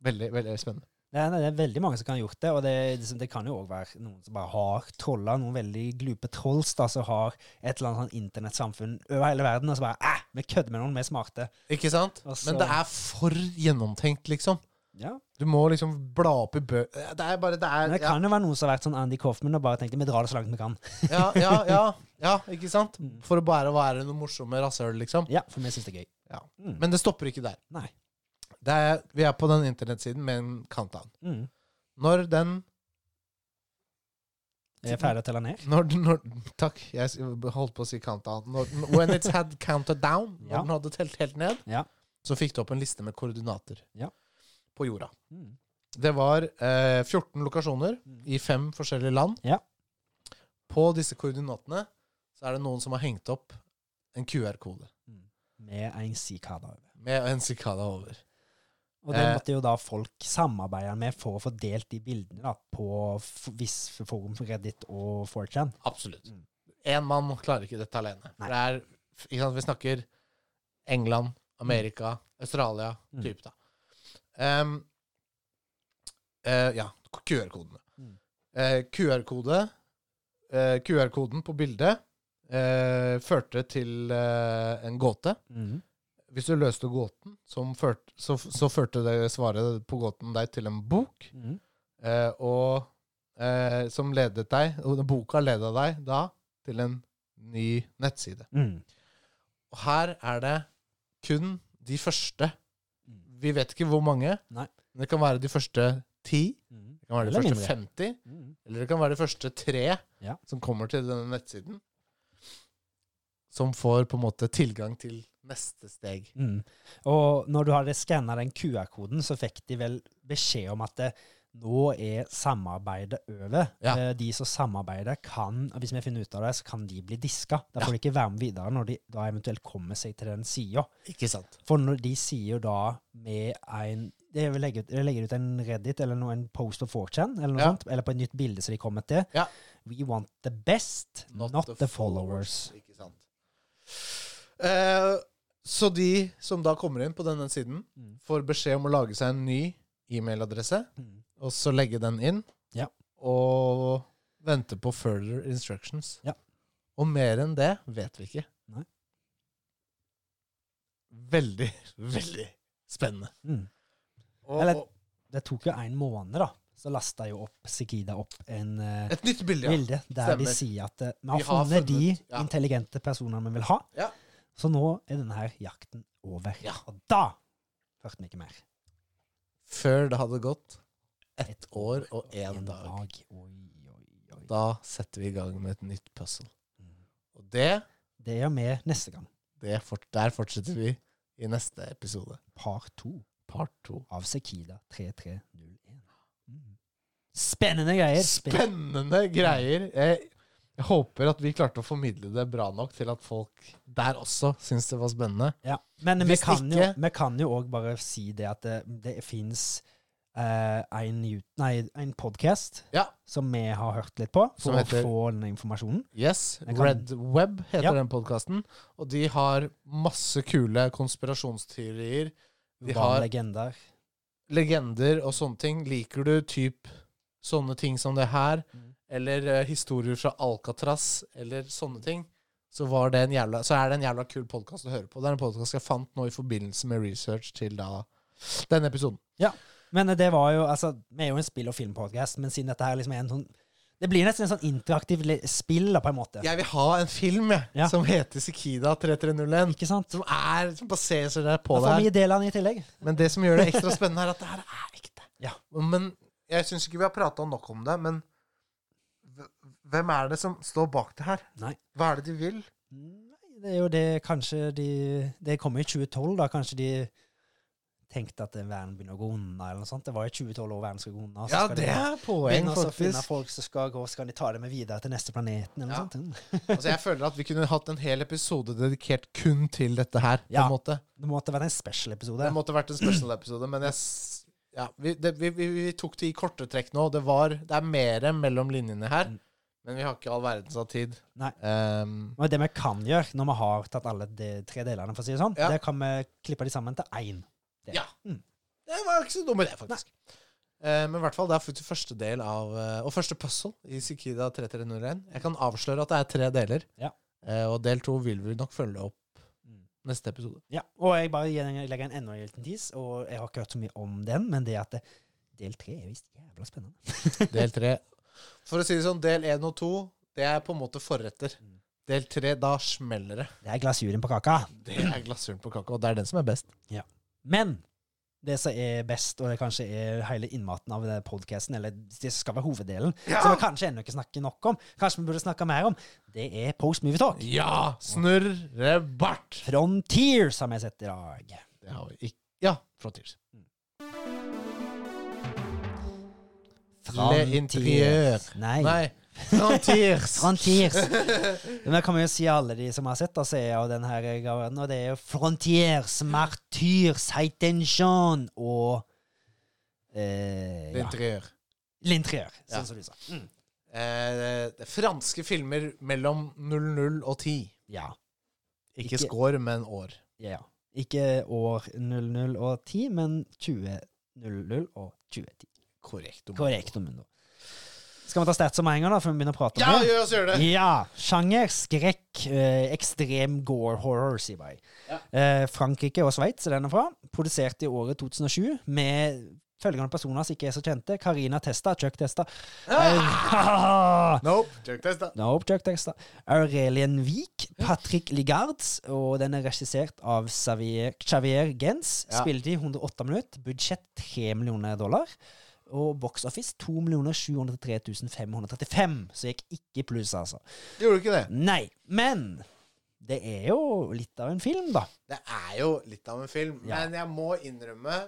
A: Veldig, veldig spennende.
B: Nei, nei, det er veldig mange som kan ha gjort det, og det, er liksom, det kan jo òg være noen som bare har trolla, noen veldig glupe trolls da, som har et eller annet sånn internettsamfunn over hele verden, og så bare Æh, vi kødder med noen, vi er smarte.
A: Ikke sant?
B: Altså-
A: Men det er for gjennomtenkt, liksom.
B: Ja.
A: Du må liksom bla opp i bø... Eh, Det er bare Det
B: Men
A: er
B: det kan jo være noen som har vært sånn Andy Coffman og bare tenkt vi drar det så langt vi kan.
A: ja, ja, ja, ja, ikke sant? For å bare være noe morsomme rasshøl, liksom.
B: Ja, for vi syns det er gøy.
A: Ja.
B: Mm.
A: Men det stopper ikke der.
B: Nei.
A: Det er, vi er på den internettsiden med en countdown.
B: Mm.
A: Når den
B: Er jeg ferdig å telle ned?
A: Når, den- når, takk, jeg s- holdt på å si countdown. Når, den- when it's had counted down, når
B: Ja.
A: den hadde telt helt ned,
B: Ja.
A: så fikk du opp en liste med koordinater
B: Ja.
A: på jorda.
B: Mm.
A: Det var eh, 14 lokasjoner i fem forskjellige land.
B: Ja.
A: På disse koordinatene så er det noen som har hengt opp en QR-kode
B: Med en sikada over.
A: med en sikada over.
B: Og det
A: Eh.
B: måtte jo da folk samarbeide med for å få delt de bildene da, på f- viss forum for Reddit og 4chan.
A: Absolutt.
B: Mm.
A: Én mann klarer ikke dette alene.
B: Nei.
A: For det er, ikke sant, vi snakker England, Amerika, Australia
B: Mm.
A: type, da. Ehm, eh, ja, QR-kodene.
B: Mm.
A: Eh, QR-kode eh, QR-koden på bildet eh, førte til eh, en gåte.
B: Mhm.
A: Hvis du løste gåten, som førte, så, så førte det svaret på gåten deg til en bok.
B: Mhm.
A: Eh, og eh, som ledet deg, og den boka ledet deg da til en ny nettside.
B: Mhm.
A: Og her er det kun de første.
B: Mm.
A: Vi vet ikke hvor mange,
B: Nei.
A: men det kan være de første ti,
B: Mhm.
A: det kan være de
B: Eller
A: første
B: mindre.
A: 50,
B: Mhm.
A: eller det kan være de første tre
B: Ja.
A: som kommer til denne nettsiden, som får på en måte tilgang til neste steg.
B: Mm. Og når du hadde skanna den QR-koden, så fikk de vel beskjed om at det, nå er samarbeidet over.
A: Ja.
B: Eh, De som samarbeider, kan hvis vi finner ut av det, så kan de bli diska. Da får de ikke være med videre når de da eventuelt kommer seg til den sida.
A: Ikke sant?
B: For når de sier jo da med en det er vel legger, ut, legger ut en Reddit eller noe, en post på 4chan eller noe
A: Ja.
B: sånt, eller på et nytt bilde som de kommer til.
A: Ja.
B: We want the best, not, the, followers.
A: Ikke sant. Eh, så de som da kommer inn på denne siden,
B: Mm.
A: får beskjed om å lage seg en ny e-mailadresse,
B: Mm.
A: og så legge den inn,
B: Ja.
A: og vente på further instructions.
B: Ja.
A: Og mer enn det vet vi ikke.
B: Nei.
A: Veldig, [LAUGHS] veldig spennende.
B: Mm.
A: Og,
B: Eller-
A: og
B: Det tok jo en måned, da. Så lasta jo opp Sikida opp en eh,
A: et nytt bilde, ja.
B: bilde der
A: Stemmer.
B: de sier at eh, vi har,
A: Vi har
B: funnet,
A: funnet,
B: de
A: ja.
B: intelligente personene vi vil ha.
A: Ja.
B: Så nå er denne her jakten over.
A: Ja.
B: Og da hørte vi ikke mer.
A: Før det hadde gått ett år og én dag.
B: Oi, oi, oi.
A: Da setter vi i gang med et nytt puzzle. Og det,
B: Det gjør vi neste gang.
A: det fort, der fortsetter vi i neste episode.
B: Par to
A: Part to.
B: av Sikida 3301. Mm. Spennende greier.
A: Spennende greier. Jeg, jeg håper at vi klarte å formidle det bra nok til at folk der også syns det var spennende.
B: Ja, men vi
A: Hvis
B: kan, jo,
A: ikke-
B: vi kan jo òg bare si det at det, det fins en, ju- nei, en podkast
A: Ja.
B: som vi har hørt litt på,
A: Som
B: for å
A: heter-
B: få den informasjonen.
A: Yes,
B: Jeg kan-
A: Red Web heter
B: Ja.
A: den podkasten, og de har masse kule konspirasjonsteorier, Vi
B: Urbane
A: har-
B: legender.
A: legender og sånne ting. Liker du typ sånne ting som det her,
B: Mm.
A: eller eh, historier fra Alcatraz, eller sånne ting, så, var det en jævla, så er det en jævla kul podkast å høre på. Det er en podkast jeg fant nå i forbindelse med research til da denne episoden.
B: Men eh, det var jo Altså, vi er jo en spill- og filmpodkast, men siden dette her liksom er en sånn Det blir nesten en sånn interaktiv le- spill, da, på en måte.
A: Jeg vil ha en film jeg,
B: Ja.
A: som heter Sikida 3301,
B: Ikke sant?
A: som, er, som baserer seg der på
B: Da
A: det
B: får
A: her.
B: vi del av den i tillegg.
A: Men det som gjør det ekstra spennende, er at det her er ekte.
B: Ja.
A: Men jeg syns ikke vi har prata nok om det, men hv- hvem er det som står bak det her?
B: Nei.
A: Hva er det de vil?
B: Nei, det er jo det kanskje de Det kom i 2012, da. Kanskje de tenkte at verden begynner å gå unna, eller noe sånt. Det var jo 2012 og verden skal gå unna. så
A: Ja,
B: Altså, skal
A: det
B: de
A: er poeng,
B: begynne å finne
A: faktisk.
B: folk som skal gå, så kan de ta det med videre til neste planeten, eller
A: Ja.
B: noe sånt. hm.
A: Altså, jeg føler at vi kunne hatt en hel episode dedikert kun til dette her. på
B: Ja.
A: en måte.
B: Det måtte vært en special-episode.
A: Det måtte vært en special-episode, men jeg, s- ja, vi, det, vi, vi, vi tok det i korte trekk nå. Det, var, det er mer mellom linjene her,
B: Mm.
A: men vi har ikke all verdens av tid.
B: Nei.
A: Ehm,
B: Og det vi kan gjøre, når vi har tatt alle de tre delene, for å si det sånn,
A: Ja.
B: det kan vi klippe de sammen til én.
A: det var ikke så dum idé, faktisk. Eh, men i hvert fall, det er faktisk første del av eh, Og første puzzle i Sikida 3301. Jeg kan avsløre at det er tre deler,
B: Ja.
A: Eh, og del to vil vi nok følge opp
B: Mm.
A: neste episode.
B: Ja. Og jeg bare gir den- legger en enda en liten tis, og jeg har ikke hørt så mye om den, men det at det, del tre er visst jævla spennende.
A: Del tre.
B: [LAUGHS]
A: For å si det sånn, del én og to, det er på en måte forretter.
B: Mm.
A: Del tre, da smeller det.
B: Det er glasuren på kaka.
A: Det er glasuren på kaka, og det er den som er best.
B: Men det som er best, og det kanskje er hele innmaten av podkasten, eller det som skal være hoveddelen, som vi kanskje ennå ikke snakker nok om, kanskje vi burde snakke mer om, det er Post Movie Talk.
A: Ja! Snurrebart!
B: Frontier, som jeg sett i dag.
A: Det har vi ikke. Ja, Frontiers. Le Interieur.
B: Nei.
A: Nei. Frontiers.
B: [LAUGHS] Frontiers.
A: [LAUGHS]
B: Men jeg kommer jo si alle de som har sett oss, er jo den her graven, og det er jo Frontiers, Martyrs, Heitenjean og eh,
A: Le
B: ja.
A: Interieur.
B: L'Interieur, sånn
A: Ja.
B: som du sa. Mm.
A: Eh, det er franske filmer mellom 00 og 10.
B: Ja.
A: Ikke,
B: Ikke-
A: score, men år.
B: ja. ja. Ikke år 00 og 10, men 2000 og 2010.
A: Korrekt. Omar.
B: Korrekt, Omundo. Skal vi ta stats om en gang, da, før vi begynner å prate om
A: Ja,
B: det?
A: gjør oss gjøre det!
B: Ja! Sjanger, skrekk, eh, ekstrem gore horror, sier jeg. Eh, Frankrike og Sveits er denne fra. Produsert i året 2007 med følgende personer som ikke er så kjente. Karina Testa, Chuck Testa. Ah!
A: Nope. Jerk test, da.
B: Nope, Chuck Testa. Aurelien Wiik, Patrick Ligards, og den er regissert av Xavier, Xavier Gens.
A: Ja.
B: Spilte i 108 minutter. Budsjett 3 millioner dollar. Og box office 2 703 535, så gikk ikke i pluss, altså.
A: Gjorde du ikke det?
B: Nei, men det er jo litt av en film, da.
A: Det er jo litt av en film,
B: Ja.
A: men jeg må innrømme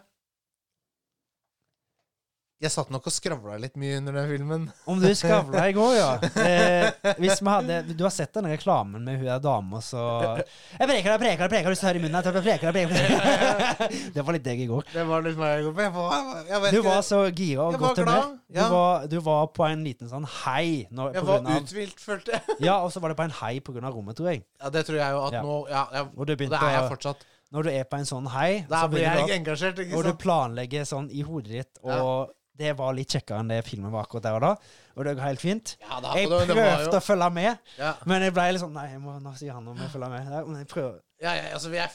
A: Jeg satt nok og skravla litt mye under den filmen.
B: Om du skravla i [LAUGHS] går, ja. Eh, hvis vi hadde, du har sett den reklamen med hun der dama så Jeg preker deg, preker deg, preker deg, hvis du hører i munnen. Jeg tror jeg preker deg, preker deg. [LAUGHS] Det var litt deg i går.
A: Det var litt meg. Jeg var, jeg vet
B: Du
A: ikke,
B: var så gira og
A: Jeg var
B: godt humør.
A: glad,
B: Du
A: ja.
B: var, du var på en liten sånn hei. Når,
A: jeg
B: på
A: var
B: grunn av,
A: uthvilt, følte jeg.
B: ja, og så var det på en hei på grunn av rommet, tror jeg.
A: Ja, det tror jeg jo at
B: Ja.
A: nå ja, jeg,
B: Og du begynte
A: Det er jeg
B: å-
A: fortsatt.
B: Når du er på en sånn hei, så
A: Der blir
B: begynner
A: jeg
B: du,
A: engasjert,
B: å-
A: ikke
B: og du
A: sant?
B: planlegger sånn i hodet ditt, og det var litt kjekkere enn det filmen var akkurat der og da. Og det går helt fint.
A: Ja, da,
B: Jeg
A: det var
B: prøvde
A: jo,
B: å følge med,
A: ja,
B: men jeg ble litt sånn Nei, jeg må, nå sier han om jeg følger med. Ja, men Jeg prøver.
A: ja, ja, altså, jeg,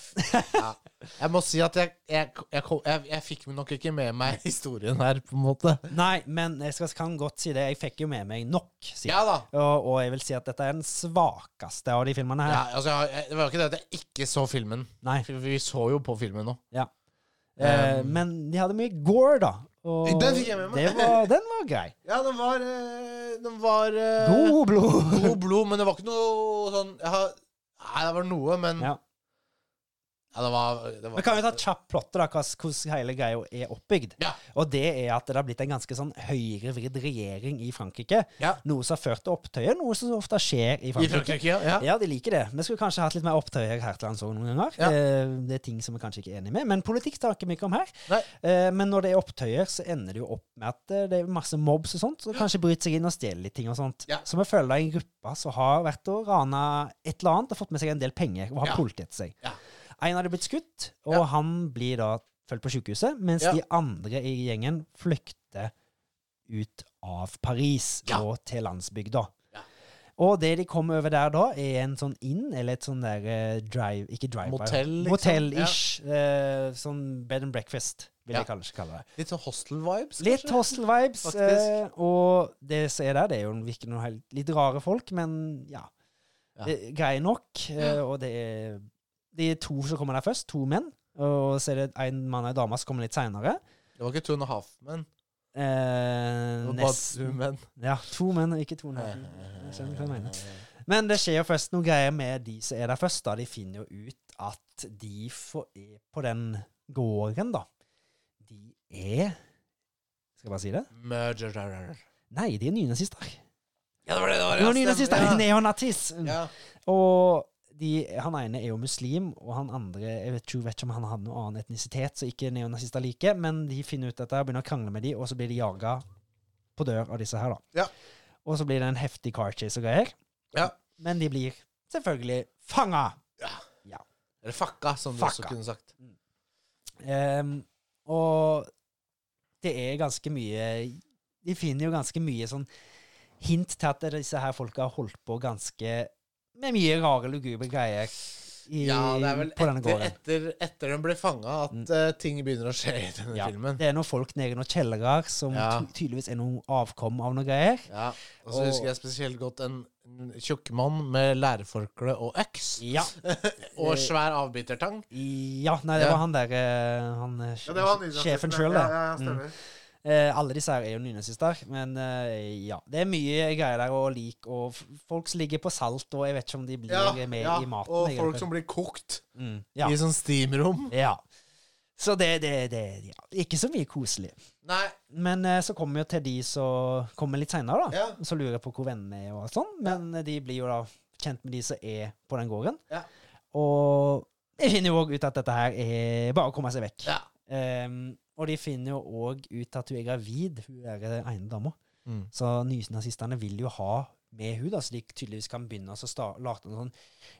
A: ja. jeg må si at jeg, jeg, jeg, kom- jeg, jeg fikk nok ikke med meg historien her, på en måte.
B: Nei, men jeg skal, kan godt si det. Jeg fikk jo med meg nok. sier jeg.
A: Ja da.
B: Og, og jeg vil si at dette er den svakeste av de filmene her.
A: Ja, altså, jeg, jeg, det var jo ikke det at jeg ikke så filmen.
B: Nei.
A: For Vi så jo på filmen nå.
B: Eh,
A: Um,
B: men de hadde mye gore, da. Og
A: Den fikk jeg med meg.
B: det var, den var grei.
A: Ja, den var eh, Den var [LAUGHS] eh,
B: God blod.
A: god blod, men det var ikke noe sånn jeg har, Nei, det var noe, men Ja,
B: Ja.
A: det var, det var
B: Vi kan jo ta et kjapt plottet, da, hva- hvordan hele greia er oppbygd.
A: Ja.
B: Og det er at det har blitt en ganske sånn høyrevridd regjering i Frankrike.
A: Ja.
B: Noe som har ført til opptøyer, noe som ofte skjer i
A: I
B: Frankrike.
A: Frankrike, ja. ja.
B: Ja, de liker det. Vi skulle kanskje hatt litt mer opptøyer her til lands også noen ganger.
A: Ja.
B: Eh, Det er ting som vi kanskje ikke er enige med, men politikk tar ikke mye om her.
A: Nei.
B: Eh, Men når det er opptøyer, så ender det jo opp med at eh, det er masse mobs og sånt, så kanskje bryter seg inn og stjeler litt ting og sånt.
A: Ja.
B: Så vi følger da en gruppe som har vært og rana et eller annet og fått med seg en del penger og har
A: Ja.
B: politiet etter seg.
A: Ja.
B: En hadde blitt skutt, og
A: Ja.
B: han blir da følt på sykehuset, mens
A: Ja.
B: de andre i gjengen flykter ut av Paris
A: Ja.
B: og til landsbygda.
A: Ja.
B: Og det de kom over der da, er en sånn inn, eller et sånn der eh, drive, ikke drive
A: Motell, liksom.
B: Motell-ish. eh, sånn bed and breakfast, vil
A: Ja.
B: jeg kanskje kalle det.
A: Litt sånn hostel-vibes.
B: Litt
A: kanskje?
B: hostel-vibes.
A: Faktisk.
B: eh, og det som er der, det er jo virkelig noen helt, litt rare folk, men ja.
A: Ja.
B: Det er Greie nok. eh, og det er, det er to som kommer der først, to menn. Og så er det en mann og en dame som kommer litt seinere.
A: Det var ikke two and a half men Det
B: Eh,
A: var bare Eh,
B: nest-
A: two men.
B: ja, to menn, ikke to menn. Jeg skjønner
A: eh,
B: hva jeg mener. Men det skjer jo først noen greier med de som er der først. da. De finner jo ut at de får er på den gården, da. De er Skal jeg bare si det?
A: Murderer.
B: Nei, de er nynazister.
A: Ja, det var det det var.
B: De er nynazister!
A: stemmer,
B: Neonazis!
A: Ja.
B: Og de, han ene er jo muslim, og han andre Jeg vet ikke, vet ikke om han hadde noen annen etnisitet, så ikke neonazister like, men de finner ut dette og begynner å krangle med de, og så blir de jaga på dør av disse her, da.
A: Ja.
B: Og så blir det en heftig car chase og greier.
A: Ja.
B: Men de blir selvfølgelig fanga!
A: Eller fucka, som du også
B: Fucka.
A: kunne sagt.
B: Ehm, og det er ganske mye De finner jo ganske mye sånn hint til at disse her folka har holdt på ganske med mye rare, lugubre greier i,
A: Ja, det er vel
B: på denne
A: etter,
B: gården.
A: etter, etter den ble fanga, at
B: Mm.
A: eh, ting begynner å skje i denne
B: Ja.
A: filmen.
B: Det er noen folk nede i noen kjellere som
A: Ja.
B: ty tydeligvis er noe avkom av noe greier.
A: Ja, Og så
B: Og-
A: husker jeg spesielt godt en tjukk mann med lærforkle og øks.
B: Ja.
A: Og svær avbitertang.
B: ja nei, det
A: Ja.
B: var han der eh, han, eh, sjefen sjøl, det. Mm. Eh, alle disse her er jo nynazister, men eh, ja. Det er mye greier der, og lik, og f- folk som ligger på salt, og jeg vet ikke om de blir med i maten.
A: og
B: jeg vet
A: folk
B: ikke.
A: som blir kokt
B: mm, ja.
A: i sånn steamrom.
B: ja. Så det, det, det ja, Ikke så mye koselig.
A: Nei.
B: Men eh, så kommer vi jo til de som kommer litt seinere, da.
A: Ja.
B: Så lurer jeg på hvor vennene er og alt sånn. Men eh, de blir jo da kjent med de som er på den gården.
A: Ja.
B: Og jeg finner jo òg ut at dette her er bare å komme seg vekk.
A: Ja.
B: Ehm, og de finner jo òg ut at hun er gravid, hun er den ene dama.
A: Mm.
B: Så nynazistene vil jo ha med hun da, så de tydeligvis kan begynne å sta- lage en sånn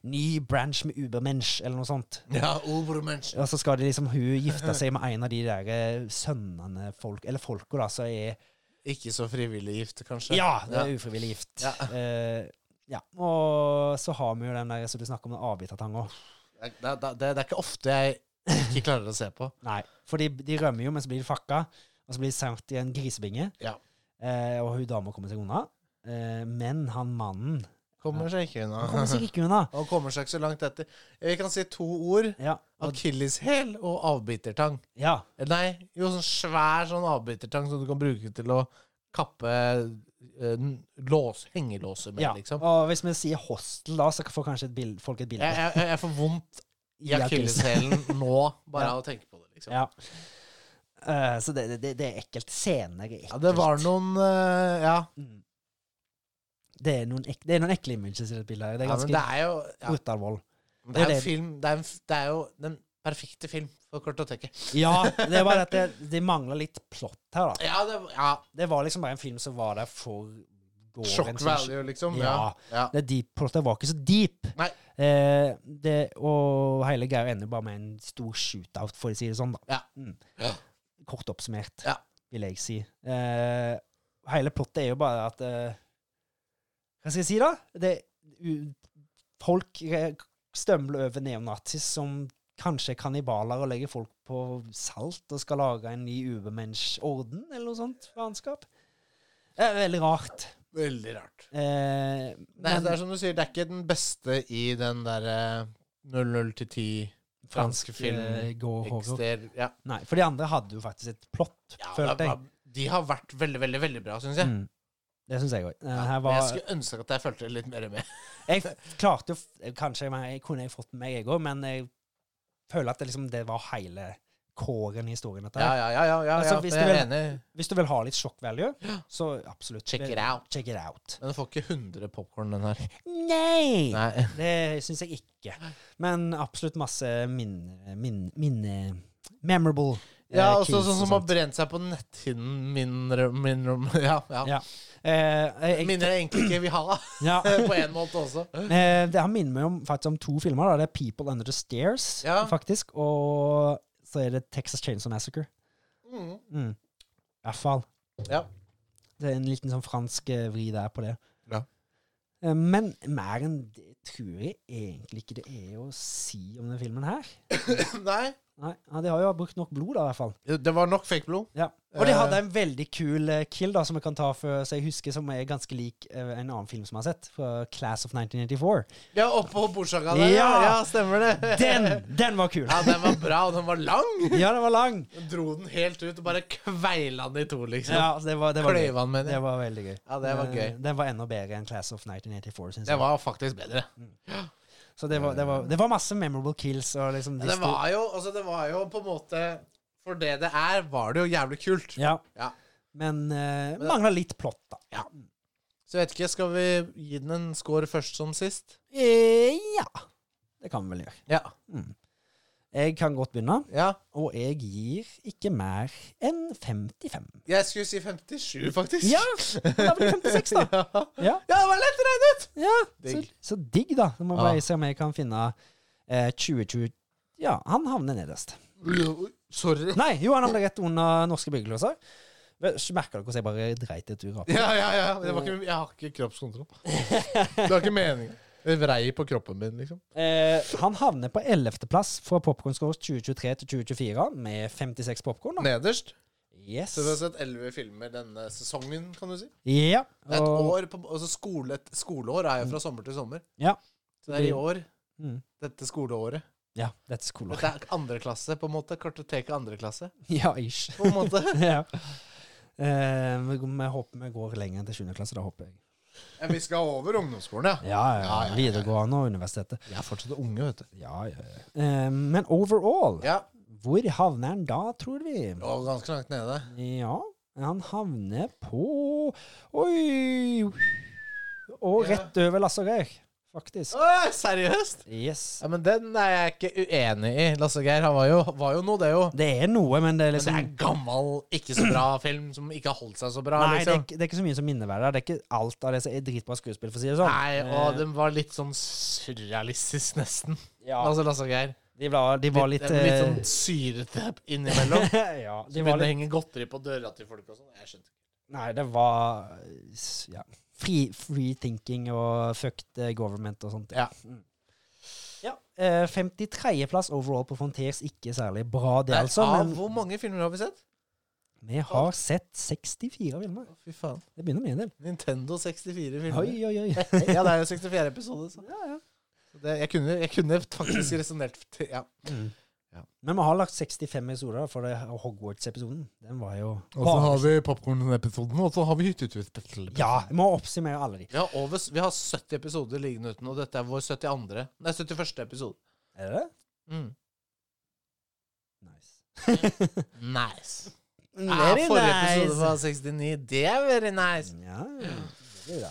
B: ny branch med Ubermensch, eller noe sånt.
A: Ja, Obermensch.
B: Og så skal de liksom hun gifte seg med en av de der eh, sønnene folk, Eller folka, da, som er
A: Ikke så frivillig gift, kanskje?
B: Ja, det er
A: Ja.
B: ufrivillig gift.
A: Ja.
B: Eh, ja. Og så har vi jo den der som du snakker om, den avbitertanga.
A: Det, det, det, det er ikke ofte jeg ikke klarer å se på.
B: Nei. For de, de rømmer jo, men så blir de fakka. Og så blir de sendt i en grisebinge.
A: Ja.
B: Eh, og hun dama kommer seg unna. Eh, men han mannen
A: Kommer seg ikke
B: han kommer
A: unna.
B: seg ikke unna.
A: Og kommer seg ikke så langt etter. Vi kan si to ord.
B: Ja. Og,
A: Akilleshæl og avbitertang.
B: ja.
A: Eh, Nei, jo, sånn svær sånn avbitertang som du kan bruke til å kappe eh, n- lås, hengelåser med,
B: ja.
A: liksom.
B: Og hvis vi sier hostel, da, så får kanskje et bild, folk et bilde.
A: Jeg, jeg, jeg får vondt i
B: I akilles.
A: akilleshælen nå bare av å tenke på det, liksom.
B: Ja. Eh, så det, det, det er ekkelt. Scener er ekkelt.
A: Ja, det var noen eh, Ja.
B: Mm. Det er noen, ek, det er noen ekle images i det bildet her. Det er
A: ja, men
B: ganske
A: det er jo ja,
B: brutal vold.
A: men Det er
B: det-
A: en film Det er, en, f- det er jo den perfekte film for kortoteket.
B: Ja, det er bare at det, det mangler litt plott her, da.
A: Ja, det, ja.
B: Det var liksom bare en film som var der for gården.
A: Shock
B: som-
A: value, liksom. Ja.
B: Ja.
A: ja.
B: Det deep plottet var ikke så deep.
A: Nei.
B: Eh, det, og hele greia ender bare med en stor shootout, for å si det sånn, da.
A: Ja.
B: Mm.
A: Ja.
B: Kort oppsummert,
A: Ja.
B: vil jeg si. Eh, hele plottet er jo bare at eh, Hva skal jeg si, da? Det, u, folk re- stømler over neonazis som kanskje er kannibaler og legger folk på salt og skal lage en ny ubermensch-orden, eller noe sånt faenskap. Det er veldig rart.
A: Veldig rart.
B: Eh,
A: Nei, altså,
B: men-
A: det er som du sier, det er ikke den beste i den derre 00 til 10 franske film
B: eh, går horror.
A: ekster... Ja.
B: Nei, for de andre hadde jo faktisk et plott,
A: Ja, det
B: følte jeg.
A: var, de har vært veldig, veldig veldig bra, syns jeg.
B: Mm. Det syns jeg òg.
A: Ja,
B: Her
A: Men jeg
B: var
A: skulle ønske at jeg fulgte litt mer med.
B: Jeg f- klarte jo f- Kanskje men jeg kunne jeg fått med meg, jeg òg, men jeg føler at det liksom Det var hele kåren i historien, dette
A: Ja,
B: her.
A: ja, ja. ja, ja,
B: Altså,
A: ja
B: hvis
A: jeg
B: du
A: er
B: vil-
A: enig.
B: Hvis du vil ha litt shock value, så absolutt.
A: Check it out.
B: Check it out.
A: Men du får ikke 100 popkorn, den her.
B: Nei!
A: Nei.
B: Det syns jeg ikke. Men absolutt masse minne... Minne... minne memorable. eh,
A: Ja, også
B: kills
A: sånn som
B: og
A: har brent seg på netthinnen min, min [LAUGHS] Ja, ja.
B: Ja. Eh, jeg, jeg,
A: Minner jeg egentlig ikke vil ha, da. [LAUGHS]
B: ja.
A: På en måte også.
B: Eh, det her minner meg om, faktisk om to filmer. Da. Det er 'People Under The Stairs'
A: Ja.
B: faktisk, og så er det 'Texas Chainsaw Massacre'.
A: Mm.
B: Mm. I hvert fall.
A: Ja.
B: Det er en liten sånn fransk eh, vri der på det.
A: Ja.
B: Eh, Men mer enn det tror jeg egentlig ikke det er å si om den filmen her.
A: Nei.
B: Nei, ja, De har jo brukt nok blod, da, i hvert fall.
A: Det var nok fake blod.
B: Ja. Og de
A: Eh.
B: hadde en veldig kul eh, kill da, som jeg kan ta for, så jeg husker, som er ganske lik eh, en annen film som jeg har sett, fra Class of
A: [LAUGHS]
B: 1984.
A: Ja, oppå bordsjaga der. Ja.
B: Ja.
A: ja, stemmer det.
B: Den, den var kul!
A: Ja, den var bra, og den var lang.
B: Ja, den var lang!
A: Den dro den helt ut og bare kveila den i to, liksom.
B: Ja, altså, det var, det var gøy.
A: Kløyva den, mener
B: Det
A: jeg.
B: var veldig gøy.
A: Ja, det var
B: Eh,
A: gøy.
B: Den var enda bedre enn Class of 1984, syns
A: Det
B: jeg.
A: var faktisk bedre.
B: Så det var, det, var, det var masse memorable kills. Og liksom de
A: Det
B: sto-
A: var jo altså det var jo på en måte For det det er, var det jo jævlig kult.
B: Ja.
A: Ja.
B: Men uh, mangla litt plott, da.
A: Så jeg vet ikke, skal vi gi den en score først som sist?
B: Eh, ja. Det kan vi vel gjøre.
A: Ja.
B: Jeg kan godt begynne,
A: ja.
B: og jeg gir ikke mer enn 55.
A: Jeg skulle si 57, faktisk.
B: Ja! Da blir det 56, da.
A: ja.
B: Ja,
A: [LAUGHS] Ja, det var lett regnet!
B: ja. Så,
A: Digg.
B: så digg, da. Nå må jeg
A: Ja.
B: bare se om jeg kan finne eh, 2020 Ja, han havner nederst.
A: Oi, Sorry.
B: Nei, jo, han havner rett under norske byggelåser. Merka dere hvordan jeg bare dreit et ur opp?
A: Ja, ja, ja. Det var ikke, jeg har ikke kroppskontroll. Det var ikke meningen. Det vrei på kroppen min, liksom.
B: Eh, han havner på 11.-plass fra Popcorn Scores 2023 til 2024 med 56 popkorn.
A: Nederst.
B: Yes.
A: Så vi har sett elleve filmer denne sesongen, kan du si.
B: Ja.
A: Det er et
B: Og,
A: år på, altså skole, et skoleår er jo fra sommer til sommer.
B: Ja.
A: Så det er i år.
B: Mm.
A: Dette skoleåret.
B: ja, that's cool.
A: Dette er andre klasse, på en måte. Kartoteket andre klasse,
B: [LAUGHS] Ja, ish. [LAUGHS]
A: på en måte.
B: ja. Eh, vi, vi håper vi går lenger enn til 7. klasse, da håper jeg.
A: [LAUGHS] Ja, vi skal over ungdomsskolen, ja.
B: Ja, ja,
A: ja, ja.
B: videregående og universitetet.
A: Jeg er fortsatt unge, vet du.
B: Ja, ja, ja. Eh, men overall
A: Ja.
B: Hvor havner han da, tror vi?
A: Og ganske langt nede.
B: Ja, han havner på Oi! Og
A: Ja.
B: rett over Lasse Geir, faktisk.
A: Åh, seriøst?
B: Yes.
A: Ja, men den er jeg ikke uenig i. Lasse Geir han var jo, var jo noe, det jo.
B: Det er noe, men det er
A: Men det
B: liksom
A: er en gammel, ikke så bra [CLEARS THROAT] film som ikke har holdt seg så bra.
B: Nei, det er,
A: liksom.
B: ikke- det er ikke så mye som minneverdig. Det er ikke alt av det som er dritbra skuespill, for å si det sånn.
A: Nei, og
B: Eh,
A: den var litt sånn surrealistisk, nesten.
B: ja,
A: Altså Lasse Geir.
B: de, var, de var litt
A: litt, litt sånn
B: [LAUGHS]
A: syrete innimellom.
B: eh, [LAUGHS] Ja,
A: Så
B: de
A: begynte det
B: var
A: å
B: litt
A: henge godteri på døra til folk og sånn. Jeg skjønte ikke.
B: Nei, det var s- ja, free, free thinking og fucked eh, government og sånt.
A: Ja.
B: Mm. Ja, eh, 53.-plass overall på Frontiers. Ikke særlig bra, det,
A: Nei,
B: altså.
A: av
B: Men
A: Hvor mange filmer har vi sett?
B: vi har sett 64 filmer.
A: Å, Fy faen.
B: Det begynner med en del.
A: Nintendo 64
B: Oi,
A: filmer.
B: oi, oi.
A: [LAUGHS] Ja, det er jo 64 episoder, så.
B: Ja, ja.
A: Så Det, jeg, kunne, jeg kunne faktisk resonnert til ja. Ja.
B: Men vi har lagt 65 episoder da, for det her Hogwarts-episoden. Den var jo
A: vi popkorn-episoden, og så har vi hyttetur-spesial.
B: Ja, vi må oppsummere alle de.
A: Vi har, over, vi har 70 episoder liggende uten, og dette er vår 72. Nei, 71. episode.
B: Er det det?
A: Mm.
B: Nice. Ah,
A: Nice. Ja,
B: Very
A: forrige episode
B: nice.
A: var 69. Det er very nice.
B: Ja, det er bra.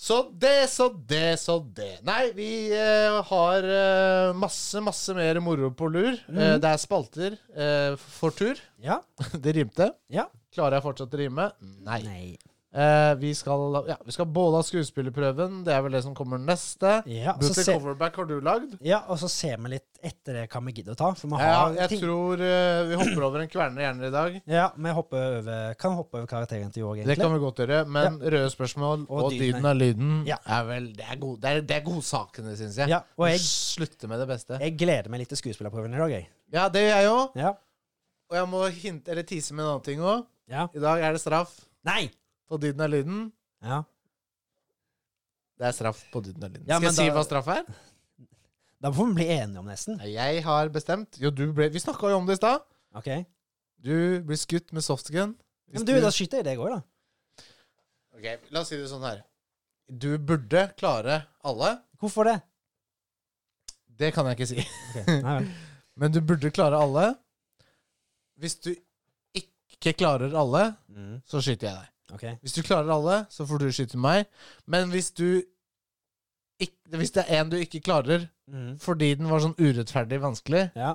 A: Så det, så det, så det. Nei, vi eh, har eh, masse, masse mer moro på lur. Eh,
B: Mhm.
A: det er spalter eh, for tur. [LAUGHS]
B: ja.
A: Det rimte.
B: ja.
A: Klarer jeg fortsatt å rime? Nei.
B: Nei.
A: Eh, vi, skal, ja, vi skal både ha skuespillerprøven, det er vel det som kommer neste.
B: Ja, så
A: Booty
B: se-
A: coverback har du lagd.
B: Ja, og så ser vi litt etter det hva vi gidder å ta. For vi
A: Ja,
B: har
A: jeg
B: ting.
A: tror eh, vi hopper over en kverner hjerner i dag.
B: Ja, vi hopper over, kan hoppe over karakteren til Jorg,
A: Det
B: egentlig.
A: kan vi godt gjøre, men røde spørsmål og,
B: Og
A: dyden
B: dyden.
A: av lyden
B: Ja.
A: er vel Det er, god, det er, det er godsakene, syns jeg.
B: Ja, og jeg-
A: Slutte med det beste.
B: Jeg gleder meg litt til skuespillerprøven i dag, jeg.
A: Ja, det gjør jeg òg.
B: Ja.
A: Og jeg må hinte eller tise med en annen ting òg.
B: ja.
A: I dag er det straff
B: Nei!
A: på dyden av lyden.
B: Ja.
A: Det er straff på dyden av lyden.
B: Ja,
A: Skal
B: men
A: jeg si
B: da-
A: hva straff er?
B: Da får vi bli enige om nesten.
A: Nei, Jeg har bestemt Jo, du ble Vi snakka jo om det i stad.
B: OK? Ja,
A: Du blir skutt med softgun. Hvis
B: Men du, da skyter jeg deg òg, da.
A: Ok, La oss si det sånn her. Du burde klare alle.
B: Hvorfor det?
A: Det kan jeg ikke si. [LAUGHS]
B: Ok, Nei vel.
A: Men du burde klare alle. Hvis du ikke klarer alle,
B: Mm.
A: så skyter jeg deg.
B: OK.
A: Hvis du klarer alle, så får du skyte meg. Men hvis du ikk- hvis det er en du ikke klarer
B: Mm.
A: fordi den var sånn urettferdig vanskelig,
B: Ja.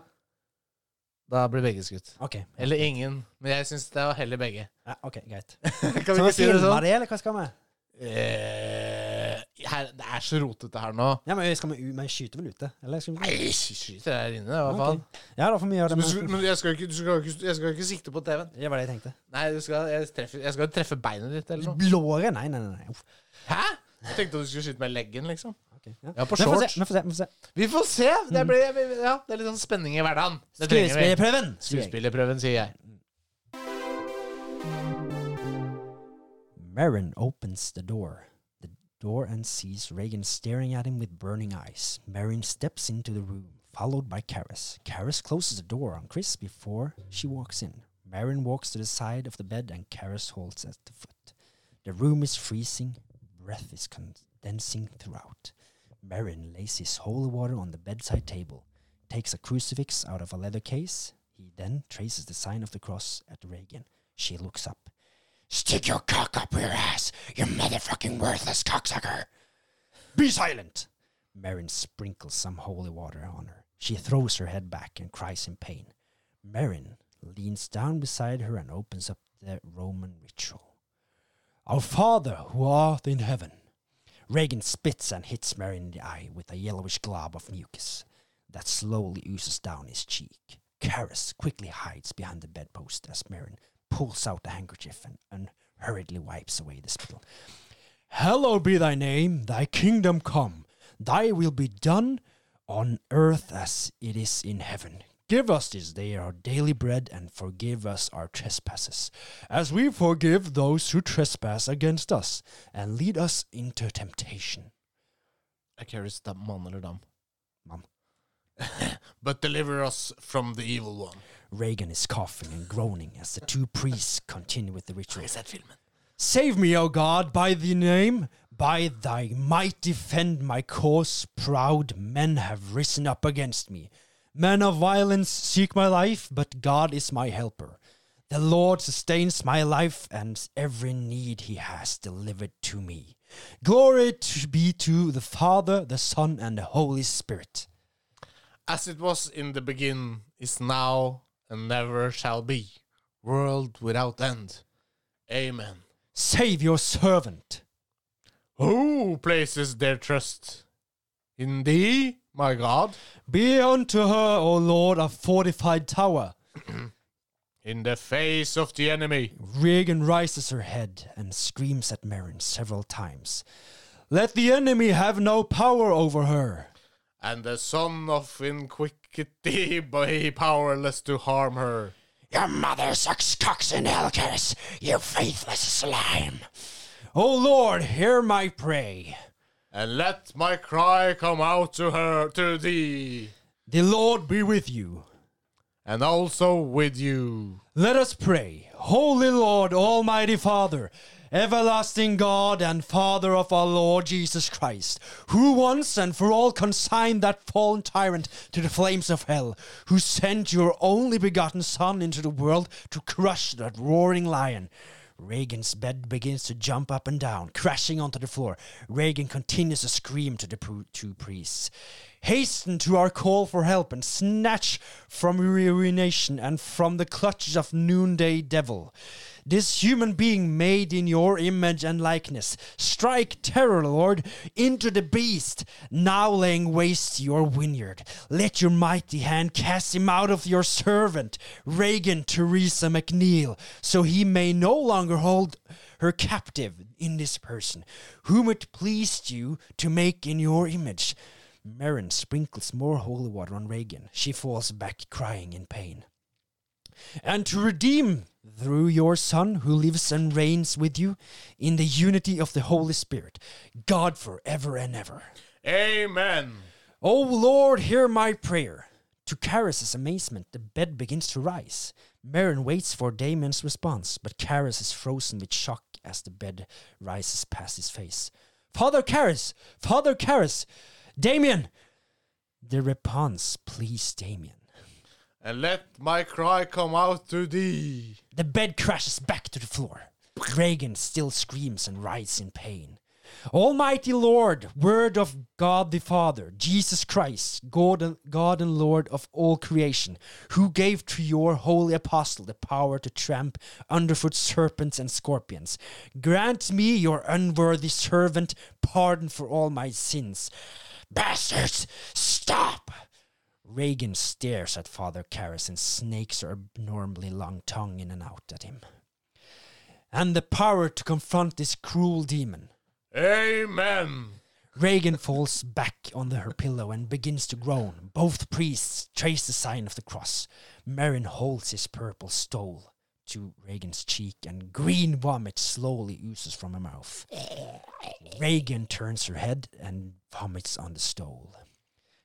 A: da blir begge skutt.
B: OK.
A: Eller ingen. Men jeg syns det er heller begge. [LAUGHS]
B: Ja, ok, Greit.
A: kan
B: Skal
A: vi
B: vi
A: ikke si
B: filme
A: det
B: det,
A: sånn?
B: eller hva skal vi?
A: Eh, her, det er så rotete her nå.
B: Ja, Men skal vi u- men skyter vel ute? Eller skal vi
A: Nei, skyter jeg her inne? Hva
B: Ok.
A: faen?
B: Ja, da får vi gjøre det.
A: Men, du-
B: Men...
A: men jeg, skal ikke, du skal ikke, jeg skal ikke sikte på TV-en.
B: Det var det jeg tenkte.
A: Nei, du skal, jeg, treffer, jeg skal treffe beinet ditt eller sånn. noe.
B: Låret? Nei, nei, nei. nei. Uff.
A: Hæ? Jeg tenkte at du skulle skyte meg i leggen, liksom.
B: Ok, ja.
A: Ja, på
B: Vi får se,
A: shorts.
B: vi får se. Vi får se.
A: Vi får se! Det, blir, ja, det er litt sånn spenning i hverdagen. Det trenger vi.
B: Skuespillerprøven! sier jeg.
A: Skuespillerprøven, sier jeg.
B: Marin opens the door. The door and sees Reagan staring at him with burning eyes. Marin steps into the room, followed by Karis. Karis closes the door on Chris before she walks in. Marin walks to the side of the bed and Karis holds at the foot. The room is freezing, breath is condensing throughout. Marin lays his holy water on the bedside table, takes a crucifix out of a leather case. He then traces the sign of the cross at Reagan. She looks up. Stick your cock up your ass, you motherfucking worthless cocksucker. Be silent. Marin sprinkles some holy water on her. She throws her head back and cries in pain. Marin leans down beside her and opens up the Roman ritual. Our Father who art in heaven. Reagan spits and hits Marin in the eye with a yellowish glob of mucus that slowly oozes down his cheek. Karis quickly hides behind the bedpost as Marin pulls out the handkerchief and unhurriedly wipes away the spittle. Hallowed be thy name, thy kingdom come, thy will be done on earth as it is in heaven. Give us this day our daily bread and forgive us our trespasses, as we forgive those who trespass against us, and lead us into temptation.
A: Er Keris da- mann eller dam?
B: Mann.
A: [LAUGHS] But deliver us from the evil one.
B: Reagan is coughing and groaning as the two priests continue with the
A: Har
B: ritual.
A: jeg sett filmen?
B: Save me, O God, by thy name, by thy might defend my cause. Proud men have risen up against me. Men of violence seek my life, but God is my helper. The Lord sustains my life, and every need he has delivered to me. Glory to be to the Father, the Son, and the Holy Spirit.
A: As it was in the beginning, is now, and never shall be. World without end. Amen.
B: Save your servant.
A: Who places their trust in thee, my God?
B: Be unto her, O Lord, a fortified tower.
A: In the face of the enemy.
B: Regan raises her head and screams at Marin several times. Let the enemy have no power over her.
A: and the son of inquity be powerless to harm her.
B: Your mother sucks cocks and elkers, you faithless slime. O Lord, hear my prayer.
A: And let my cry come out to her, to thee,
B: The Lord be with you.
A: and also with you.
B: Let us pray. Holy Lord, Almighty Father, everlasting God and Father of our Lord Jesus Christ, who once and for all consigned that fallen tyrant to the flames of hell, who sent your only begotten Son into the world to crush that roaring lion. Reagan's bed begins to jump up and down, crashing onto the floor. Reagan continues to scream to the pru- two priests. Hasten to our call for help and snatch from urination and from the clutches of noonday devil. This human being made in your image and likeness, strike terror, Lord, into the beast, now laying waste your vineyard. Let your mighty hand cast him out of your servant, Reagan Teresa McNeil, so he may no longer hold her captive in this person, whom it pleased you to make in your image. Marin sprinkles more holy water on Reagan. She falls back crying in pain. And to redeem through your Son, who lives and reigns with you in the unity of the Holy Spirit, God forever and ever.
A: Amen.
B: O Lord, hear my prayer. To Charis's amazement, the bed begins to rise. Marin waits for Damien's response, but Charis is frozen with shock as the bed rises past his face. Father Charis! Father Charis! Damien! The response pleased Damien.
A: And let my cry come out to thee.
B: The bed crashes back to the floor. Reagan still screams and writhes in pain. Almighty Lord, Word of God the Father, Jesus Christ, God and, God and Lord of all creation, who gave to your holy apostle the power to tramp underfoot serpents and scorpions, grant me, your unworthy servant, pardon for all my sins. Bastards, stop! Reagan stares at Father Karras and snakes her abnormally long tongue in and out at him. And the power to confront this cruel demon.
A: Amen.
B: Reagan falls back on the- her pillow and begins to groan. Both priests trace the sign of the cross. Marin holds his purple stole to Reagan's cheek, and green vomit slowly oozes from her mouth. Reagan turns her head and vomits on the stole.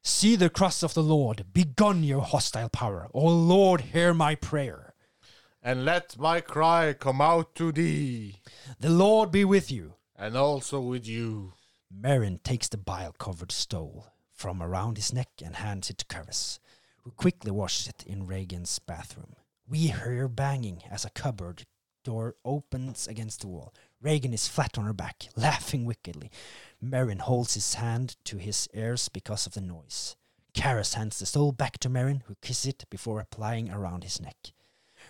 B: See the cross of the Lord. Begone your hostile power. O Lord, hear my prayer.
A: And let my cry come out to thee,
B: The Lord be with you.
A: and also with you.
B: Marin takes the bile covered stole from around his neck and hands it to Curris, who quickly washes it in Reagan's bathroom. We hear banging as a cupboard door opens against the wall. Reagan is flat on her back, laughing wickedly. Marin holds his hand to his ears because of the noise. Karis hands the stole back to Marin, who kisses it before applying around his neck.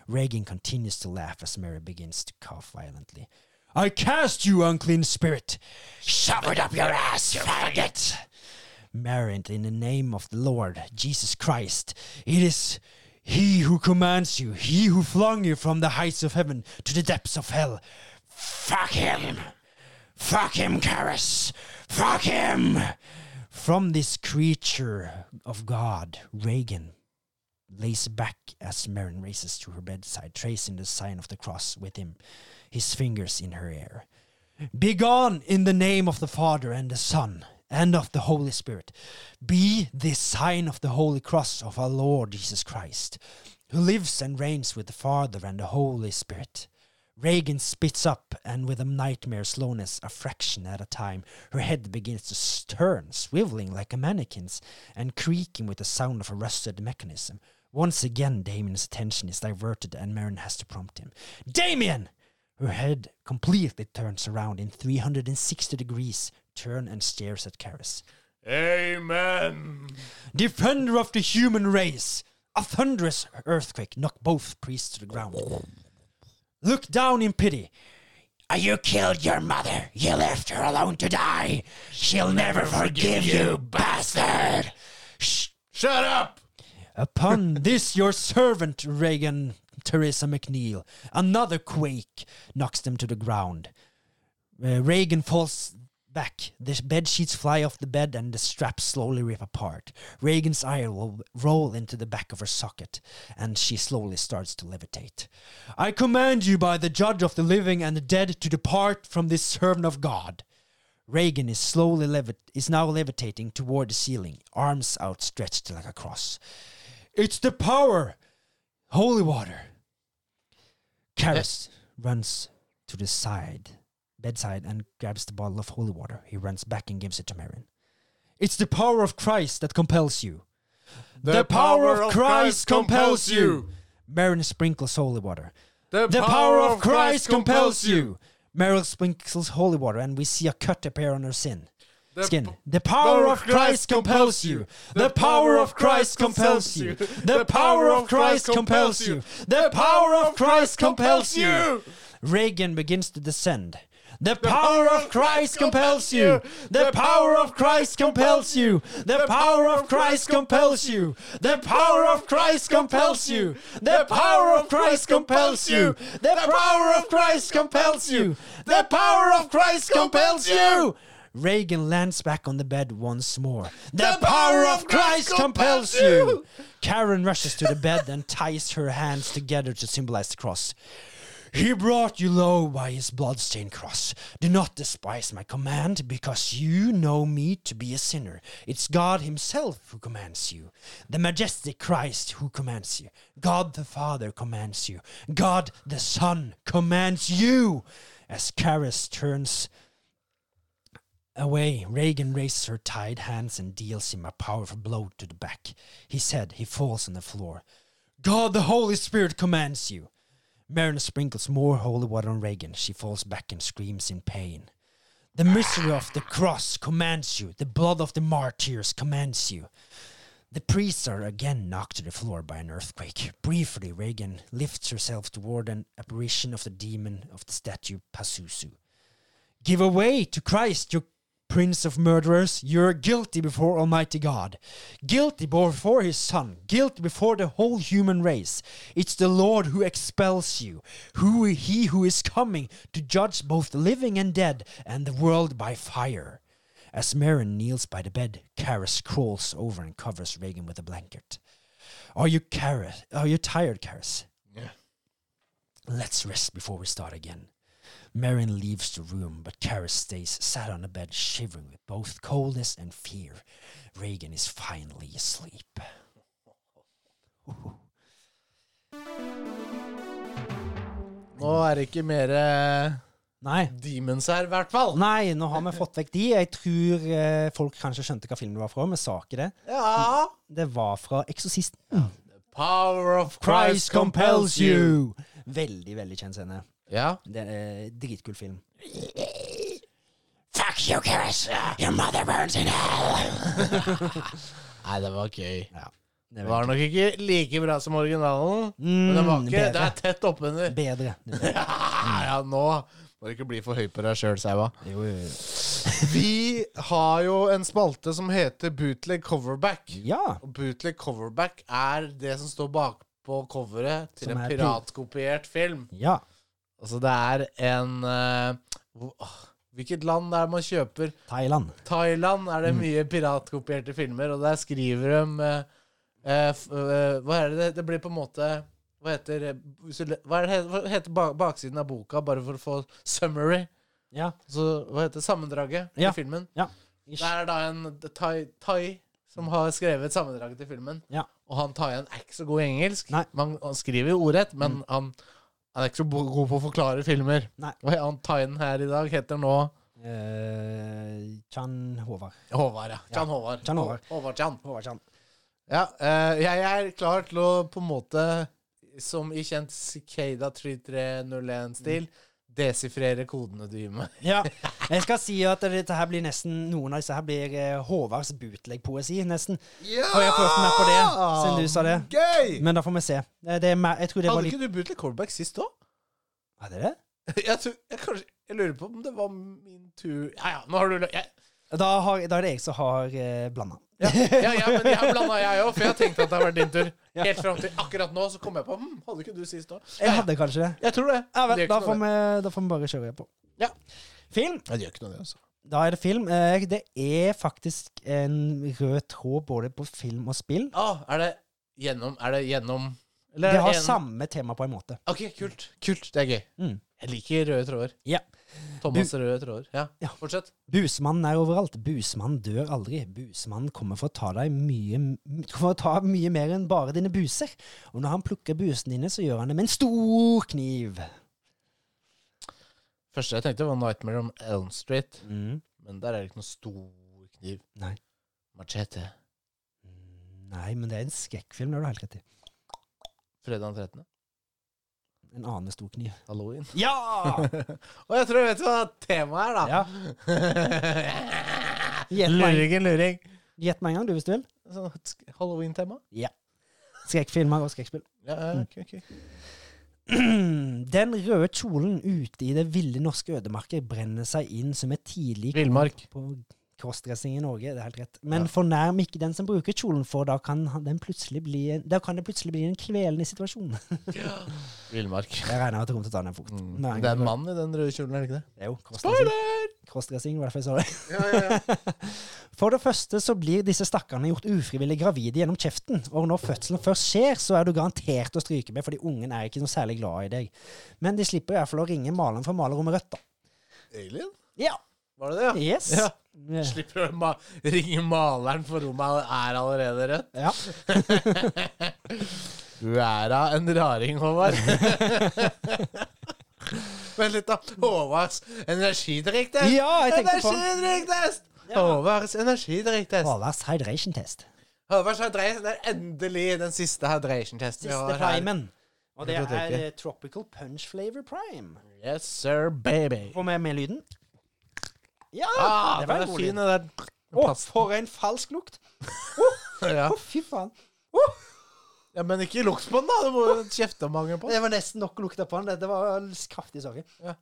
B: Regan continues to laugh as Mary begins to cough violently. I cast you, unclean spirit! Shove it up your ass, you faggot! Marin, in the name of the Lord Jesus Christ, it is He who commands you, He who flung you from the heights of heaven to the depths of hell. Fuck him! Fuck him, Karis! Fuck him! From this creature of God, Regan lays back as Marin races to her bedside, tracing the sign of the cross with him, his fingers in her hair. Begone in the name of the Father and the Son and of the Holy Spirit. Be this sign of the Holy Cross of our Lord Jesus Christ, who lives and reigns with the Father and the Holy Spirit. Reagan spits up, and with a nightmare slowness, a fraction at a time, her head begins to turn, swiveling like a mannequin's, and creaking with the sound of a rusted mechanism. Once again, Damien's attention is diverted, and Marin has to prompt him. Damien! Her head completely turns around in 360 degrees, turn and stares at Karis.
A: Amen.
B: Defender of the human race! A thunderous earthquake knocked both priests to the ground. Look down in pity. "Ah, You killed your mother. You left her alone to die. She'll never forgive you, bastard. Shh.
A: Shut up!
B: Upon this, your servant, Reagan Teresa McNeil, another quake knocks them to the ground. Uh, Reagan falls back. The bed sheets fly off the bed and the straps slowly rip apart. Reagan's eye will roll into the back of her socket, and she slowly starts to levitate. I command you by the judge of the living and the dead to depart from this servant of God. Reagan is slowly levit- is now levitating toward the ceiling, arms outstretched like a cross. It's the power, holy water. Karis runs to the side, bedside, and grabs the bottle of holy water. He runs back and gives it to Marin. It's the power of Christ that compels you. The, power, of Christ, compels you. Marin sprinkles holy water.
A: The,
B: The power of Christ compels you. Meryl sprinkles holy water, and we see a cut appear on her sin.
A: The
B: Skin.
A: p-
B: The power of Christ compels you. The power of Christ compels you. The power of Christ compels you. The power of Christ compels you. Reagan begins to descend. The power of Christ compels you. The power of Christ compels you. The power of Christ compels you. The power of Christ compels you. The power of Christ compels you. The power of Christ compels you. The power of Christ compels you. Reagan lands back on the bed once more. The power of Christ compels you. Karen rushes to the bed and ties her hands together to symbolize the cross. He brought you low by his bloodstained cross. Do not despise my command, because you know me to be a sinner. It's God Himself who commands you, the majestic Christ who commands you. God the Father commands you. God the Son commands you. As Karis turns Away, Reagan raises her tied hands and deals him a powerful blow to the back. He said he falls on the floor. God the Holy Spirit commands you. Marin sprinkles more holy water on Reagan. She falls back and screams in pain. The misery of the cross commands you. The blood of the martyrs commands you. The priests are again knocked to the floor by an earthquake. Briefly, Reagan lifts herself toward an apparition of the demon of the statue Pazuzu. Give away to Christ, you prince of murderers. You're guilty before Almighty God, guilty before His Son, guilty before the whole human race. It's the Lord who expels you, who He who is coming to judge both the living and dead, and the world by fire. As Marin kneels by the bed, Karis crawls over and covers Reagan with a blanket. Are you Karis? Are you tired, Karis?
A: Yeah.
B: Let's rest before we start again. Marin leaves the room, but Karis stays sat on the bed, shivering with both coldness and fear. Reagan is finally asleep.
A: Nå er det ikke mer eh,
B: Nei.
A: demons her, i hvert fall.
B: Nei, nå har vi fått vekk de. Jeg tror eh, folk kanskje skjønte hva film det var fra, men sa ikke det.
A: Ja.
B: Det var fra 'Eksorsisten'.
A: Power of Christ compels you.
B: Veldig, veldig kjent scene.
A: Ja.
B: Det er eh, Dritkul film.
E: Fuck you, Karis. Your mother burns in hell.
A: Nei, det var gøy.
B: Ja.
A: Det
B: Det
A: var nok ikke like bra som originalen, men det var
B: Mm,
A: ikke Det
B: bedre.
A: er tett oppunder.
B: Bedre. Bedre.
A: Ja, [LAUGHS] ja, nå må du ikke bli for høy på deg sjøl, Saua.
B: Jo, jo, jo.
A: Vi har jo en spalte som heter Bootleg Coverback.
B: Ja.
A: Og Bootleg Coverback er det som står bakpå coveret til
B: Som
A: en
B: er pil-
A: piratkopiert film.
B: Ja.
A: Altså, det er en eh, hvor- åh, Hvilket land er det man kjøper?
B: Thailand.
A: Thailand er
B: Mm.
A: det mye piratkopierte filmer, og der skriver de eh, eh, f- eh, Hva er det det blir på en måte Hva heter, eh, hvis du le- hva er det, he- hva heter ba- baksiden av boka, bare for å få summary?
B: Ja.
A: Så, hva heter sammendraget
B: Ja.
A: til filmen?
B: Ja.
A: Det er da en thai, thai som har skrevet sammendraget til filmen.
B: Ja.
A: Og han thaien er ikke så god i engelsk.
B: Nei. Mm.
A: Man, han skriver jo ordrett, men han Han er ikke så bo- god på å forklare filmer.
B: Nei.
A: Og han Tyne her i dag heter nå
B: Eh, Chan Håvard.
A: Håvard, ja. Jan Håvard.
B: Jan Håvard.
A: Hå- Håvard Jan.
B: Håvard Chan.
A: Ja, eh, jeg er klar til å på en måte, som i kjent Cicada 3301-stil, desifrere kodene du gir meg.
B: Ja. Jeg skal si at dette her blir nesten noen av disse her blir eh, Håvards bootleg-poesi, nesten.
A: Ja!
B: Og jeg prøvde meg på det, siden du sa det.
A: Gøy!
B: Men da får vi se. Eh, Det er mer, jeg tror det var
A: Hadde
B: litt
A: ikke du begynt litt callback sist òg?
B: Er det det?
A: [LAUGHS] Jeg, tror- jeg, kanskje- jeg lurer på om det var min tur Ja, ja, nå har du lø- jeg,
B: Da, har, da er det jeg som har eh, blanda.
A: Ja, ja, men jeg blanda jeg òg, for jeg tenkte at det var din tur. Helt fram til akkurat nå, så kom jeg på hm, Hadde ikke du sist òg?
B: [LAUGHS] Jeg hadde kanskje det.
A: Jeg tror det.
B: Ja, vel,
A: Det
B: da,
A: gjør ikke
B: får
A: noe,
B: vi, da får vi bare kjøre på.
A: Ja.
B: Film.
A: det. Ja, det gjør ikke noe, det, altså.
B: Da er det film. Eh, Det er faktisk en rød tråd både på film og spill.
A: Ah, er det gjennom Er det gjennom Eller
B: Det
A: er
B: har
A: en-
B: samme tema på en måte.
A: OK, kult. Kult. Det er gøy.
B: Mm.
A: Jeg liker røde tråder.
B: Ja.
A: Thomas' røde tråder. Ja,
B: Ja.
A: fortsett.
B: Busmannen er overalt. Busmannen dør aldri. Busmannen kommer for å ta deg mye for å ta mye mer enn bare dine buser. Og når han plukker busene dine, så gjør han det med en stor kniv.
A: Første jeg tenkte, var 'Nightmare on Elm Street',
B: Mm.
A: men der er det ikke noe stor kniv.
B: Nei.
A: Machete.
B: Nei, men det er en skrekkfilm, det har du helt rett i.
A: Fredag den 13.
B: En annen stor kniv. [LAUGHS]
A: Halloween.
B: Ja!
A: Og jeg tror jeg vet hva temaet er, da.
B: ja. Gjett meg
A: luring, luring.
B: gjett meg en gang, du, hvis du vil.
A: [LAUGHS] Sånn sk- Halloween-tema? Mm.
B: Skrekkfilmer og skrekkspill. [CLEARS THROAT]
A: Ja, ja, ok, ok.
B: Den røde kjolen ute i det ville norske ødemarker brenner seg inn som et tidlig
A: Villmark.
B: på crossdressing i Norge. Det er helt rett. Men fornærm ikke den som bruker kjolen, for da kan, han- den plutselig bli, en- da kan det plutselig bli en kvelende
A: [LAUGHS]
B: situasjon.
A: Villmark.
B: Jeg regner med at det kommer til å ta den fort.
A: Mm.
B: Nei,
A: det er en mann i den røde kjolen, er det ikke det?
B: Det er jo crossdressing. Crossdressing, det var derfor jeg sa det. [LAUGHS] For det første så blir disse stakkarene gjort ufrivillig gravide gjennom kjeften, og når fødselen først skjer, så er du garantert å stryke med, fordi ungen er ikke noe særlig glad i deg. Men de slipper i hvert fall å ringe maleren fra malerrommet Rødt, da.
A: Alien?
B: Ja.
A: Var det det, ja?
B: Yes.
A: Ja.
B: Eh,
A: Slipper å ma ringe maleren, for rommet er allerede rødt.
B: Ja.
A: Du er da en raring, Håvard. [LAUGHS] Vent litt, da. Håvards energidrikktest!
B: ja, jeg tenkte på den.
A: Energidrikktest! Håvards energidrikktest.
B: Håvards hydration test.
A: Håvards hydration det er endelig den siste hydration-testen vi
B: Siste
A: har her.
B: primen. Og det er
A: Kartoteket.
B: eh, Tropical Punch Flavor Prime.
A: Yes, sir, baby.
B: Får vi med lyden? Ja!
A: Ah,
B: det
A: den er
B: var en god
A: fin,
B: lyd.
A: den der.
B: Å, for en falsk lukt!
A: Ja.
B: Å, fy faen. Å,
A: ja, men ikke lukt på den, da. Du må jo kjefte mange på den.
B: det var nesten nok å lukte på den. Det var kraftig sorry.
A: Ja.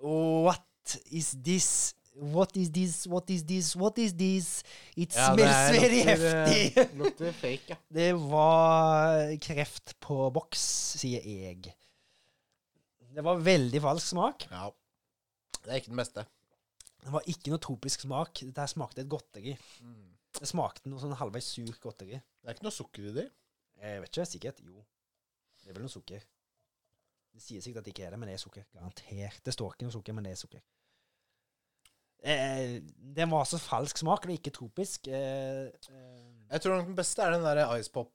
B: What is this? What is this? What is this? What is this? It
A: Ja, det er-
B: smells very
A: lukter, eh,
B: heftig.
A: Lukter fake, ja.
B: Det var kreft på boks, sier jeg. Det var veldig falsk smak.
A: ja. Det er ikke den beste.
B: Det var ikke noe tropisk smak. Dette her smakte et godteri. Det smakte noe sånn halvveis sur godteri.
A: Det er ikke noe sukker i de.
B: Jeg vet ikke, sikkert. Jo. Det er vel noe sukker. Det sier sikkert at det ikke er det, men det er sukker. Garantert. Det står ikke noe sukker, men det er sukker. Eh, den var så falsk smak, og ikke tropisk. Eh, eh,
A: Jeg tror nok den beste er den der Ice Pop.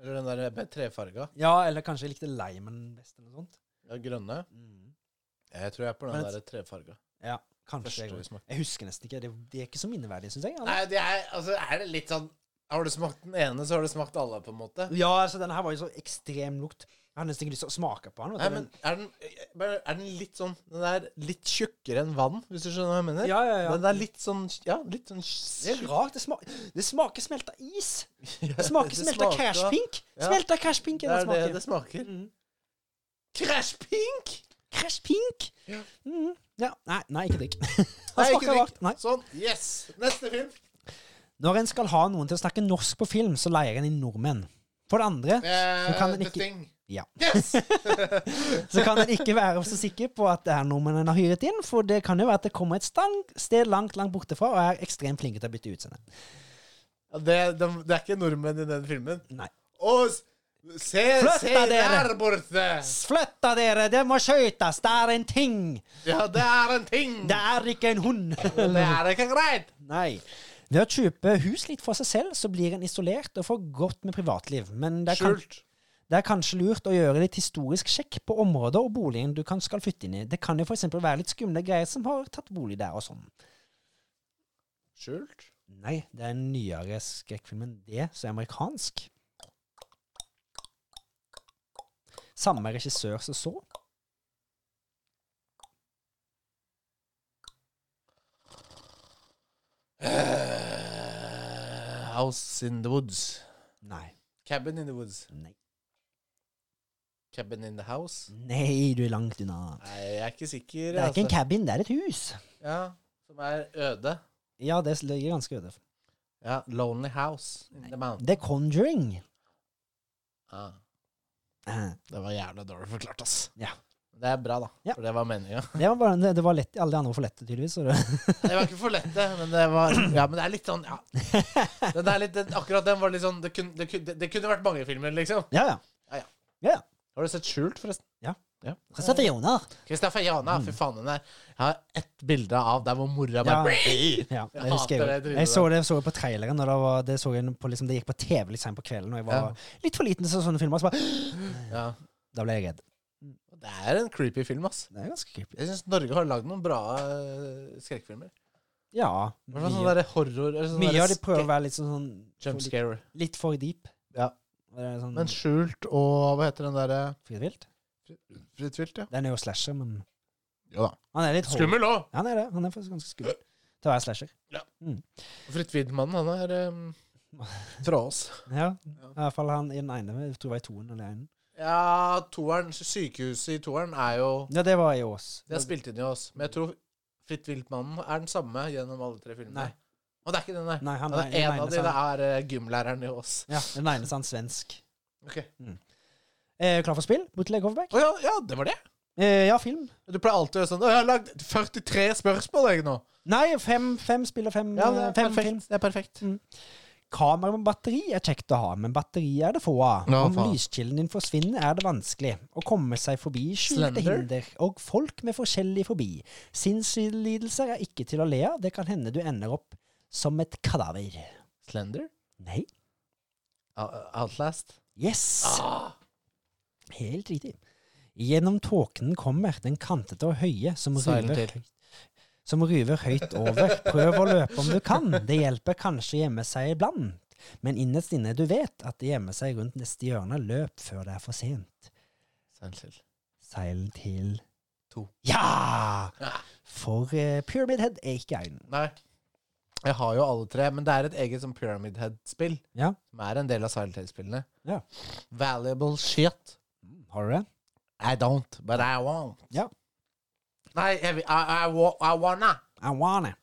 A: Eller den der med trefarga.
B: ja, eller kanskje jeg likte limen best, eller noe sånt.
A: Ja, grønne.
B: Mm.
A: Jeg tror jeg er på den
B: Men-
A: der trefarga.
B: Ja,
A: Første
B: kanskje. Jeg,
A: vi smakte.
B: jeg husker nesten ikke. Det, det er ikke så minneverdig, syns jeg. eller?
A: Nei, det er, altså, er det litt sånn Har du smakt den ene, så har du smakt alle, på en måte.
B: Ja, altså, denne her var jo så ekstrem lukt. Jeg har nesten ikke lyst til å smake på
A: Nei,
B: den. Vet du.
A: men er den, er den litt sånn Den er litt tjukkere enn vann, hvis du skjønner hva jeg mener?
B: ja, ja, ja.
A: Den er litt sånn Ja, litt sånn [LAUGHS]
B: Det er rart. Det, smak, det smaker smelta is. Det smaker smelta
A: smaker-
B: Crash Pink.
A: Ja.
B: Smelta Crash Pink
A: Det
B: er det
A: er det
B: smaker.
A: det smaker.
B: Mm.
A: Crash pink!
B: Crash Pink.
A: Ja.
B: Mm. ja. Nei, nei, ikke drikk. [LAUGHS]
A: Nei,
B: Han
A: ikke
B: smaker
A: drikk.
B: rart. Nei.
A: Sånn. Yes! Neste film.
B: Når en skal ha noen til å snakke norsk på film, så leier en inn nordmenn. For det andre
A: Eh,
B: Så kan den
A: the
B: ikke-
A: Thing.
B: Ja. [LAUGHS]
A: Yes!
B: så kan en ikke være så sikker på at det er nordmenn en har hyret inn, for det kan jo være at det kommer et stang, sted langt, langt borte fra og er ekstremt flinke til å bytte utseende.
A: Ja, det, det, det er ikke nordmenn i den filmen.
B: Nei.
A: Og s- se,
B: Flytt
A: se
B: deg, dere!
A: der borte!
B: Flytta dere! Det må skøytes! Det er en ting!
A: Ja, det er en ting!
B: Det er ikke en hund!
A: Det er ikke greit!
B: [LAUGHS] Nei. Ved å kjøpe hus litt for seg selv, så blir en isolert og får godt med privatliv. Men det er, kan,
A: Skjult.
B: det er kanskje lurt å gjøre litt historisk sjekk på områder og boligen du kan skal flytte inn i. Det kan jo f.eks. være litt skumle greier som har tatt bolig der og sånn.
A: Skjult?
B: Nei, det er en nyere skrekkfilm enn det, som er amerikansk. Samme regissør som så.
A: Eh, house in the woods.
B: Nei.
A: Cabin in the woods.
B: Nei,
A: Cabin in the house.
B: Nei du er langt unna.
A: Nei, jeg er ikke sikker. altså.
B: Det er altså- ikke en cabin, det er et hus.
A: Ja, Som er øde.
B: Ja, det ligger ganske øde.
A: Ja, Lonely House in the Mountain.
B: The Conjuring.
A: Ah,
B: Eh,
A: det var jævla dårlig forklart, ass.
B: Ja.
A: Det er bra, da.
B: Ja.
A: For det var meninga.
B: Det var, bare, det, det var lett, alle de andre var for lette, tydeligvis. Så det,
A: Det var ikke for lett, det, men det var Ja, men det er litt sånn ja. den er litt, den, Akkurat den var litt sånn Det kunne, det kunne, det kunne vært mange filmer, liksom.
B: ja, ja.
A: Ja, ja.
B: ja, ja.
A: Har du sett Skjult, forresten?
B: Ja.
A: ja.
B: Christopher Joner.
A: Kristoffer Jana,
B: Mm.
A: fy faen, den der. Jeg har ett bilde av der hvor mora
B: Ja.
A: bare
B: Ja,
A: Jeg
B: jeg husker
A: hater
B: jeg,
A: det
B: jo.
A: trynet
B: jeg så
A: der.
B: det, så det på traileren, og det, var, det, så jeg på, liksom, det gikk på TV litt sent på kvelden, og jeg var
A: Ja.
B: litt for liten til å se sånne filmer. Så bare,
A: Ja.
B: da ble jeg redd.
A: Det er en creepy film, ass.
B: Det er ganske creepy.
A: Jeg syns Norge har lagd noen bra eh, skrekkfilmer.
B: Ja.
A: I hvert fall
B: mye-
A: sånn derre horror eller sånn
B: Mye
A: derre
B: av de prøver å
A: skre-
B: være litt sånn, sånn
A: jump
B: litt,
A: scare.
B: litt for deep.
A: Ja.
B: Det er sånn,
A: Men Skjult og Hva heter den derre
B: Fritt vilt.
A: Fritt vilt, ja?
B: Den er jo slasher, men
A: Jo da.
B: han er litt hår-
A: Skummel òg!
B: Han er det. Han er faktisk ganske skummel til å være slasher.
A: Fritt Vidt-mannen, han er
B: [LAUGHS]
A: um, fra oss.
B: Ja, i hvert fall han i den ene. Jeg tror det var i toen eller enen.
A: Ja, toeren, sykehuset i toeren er jo
B: Ja, det var i Ås.
A: Det er spilt inn i oss. Men jeg tror Fritt Vilt-mannen er den samme gjennom alle tre filmene.
B: Nei.
A: Og det er ikke den der.
B: Nei, sånn. han
A: det
B: er-
A: er
B: den
A: en
B: ene
A: av de,
B: som-
A: det er eh, gymlæreren i oss.
B: Ja, den ene så er han svensk.
A: Ok.
B: Eh, klar for spill? Bootleg overback?
A: Å ja, ja, det var det.
B: Eh, ja, film.
A: Du pleier alltid å gjøre sånn Å, jeg har lagd 43 spørsmål, jeg, nå.
B: Nei, fem, fem spill og fem,
A: Ja, det er
B: Mm, fem film.
A: perfekt. Det er perfekt.
B: Kamera med batteri er kjekt å ha, men batteri er det få av.
A: Ja,
B: Om
A: faen.
B: lyskilden din forsvinner, er det vanskelig å komme seg forbi skjulte
A: Slender?
B: hinder og folk med forskjellig forbi. Sinnslidelser er ikke til å le av. Det kan hende du ender opp som et kadaver.
A: Slender?
B: Nei.
A: Out- Outlast?
B: Yes!
A: Ah.
B: Helt riktig. Gjennom tåken kommer den kantete og høye som
A: Silent
B: ruver,
A: Hill.
B: som ruver høyt over. Prøv å løpe om du kan. Det hjelper kanskje å gjemme seg iblant. Men innerst inne du vet at det gjemmer seg rundt neste hjørne. Løp før det er for sent.
A: Silent Hill.
B: Silent Hill
A: To.
B: Ja!
A: Ja.
B: For eh, Pyramid Head er ikke egnet.
A: Nei. Jeg har jo alle tre, men det er et eget sånn Pyramid Head-spill.
B: Ja.
A: Som er en del av Silent Hill-spillene.
B: Ja.
A: Valuable shit.
B: Har du det?
A: I don't, but I want.
B: Ja.
A: Nei, jeg, vil- I, I, wa- I wanna.
B: I want it.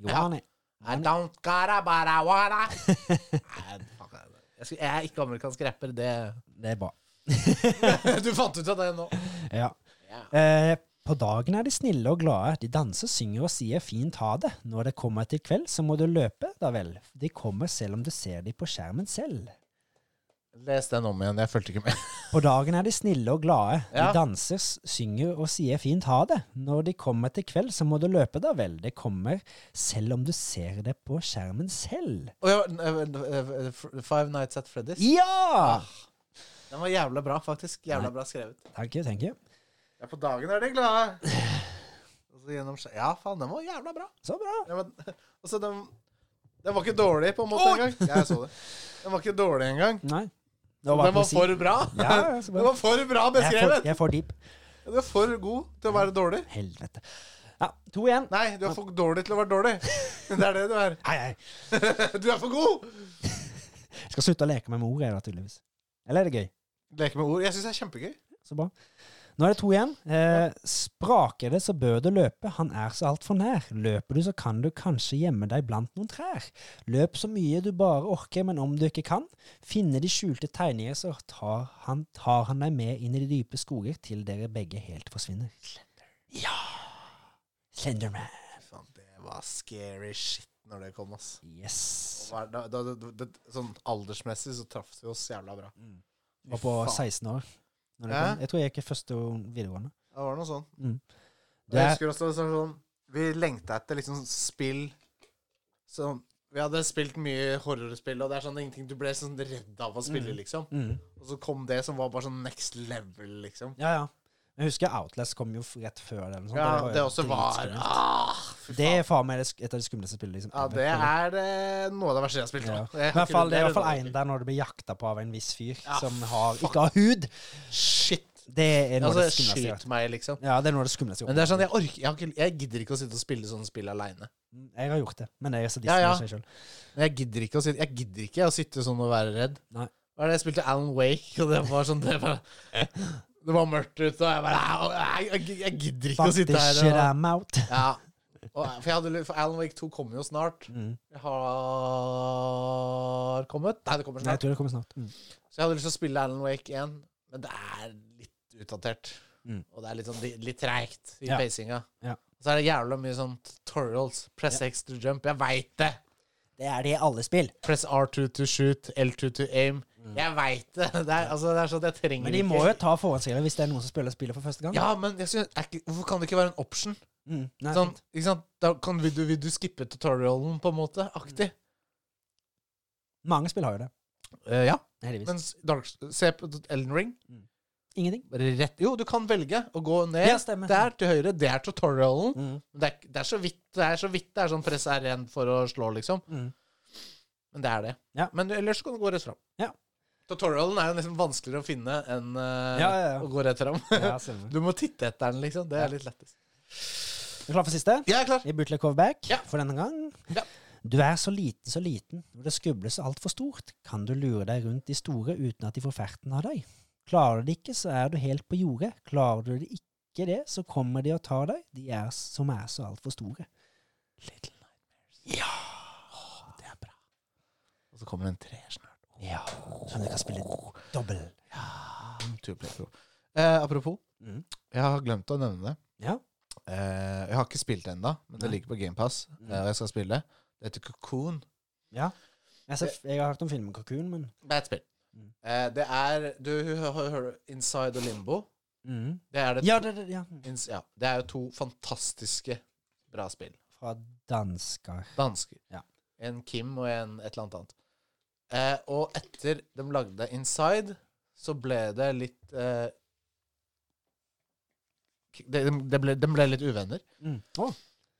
B: You
A: Ja.
B: want it.
A: I don't gotta, but I wanna. [LAUGHS] Nei, fuck det. jeg, skal, jeg er ikke amerikansk rapper, det
B: Det er bra.
A: [LAUGHS] Du fant ut av det nå.
B: Ja.
A: Ja.
B: Eh, på dagen er de snille og glade. De danser, synger og sier fint ha det. Når det kommer til kveld, så må du løpe, da vel. De kommer selv om du ser de på skjermen selv.
A: Les den om igjen, jeg fulgte ikke med.
B: På dagen er de snille og glade.
A: Ja.
B: De danser, s- synger og sier fint ha det. Når de kommer til kveld, så må du løpe, da vel. De kommer selv om du ser det på skjermen selv.
A: Å, ja, eh, eh, eh, Five Nights at Freddy's.
B: Ja!
A: Ah. Den var jævla bra, faktisk. Jævla bra skrevet.
B: Thank you, thank you.
A: Ja, på dagen er de [SIGHS] glade. Og så gjennom skje- Ja, faen, den var jævla bra.
B: Så bra.
A: Den var, [LAUGHS] altså, den, den var ikke dårlig på en måte engang. Jeg [LAUGHS] så det. Den var ikke dårlig engang.
B: Nei. Det
A: Den var
B: poesi.
A: for bra.
B: Ja, ja, så
A: [LAUGHS]
B: bra.
A: Den var for bra
B: Jeg er for-
A: beskrevet.
B: Jeg er for deep.
A: Du er for god til å være dårlig.
B: Helvete. Ja, to igjen.
A: Nei, du er for dårlig til å være dårlig. [LAUGHS] Det er det du er. [LAUGHS]
B: Nei, nei.
A: Du er for god!
B: Jeg skal slutte å leke med mor, jeg, da, tydeligvis. Eller er det gøy?
A: Leke med ord. Jeg syns det er kjempegøy.
B: Så bra. Nå er det to igjen. Eh, spraker det, så bør du løpe. Han er så altfor nær. Løper du, så kan du kanskje gjemme deg blant noen trær. Løp så mye du bare orker, men om du ikke kan, finne de skjulte tegninger, så tar han, tar han deg med inn i de dype skoger til dere begge helt forsvinner. Ja! Slenderman.
A: Faen, det var scary shit når det kom, ass.
B: Yes.
A: Da, da, da, da, sånn aldersmessig så traff vi oss jævla bra.
B: Mm. Var på
A: Fy faen.
B: 16 år. Når det
A: Hæ?
B: kom. Jeg tror jeg gikk i første videregående.
A: Det var noe sånn.
B: Mm.
A: Jeg
B: Det-
A: husker også det var sånn Vi lengta etter liksom spill som Vi hadde spilt mye horrorspill, og det er sånn ingenting du ble sånn redd av å spille,
B: Mm.
A: liksom. Og så kom det som var bare sånn next level, liksom.
B: Ja, ja. Jeg husker Outlast kom jo f- rett før sånn. det. eller noe sånt.
A: Ja,
B: jo
A: det også var
B: dritskummelt.
A: ah, fy
B: Det
A: faen.
B: er faen meg det sk- et av de skumleste spillene. Liksom,
A: Ja,
B: ever.
A: det er eh, noe av det verste jeg har spilt. nå.
B: Ja. I
A: Jeg har
B: hvert
A: ikke
B: fall, det er i
A: rundt
B: hvert fall
A: det,
B: en der når du blir jakta på av en viss fyr
A: Ja,
B: som har, ikke har hud.
A: Shit.
B: Det er noe av
A: Altså,
B: det skumleste. jeg vet.
A: skyt meg, liksom.
B: Ja, det er noe av det skumleste. jeg
A: Men
B: vet.
A: det er sånn, jeg orker Jeg, har ikke, jeg gidder ikke å sitte og spille sånne spill aleine.
B: Jeg har gjort det, men jeg er sadist
A: Ja, ja.
B: i seg selv.
A: Jeg gidder ikke å sitte Jeg gidder ikke å sitte sånn og være redd.
B: Nei.
A: Hva er det jeg spilte Alan Wake, og det var sånn Det var, [LAUGHS] det var mørkt ute, og jeg bare "Au, Jeg, jeg, jeg gidder ikke
B: Fuck
A: å sitte
B: this
A: her.
B: shit,
A: Og,
B: I'm out.
A: ja. og, for, jeg hadde, lyst- for Alan Wake 2 kommer jo snart.
B: Mm.
A: Jeg har kommet. Nei, det kommer
B: Nei, jeg
A: snart.
B: tror det kommer snart. Mm.
A: Så jeg hadde lyst til å spille Alan Wake 1, men det er litt utdatert.
B: Mm.
A: Og det er litt, sånn, li- litt treigt i
B: Ja.
A: pacinga.
B: Ja.
A: Så er det jævla mye sånn tutorials. Press X to jump. Jeg veit det!
B: Det er det i alle spill.
A: Press R2 to shoot, L2 to aim. Jeg veit det! [LAUGHS] Det er, altså, det er sånn at jeg trenger
B: Mm. Men de må jo ta forhåndsregler hvis det er noen som spiller spillet for første gang.
A: Ja, men jeg synes, er ikke, hvorfor kan det ikke være en option?
B: Mm. Nei,
A: Sånn,
B: fint.
A: ikke sant? Da kan, vil, du, vil du skippe tutorialen, på en måte? Aktig.
B: Mange spill har jo det.
A: Eh, ja.
B: Heldigvis.
A: Mens Dark, se på Elden Ring.
B: Ingenting.
A: Bare rett Jo, du kan velge å gå ned
B: Ja, stemmer.
A: der til høyre. Det er tutorialen.
B: Mm.
A: Men Det er, det er så vidt det er så vidt det er sånn press R1 for å slå, liksom.
B: Mm.
A: Men det er det.
B: Ja.
A: Men ellers kan du gå rett fram.
B: Ja.
A: Tutorialen er jo nesten vanskeligere å finne enn eh,
B: Ja, ja, ja.
A: å gå rett fram. [LAUGHS]
B: Ja, stemmer.
A: Du må titte etter den, liksom. Det
B: Ja.
A: er litt lettest.
B: Er du klar for siste?
A: Jeg er klar.
B: I Bootleg Coverback
A: Ja.
B: for denne gang.
A: Ja.
B: Du er så liten, så liten, når det skubles altfor stort, kan du lure deg rundt de store uten at de får ferten av deg. Klarer du det ikke, så er du helt på jordet. Klarer du det ikke det, så kommer de og tar deg, de er, som er så altfor store. Little Nightmares. Ja! det er bra.
A: Og så kommer det en treer snart.
B: Ja. Sånn at du kan spille dobbel.
A: Two play pro. Eh, apropos,
B: Mm.
A: jeg har glemt å nevne det.
B: Ja.
A: Eh, jeg har ikke spilt det ennå, men det
B: Nei.
A: ligger på GamePass.
B: Mm.
A: Og jeg skal spille. Det heter Cocoon.
B: Jeg, ser, jeg har hørt om filmen Cocoon, men
A: Det er et spill.
B: Mm.
A: Eh, det er Du hø- hø- hører Inside og Limbo.
B: mm.
A: Det er det
B: Ja, det, det, ja.
A: Ins- Ja, det er jo to fantastiske bra spill.
B: Fra dansker.
A: Dansker.
B: Ja.
A: En Kim og en et eller annet annet. Eh, og etter de lagde Inside, så ble det litt eh, k- det- de, de, ble, de ble litt uvenner.
B: Mm. Å,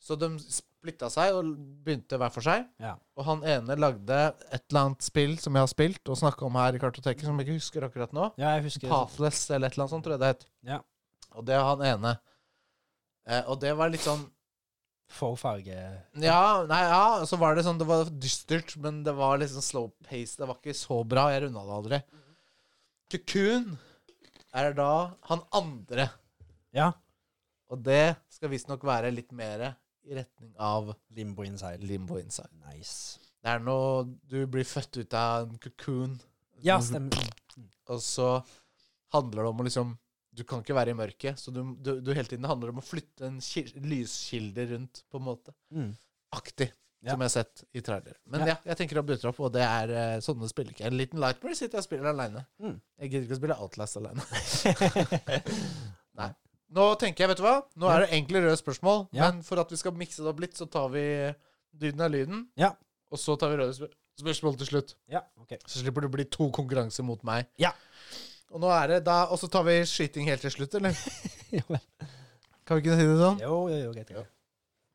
A: Så de splitta seg og begynte hver for seg.
B: ja.
A: Og han ene lagde et eller annet spill som jeg har spilt og snakka om her i kartoteket, som jeg ikke husker akkurat nå.
B: ja, jeg husker
A: Pathless eller et eller annet sånt, tror jeg det het.
B: Ja.
A: Og det er han ene. Eh, og det var litt sånn
B: For farge
A: Ja, nei, ja, så var det sånn Det var dystert, men det var liksom slow pace. Det var ikke så bra. Jeg runda det aldri. Cocoon er da han andre,
B: Ja.
A: og det skal visstnok være litt mer i retning av
B: Limbo inside.
A: limbo inside.
B: Nice.
A: Det er når du blir født ut av en cocoon,
B: Ja, stemmer.
A: og så handler det om å liksom Du kan ikke være i mørket, så du, du, du hele tiden handler det om å flytte en kil- lyskilde rundt, på en måte.
B: Mm.
A: aktig
B: Ja.
A: som jeg har sett i trailer. Men
B: Ja.
A: ja, jeg tenker å bryte opp, og det er eh, sånne spiller ikke. En liten Lightmare sitter jeg og spiller aleine.
B: Mm.
A: Jeg gidder ikke å spille Outlast aleine.
B: [LAUGHS]
A: Nei. Nå tenker jeg, vet du hva? Nå er det enkle røde spørsmål,
B: Ja.
A: men for at vi skal mikse det opp litt, så tar vi lyden av lyden,
B: Ja.
A: og så tar vi røde spør spørsmål til slutt.
B: Ja, ok.
A: Så slipper det å bli to konkurranser mot meg.
B: Ja.
A: Og nå er det da Og så tar vi skyting helt til slutt, eller? [LAUGHS]
B: Jo, vel.
A: Kan vi ikke si det sånn?
B: jo, jo, jo, greit. greit.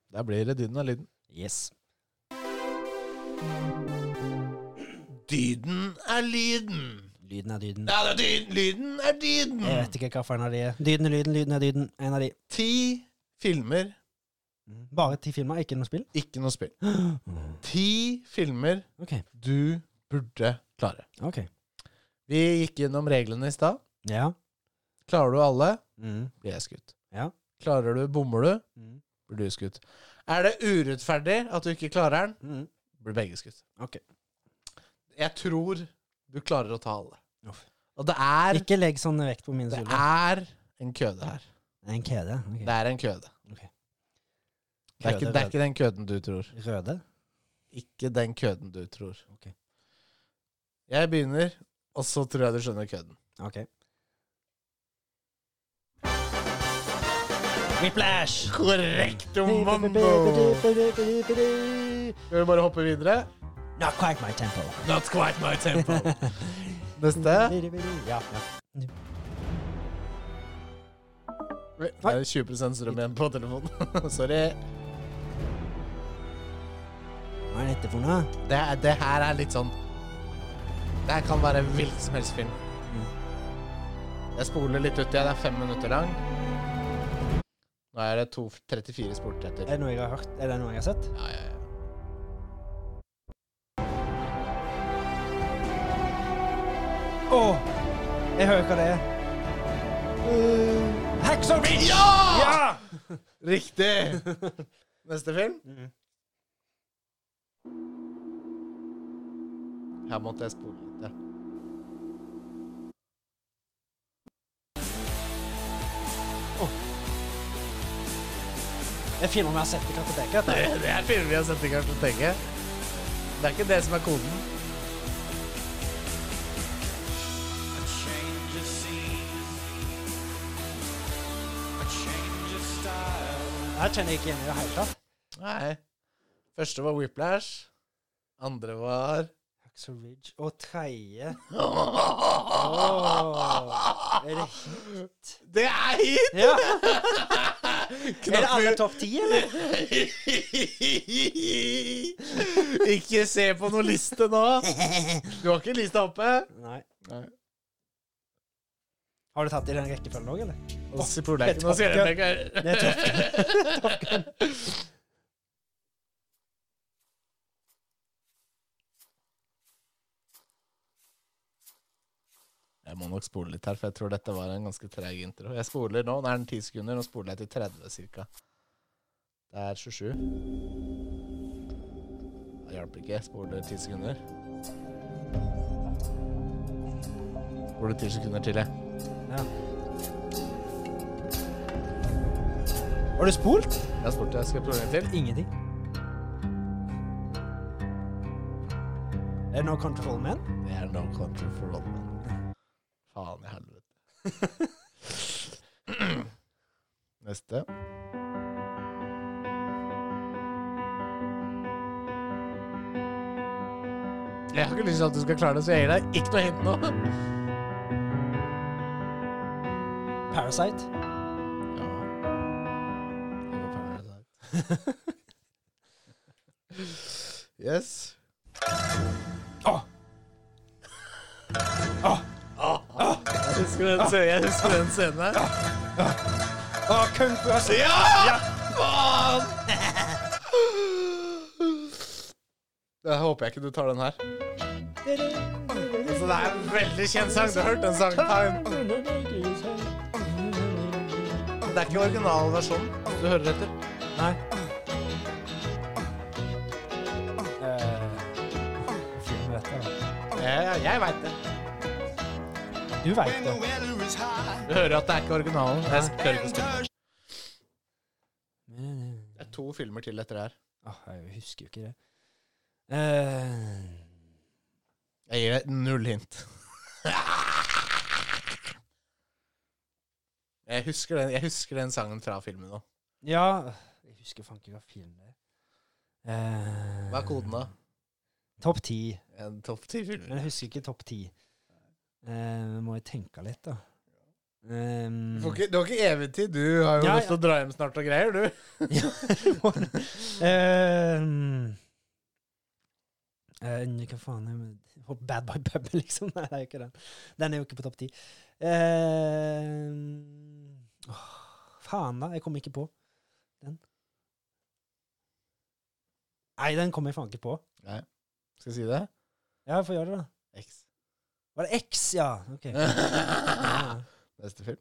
A: Der blir det lyden av lyden.
B: Yes.
A: Dyden er lyden.
B: Lyden er dyden.
A: Ja, det er dyden. Lyden er dyden.
B: Jeg vet ikke hva for en av de er. Dyden er lyden, lyden er dyden. En av de.
A: Ti filmer,
B: Bare ti filmer, ikke noe spill?
A: ikke noe [GASPS] spill. Ti filmer
B: Ok.
A: du burde klare.
B: ok.
A: Vi gikk gjennom reglene i stad.
B: Ja.
A: Klarer du alle,
B: Mm.
A: blir jeg skutt.
B: Ja.
A: Klarer du, bommer du,
B: Mm.
A: blir du skutt. Er det urettferdig at du ikke klarer den,
B: Mm.
A: blir begge skutt.
B: Ok.
A: Jeg tror du klarer å ta alle.
B: Uff.
A: Og det er,
B: Ikke legg sånn vekt på mine
A: det
B: skuldre.
A: er en køde her.
B: En kjede. ok.
A: Det er en køde.
B: Ok.
A: Det er, ikke,
B: Køde,
A: det er ikke den køden du tror.
B: Røde?
A: Ikke den køden du tror.
B: Ok.
A: Jeg begynner, og så tror jeg du skjønner køden.
B: Ok. Whiplash!
A: Korrekt,
B: Bidi, bidi, bidi, bidi, bidi.
A: Skal vi bare hoppe videre?
B: Not quite my tempo.
A: Not quite my tempo. [LAUGHS] Neste.
B: Ja, ja.
A: Oi, Det er 20 strøm igjen på telefonen. [LAUGHS] Sorry.
B: Hva er dette for noe?
A: Det, er- det her er litt sånn Det her kan være en hvilken som helst film. Jeg spoler litt ut, ja. Det er fem minutter lang. Nå er det 2.34 spolt etter.
B: Er det noe jeg har hørt? Er det noe jeg har sett?
A: Ja, ja, ja.
B: Å! jeg hører hva det er. Uh, Hacksaw Ridge!
A: Ja! [LAUGHS] Riktig! Neste film? Her måtte jeg spole litt. Ja.
B: Det er filmer vi har sett i kartoteket.
A: Det,
B: dette.
A: det er filmer vi har sett i kartoteket. Det er ikke det som er koden.
B: Det her kjenner jeg ikke igjen i det hele tatt.
A: Nei. Første var Whiplash. Andre var
B: Hacksaw Ridge og tredje
A: Åh.
B: Er det hit?
A: Det er hit!
B: Ja. Er det alle topp ti, eller?
A: ikke se på noen liste nå. Du har ikke lista oppe.
B: Nei.
A: Nei.
B: Har du tatt det i den rekkefølgen òg, eller?
A: Og så spoler jeg ikke. Nå sier jeg det
B: Det er topp ti.
A: ikke. Jeg må nok spole litt her, for jeg tror dette var en ganske treg intro. Jeg spoler nå, nå er den 10 sekunder, nå spoler jeg til 30 cirka. Det er 27. Det hjelper ikke, jeg spoler 10 sekunder. Spoler 10 sekunder til, jeg.
B: Ja. Har du spolt?
A: Jeg har spolt, jeg skal prøve en til.
B: Ingenting. Er det noe Control Man?
A: Det er no country for old men. eh, Faen i helvete. [CLEARS THROAT] Neste. Jeg har ikke lyst til at du skal klare det, så [LAUGHS] jeg gir deg ikke noe hint nå.
B: Parasite?
A: Ja. Det var Paradise Hotel. yes.
B: Åh!
A: Jeg husker den scenen. Jeg husker den scenen her.
B: Åh, Kung Fu Hustle!
A: Ja! Faen! [LAUGHS] Jeg håper jeg ikke du tar den her. Altså, det er en veldig kjent sang. Du har hørt den sangen før. Det er ikke originalversjonen du hører etter.
B: Nei. Eh, filmen vet jeg, da.
A: Jeg, jeg veit det.
B: Du veit det.
A: Du hører at det er ikke originalen. Jeg spør ikke spør. Det er to filmer til etter det her.
B: Åh, jeg husker jo ikke det. Eh,
A: Jeg gir deg null hint. [LAUGHS] Jeg husker, den, jeg husker den sangen fra filmen nå.
B: ja Jeg husker faen ikke hva film det er. Eh,
A: Hva er koden, da?
B: Topp ti.
A: En topp ti filmer.
B: Men jeg husker ikke topp ti. Eh, må jeg tenke litt, da. Um,
A: Du, får ikke, du har ikke evig tid. Du har jo
B: Ja,
A: lyst til å dra hjem snart og greier,
B: [LAUGHS]
A: du.
B: Ehm, eh, Hva faen er det med- Bad Boy Bubble, [LAUGHS] liksom? Nei, det er jo ikke den. Den er jo ikke på topp ti. Ehm, åh, faen, da. Jeg kom ikke på den. Nei, den kom jeg faen ikke på.
A: Skal jeg si det?
B: Ja, få gjøre det, da.
A: X.
B: Var det X, ja? Ok. Ja.
A: Neste film.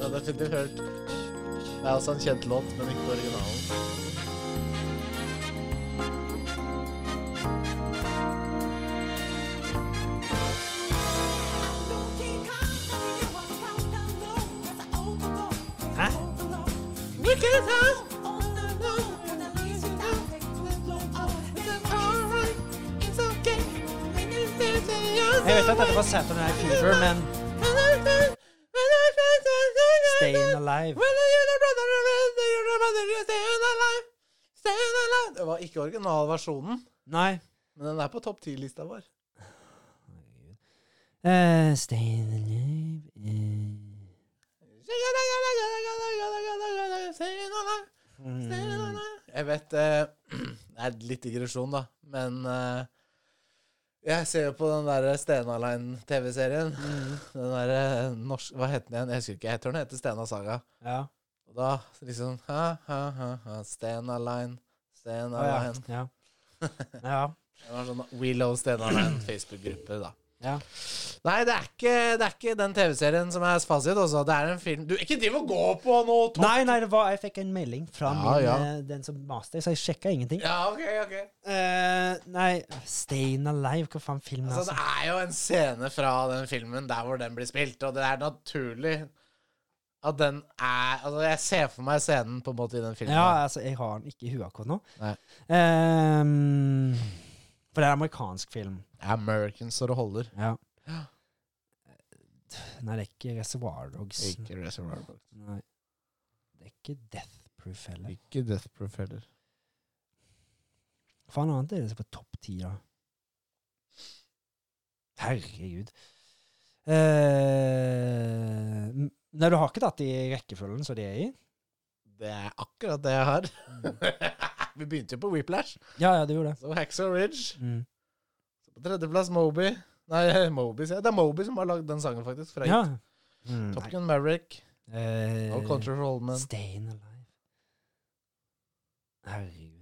A: Ja, det er fint du hørt. Det er også en kjent låt, men ikke originalen.
B: Hæ?
F: Jeg
B: Jeg vet sett dette på Saturday Night Fever, men Stayin' Alive
A: Det var ikke originalversjonen,
B: Nei.
A: men den er på topp ti-lista vår.
B: Uh, Stayin' Alive eh.
A: Mm. Jeg vet eh, [CLEARS THROAT] Det er litt digresjon, da, men eh, jeg ser jo på den derre Stenaline-TV-serien.
B: Mm.
A: Den derre norsk... Hva heter den igjen? Jeg husker ikke. Jeg tror den heter Stena Saga.
B: Ja.
A: Og da liksom ha, ha, ha, ha, Stenaline,
B: Å, ja.
A: Stenaline.
B: ja. ja.
A: Det var sånn We Love Stenaline Facebook-gruppe, da.
B: Ja.
A: Nei, det er ikke, det er ikke den TV-serien som er fasit, altså. Det er en film Du, ikke driv og gå på noe topp!
B: Nei, nei, det var, jeg fikk en melding fra
A: Ja,
B: min,
A: ja.
B: eh, den som master, så jeg sjekka ingenting.
A: Ja, ok, ok.
B: Eh, nei, Stayin' Alive, hva faen filmen
A: Altså,
B: altså,
A: det er jo en scene fra den filmen der hvor den blir spilt, og det er naturlig at den er Altså, jeg ser for meg scenen på en måte i den filmen.
B: Ja, altså, jeg har den ikke i huet akkurat nå.
A: Nei.
B: Ehm, for det er en amerikansk film.
A: American så det holder.
B: Ja. Nei, det er ikke Reservoir Dogs.
A: Ikke Reservoir Dogs.
B: Nei. Det er ikke Death Proof heller.
A: Ikke Death Proof heller.
B: Hva faen annet er det som er på topp ti, da? Herregud. Eh, m- nei, du har ikke tatt det i rekkefølgen som de er i?
A: Det er akkurat det jeg har. [LAUGHS] Vi begynte jo på Whiplash,
B: Ja, ja, du gjorde det.
A: så Haxor Ridge.
B: Mm.
A: Så på tredjeplass Moby. Nei, [LAUGHS] Moby, sier jeg. Det er Moby som har lagd den sangen, faktisk. Fra
B: Ja. Mm,
A: Top Gun Maverick
B: nei. Eh,
A: og Country for Old Men.
B: Stayin' Alive. Herregud.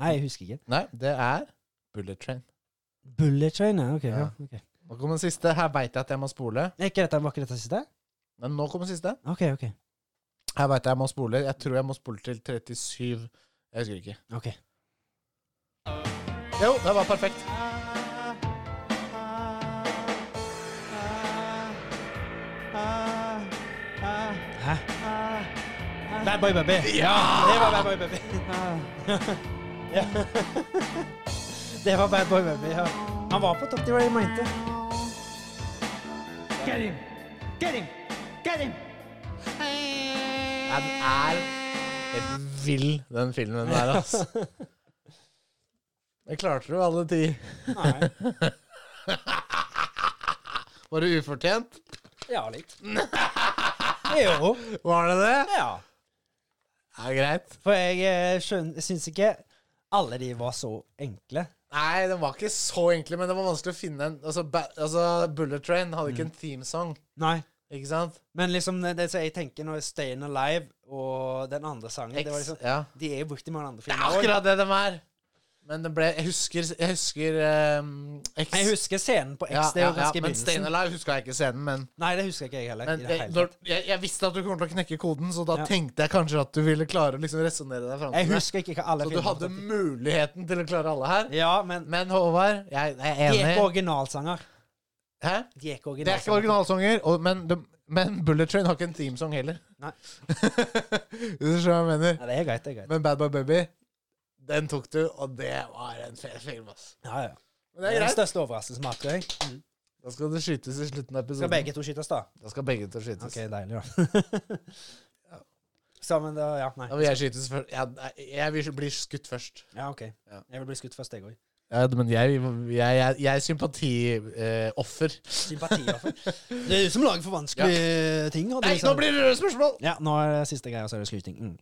B: Nei, jeg husker ikke.
A: Nei, det er Bullet Train.
B: Bullet Train, ja. Ok. Ja.
A: Ja.
B: ok.
A: Nå kommer den siste. Her veit jeg at jeg må spole.
B: Er ikke dette, var ikke dette siste?
A: Men nå kommer den siste.
B: Ok, ok.
A: Her veit jeg jeg må spole. Jeg tror jeg må spole til 37. Jeg husker ikke.
B: Ok.
A: Jo, det var perfekt.
B: Hæ? Bad Boy Baby.
A: Ja!
B: Det var Bad Boy [LAUGHS] Baby. ja. Det var Bad Boy Baby, ja. Han var på topp, det var det jeg mente. Get him! Get him! Get him!
A: Den er helt vill, den filmen der, altså. Det klarte du alle ti.
B: Nei.
A: Var det ufortjent?
B: Ja, litt. [LAUGHS] jo.
A: Var det det?
B: Ja.
A: Ja, greit.
B: For jeg eh, skjøn- jeg syns ikke alle de var så enkle.
A: Nei, den var ikke så enkle, men det var vanskelig å finne en Altså, ba, altså Bullet Train hadde ikke en
B: Mm.
A: themesong,
B: Nei.
A: ikke sant?
B: Men liksom det, det som jeg tenker når Stayin' Alive og den andre sangen det var
A: Ex-
B: liksom,
A: ja.
B: De er jo brukt i mange andre
A: Det er
B: filmer. også.
A: akkurat det de er. Men det ble Jeg husker, jeg husker ehm, X.
B: Jeg husker scenen på X.
A: ja,
B: det er
A: ja,
B: jo
A: ja,
B: ganske i
A: men Stayin'
B: begynnelsen.
A: Alive huska jeg ikke scenen, men,
B: Nei, det husker ikke jeg heller.
A: men
B: i det
A: jeg,
B: hele
A: når,
B: tatt.
A: jeg, jeg visste at du kommer til å knekke koden, så da
B: Ja.
A: tenkte jeg kanskje at du ville klare å liksom resonnere deg fram
B: jeg
A: til det.
B: husker ikke hva alle
A: Så du
B: filmer
A: hadde muligheten til å klare alle her.
B: Ja, men
A: Men Håvard, jeg, jeg
B: de
A: er
B: er ikke
A: enig.
B: originalsanger.
A: Hæ?
B: De er ikke
A: Det er ikke
B: originalsanger.
A: originalsanger, og, men, de, men Bullet Train har ikke en themesong heller.
B: Nei.
A: Hvis [LAUGHS] du skjønner hva jeg mener.
B: Nei, det er greit. det er greit.
A: Men Bad Boy Baby, den tok du, og det var en fet film, ass.
B: Ja, ja.
A: Men
B: Det
A: det
B: er
A: er
B: den
A: greit.
B: største overraskelsen vi har hatt. tror jeg.
A: Da skal det skytes i slutten av
B: Skal
A: episoden.
B: begge to skytes, da?
A: Da skal begge til å skytes.
B: Ok, deilig, da. [LAUGHS] Sammen, da. Ja, nei.
A: Da vil jeg skytes først. Ja, nei, jeg vil bli skutt først.
B: Ja, OK.
A: Ja.
B: Jeg vil bli skutt først, jeg òg.
A: Ja, men jeg, jeg, jeg, jeg er eh, sympatioffer.
B: Sympatioffer. Det er du som lager for vanskelige ting. og det
A: Nei,
B: er
A: nå
B: sånn-
A: blir det røde spørsmål!
B: Ja, nå er det siste greia, så er det skryting. Mm.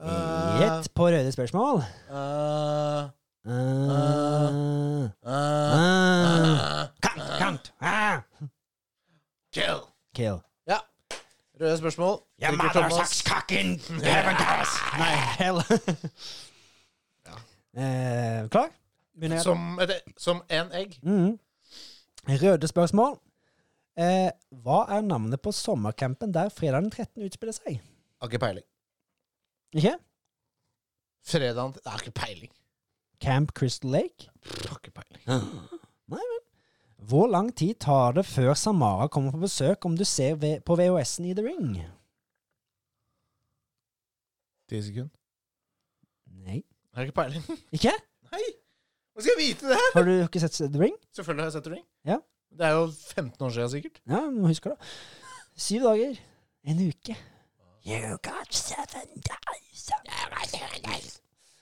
A: Ah.
B: Gjett på røde spørsmål.
A: Eh,
B: Uh,
A: eh,
B: uh,
A: eh,
B: kant, kant. Ah.
A: Kill!
B: Kill.
A: Ja. Røde spørsmål.
E: Your
A: Drikker
E: mother
A: Thomas.
E: sucks cock in heaven does.
B: Nei, hell. Eh, klar? Begynner jeg?
A: Som, et- som en egg.
B: Mhm. Røde spørsmål. Eh, hva er navnet på sommercampen der fredag den 13 utspiller seg?
A: Har ikke peiling.
B: Ikke?
A: Fredagen Jeg Har ikke peiling.
B: Camp Crystal Lake?
A: Har ikke peiling.
B: Nei vel. Hvor lang tid tar det før Samara kommer på besøk om du ser ve- på VHS-en i The Ring?
A: Ti sekunder.
B: Nei.
A: Har ikke peiling. [LAUGHS]
B: Ikke?
A: Nei. Hvordan skal jeg vite det her?
B: Har du ikke sett The Ring?
A: Selvfølgelig har jeg sett The Ring.
B: Ja.
A: Det er jo 15 år siden sikkert.
B: Ja, men husker det. Syv dager. En uke. You got seven days.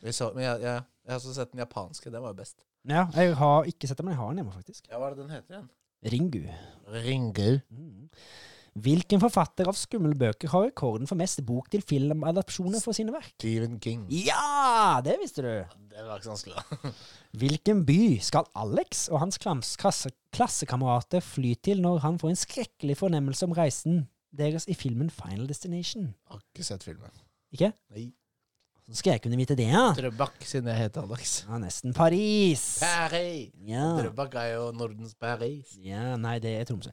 A: Vi så, men jeg, jeg, jeg har også sett den japanske. Den var jo best.
B: Ja, jeg har ikke sett det, men jeg har den hjemme, faktisk.
A: Ja, Hva er det den heter igjen?
B: Ringu.
A: Ringu.
B: Mm. Hvilken forfatter av skummelbøker har rekorden for mest bok til filmadapsjoner for sine verk?
A: Stephen King.
B: Ja, det visste du!
A: Det var ikke så vanskelig. da. [LAUGHS]
B: Hvilken by skal Alex og hans klams klasse klassekamerater fly til når han får en skrekkelig fornemmelse om reisen deres i filmen Final Destination?
A: Jeg har ikke sett filmen.
B: Ikke?
A: Nei.
B: Så skal jeg kunne vite det, ja?
A: Drøbak, siden jeg heter Alex.
B: Ja, nesten Paris!
A: Paris!
B: Ja,
A: Drøbak er jo Nordens Paris.
B: ja nei, det er Tromsø.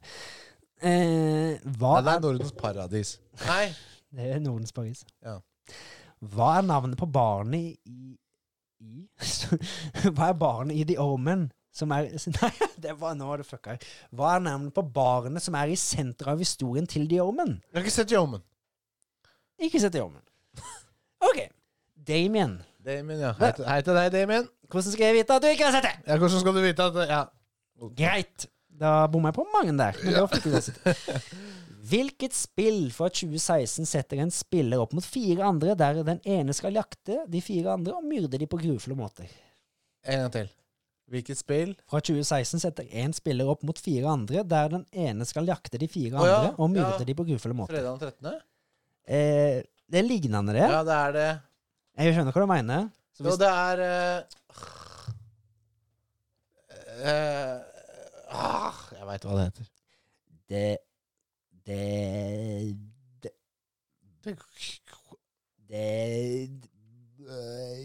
B: Eh, hva
A: Nei, det er
B: er
A: Nordens paradis. Nei.
B: Det er Nordens Paris.
A: Ja.
B: Hva er navnet på barnet i, [LAUGHS] i Hva er barnet i The Omen? Som er [LAUGHS] Nei, det var, nå var det fucka. Hva er navnet på barnet som er i senteret av historien til The Omen?
A: Jeg har ikke sett Yeoman.
B: Ikke sett The Omen. [LAUGHS] OK. Damien.
A: Damien, ja. Hei til, hei til deg, Damien.
B: Hvordan skal jeg vite at du ikke har sett det?
A: Ja, hvordan skal du vite at Ja.
B: Greit. Da bomma jeg på mange der. Men det var fint uansett. [LAUGHS] Hvilket spill fra 2016 setter en spiller opp mot fire andre, der den ene skal jakte de fire andre og myrde de på grufulle måter?
A: En gang til. Hvilket spill?
B: Fra 2016 setter én spiller opp mot fire andre, der den ene skal jakte de
A: Å
B: fire
A: ja,
B: andre og myrde
A: ja.
B: de på grufulle måter.
A: Fredag den 13.?
B: Eh, det er lignende, det.
A: Ja, det er det.
B: Jeg skjønner hva du mener. Så
A: Jo,
B: hvis,
A: det er eh, eh, ah, Jeg veit hva det heter.
B: det, det, det, det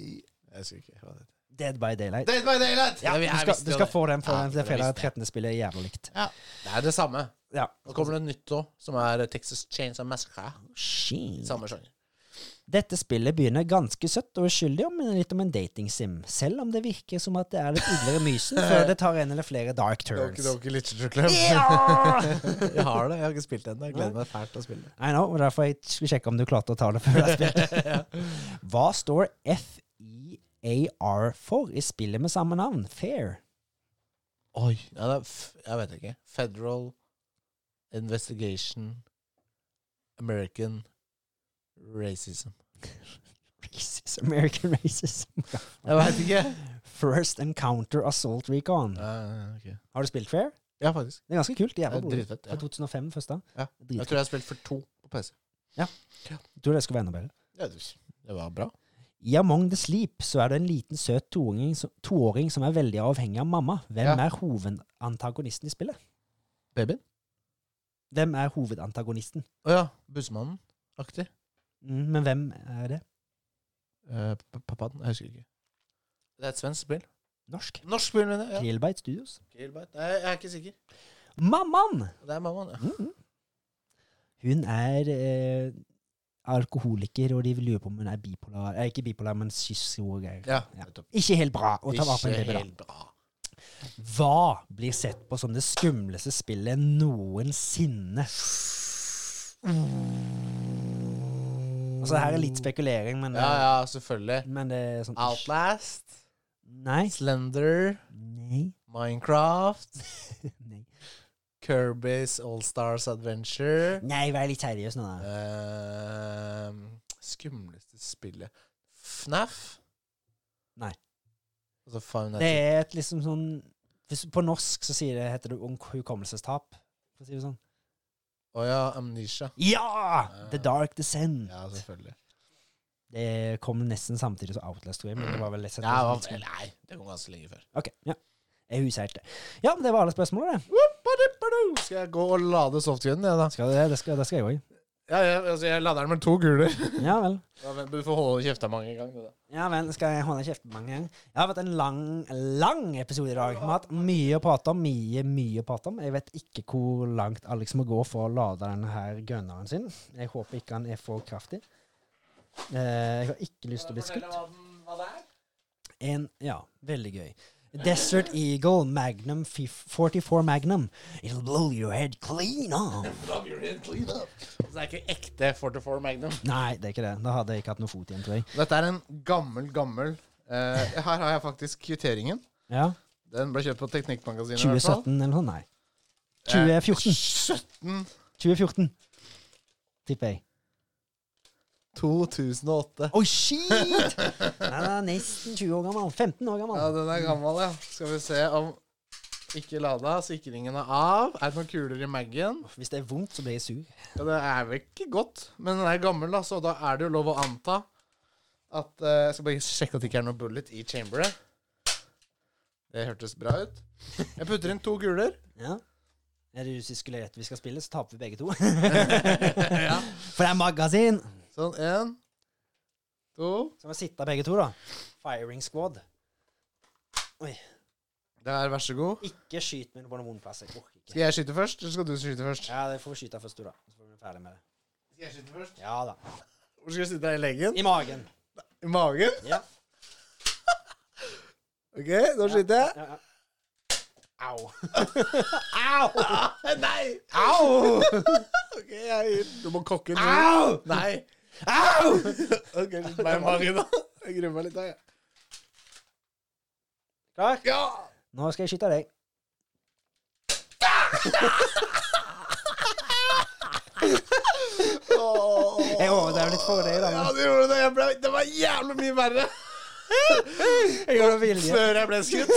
A: Jeg husker ikke hva det heter.
B: Dead by Daylight.
A: Dead by Daylight!
B: Ja,
A: Jeg-
B: du
A: jeg
B: skal,
A: visste
B: du
A: jo
B: skal
A: det.
B: få den for
A: Ja,
B: den, det
A: jeg
B: fredag
A: visste det.
B: 13. spillet er jævlig likt.
A: Ja, det er det samme.
B: Ja.
A: Så kommer det nytt òg, som er Texas Chains of Massacre.
B: Shit.
A: Samme sjanger.
B: Dette spillet begynner ganske søtt og uskyldig og minner litt om en datingsim, selv om det virker som at det er litt udlere
A: [LAUGHS]
B: mysen før det tar en eller flere dark turns.
A: Literature [LAUGHS] Club.
B: [LAUGHS] Ja!
A: jeg har det. Jeg har ikke spilt det ennå. Jeg gleder meg fælt til å spille det.
B: I know, og derfor jeg skulle sjekke om du klarte å ta det før
A: [LAUGHS]
B: du har spilt. Hva står FEAR for i spillet med samme navn? Fair.
A: Oi. Ja, det er f jeg vet ikke. Federal Investigation American Racism.
B: Racist. American racism.
A: Jeg veit [LAUGHS] ikke.
B: First Encounter Assault Recon. Har du spilt Fair?
A: Ja, faktisk.
B: Det er ganske kult. Jævla
A: Det er
B: bra.
A: dritfett, ja.
B: Fra 2005 først da.
A: Ja. Jeg
B: Dritkult.
A: tror jeg har spilt for to på PC.
B: Jeg tror det skulle være enda bedre.
A: Ja, du- Det var bra.
B: I Among the Sleep så er det en liten søt toåring som, toåring som er veldig avhengig av mamma. Hvem
A: Ja.
B: er hovedantagonisten i spillet?
A: Babyen?
B: Hvem er hovedantagonisten?
A: Å ja. Bussmannen-aktig.
B: Mm, men hvem er det?
A: Eh, p- Pappaen? Jeg husker ikke. Det er et svensk spill.
B: Norsk.
A: Norsk spill, mener jeg. Ja.
B: Krillbite Studios.
A: Killbite. Nei, jeg er ikke sikker.
B: Mammaen!
A: Det er mammaen, ja.
B: Mhm. Hun er eh, alkoholiker, og de lurer på om hun er bipolar. Eh, ikke bipolar, men schizogreier.
A: Ja,
B: Ja.
A: nettopp.
B: Ikke helt bra å ta vare på en
A: Ikke
B: baby, da.
A: helt bra.
B: Hva blir sett på som det skumleste spillet noensinne? Altså, her er litt spekulering, men,
A: Ja, ja, selvfølgelig.
B: men det er sånn
A: Outlast,
B: Nei.
A: Slender,
B: Nei. [LAUGHS]
A: Minecraft,
B: Nei,
A: Kirby's All-Stars Adventure
B: Nei vær litt seriøs nå, da.
A: Ehm, Skumleste spillet FNAF?
B: Nei.
A: Altså Five Nights
B: Det
A: at-
B: er et liksom sånn hvis, På norsk så sier det, heter det unk- hukommelsestap. For å si det sånn.
A: Å ja, Amnesia.
B: Ja! The Dark Descent.
A: Ja, selvfølgelig.
B: Det kom nesten samtidig som Outlast, tror jeg. Men det var vel litt sett på
A: Ja,
B: som
A: hva-
B: litt skummelt.
A: nei, det kom ganske lenge før.
B: Ok, ja. Jeg husheilte. Ja, men det var alle spørsmålene, det.
A: Whoop-a-dip-a-doo! Skal jeg gå og lade softgunen, jeg, da?
B: Skal det, det, skal, det skal jeg òg.
A: Ja, jeg, altså, jeg lader den med to kuler.
B: Ja vel.
A: Ja, men du får holde kjefta mange ganger. Da.
B: Ja vel, skal jeg holde kjeft mange ganger? Det har vært en lang, lang episode i dag. Vi har hatt mye å prate om, mye, mye å prate om. Jeg vet ikke hvor langt Alex må gå for å lade denne her gunneren sin. Jeg håper ikke han er for kraftig. Eh, Jeg har ikke lyst til å bli skutt. En, ja, veldig gøy. Desert Eagle Magnum fif- 44 Magnum. It'll blow your head clean off.
A: Så Altså, det er ikke ekte 44 Magnum.
B: Nei, det er ikke det. Da hadde jeg ikke hatt noe fot igjen, tror jeg.
A: Dette er en gammel, gammel eh, Her har jeg faktisk kvitteringen.
B: Ja.
A: Den ble kjøpt på Teknikkmagasinet. i hvert fall.
B: 2017 eller noe sånt? Nei.
A: Eh,
B: 2014.
A: 17.
B: 2014, tipper jeg.
A: 2008.
B: Oi, shit! Den er nesten 20 år gammel. 15 år gammel.
A: Ja, den er gammel, ja. Skal vi se om Ikke lada, sikringen er av. Er det noen kuler i magen?
B: Hvis det er vondt, så blir jeg sur.
A: Ja, det er vel ikke godt, men den er gammel, da, så da er det jo lov å anta at eh, Jeg skal bare sjekke at det ikke er noe bullet i chamberet. Det hørtes bra ut. Jeg putter inn to kuler.
B: Ja. Er det hvis vi skulle gjette vi skal spille, så taper vi begge to. [LAUGHS]
A: Ja.
B: For det er magasin!
A: Sånn, én, to
B: Så må vi sitte begge to, da. Firing squad. Oi.
A: Der, vær så god.
B: Ikke skyt meg på noen vond plass. Jeg orker ikke.
A: Skal jeg skyte først, eller skal du skyte først?
B: Ja, det får vi skyte først, du, da. Så får vi bli ferdig med det.
A: Skal jeg skyte først?
B: Ja da.
A: Hvor skal jeg sitte? I leggen?
B: I magen.
A: I magen?
B: Ja.
A: OK, da skyter jeg.
B: ja, ja. Au. Au!
A: [LAUGHS] Nei!
B: Au!
A: [LAUGHS] OK, jeg gir Du må kokke en tur.
B: Au!
A: Nei. [LAUGHS]
B: Au!
A: OK, skyt meg i magen, da. Jeg gruer meg litt, da. jeg.
B: Klar?
A: Ja!
B: Nå skal jeg skyte deg.
A: [LAUGHS] Åh.
B: Jeg overdrev litt for deg, da.
A: Ja,
B: men
A: det gjorde det. Jeg ble, det var jævlig mye verre
B: Jeg gjorde det med vilje.
A: før jeg ble [LAUGHS] skutt.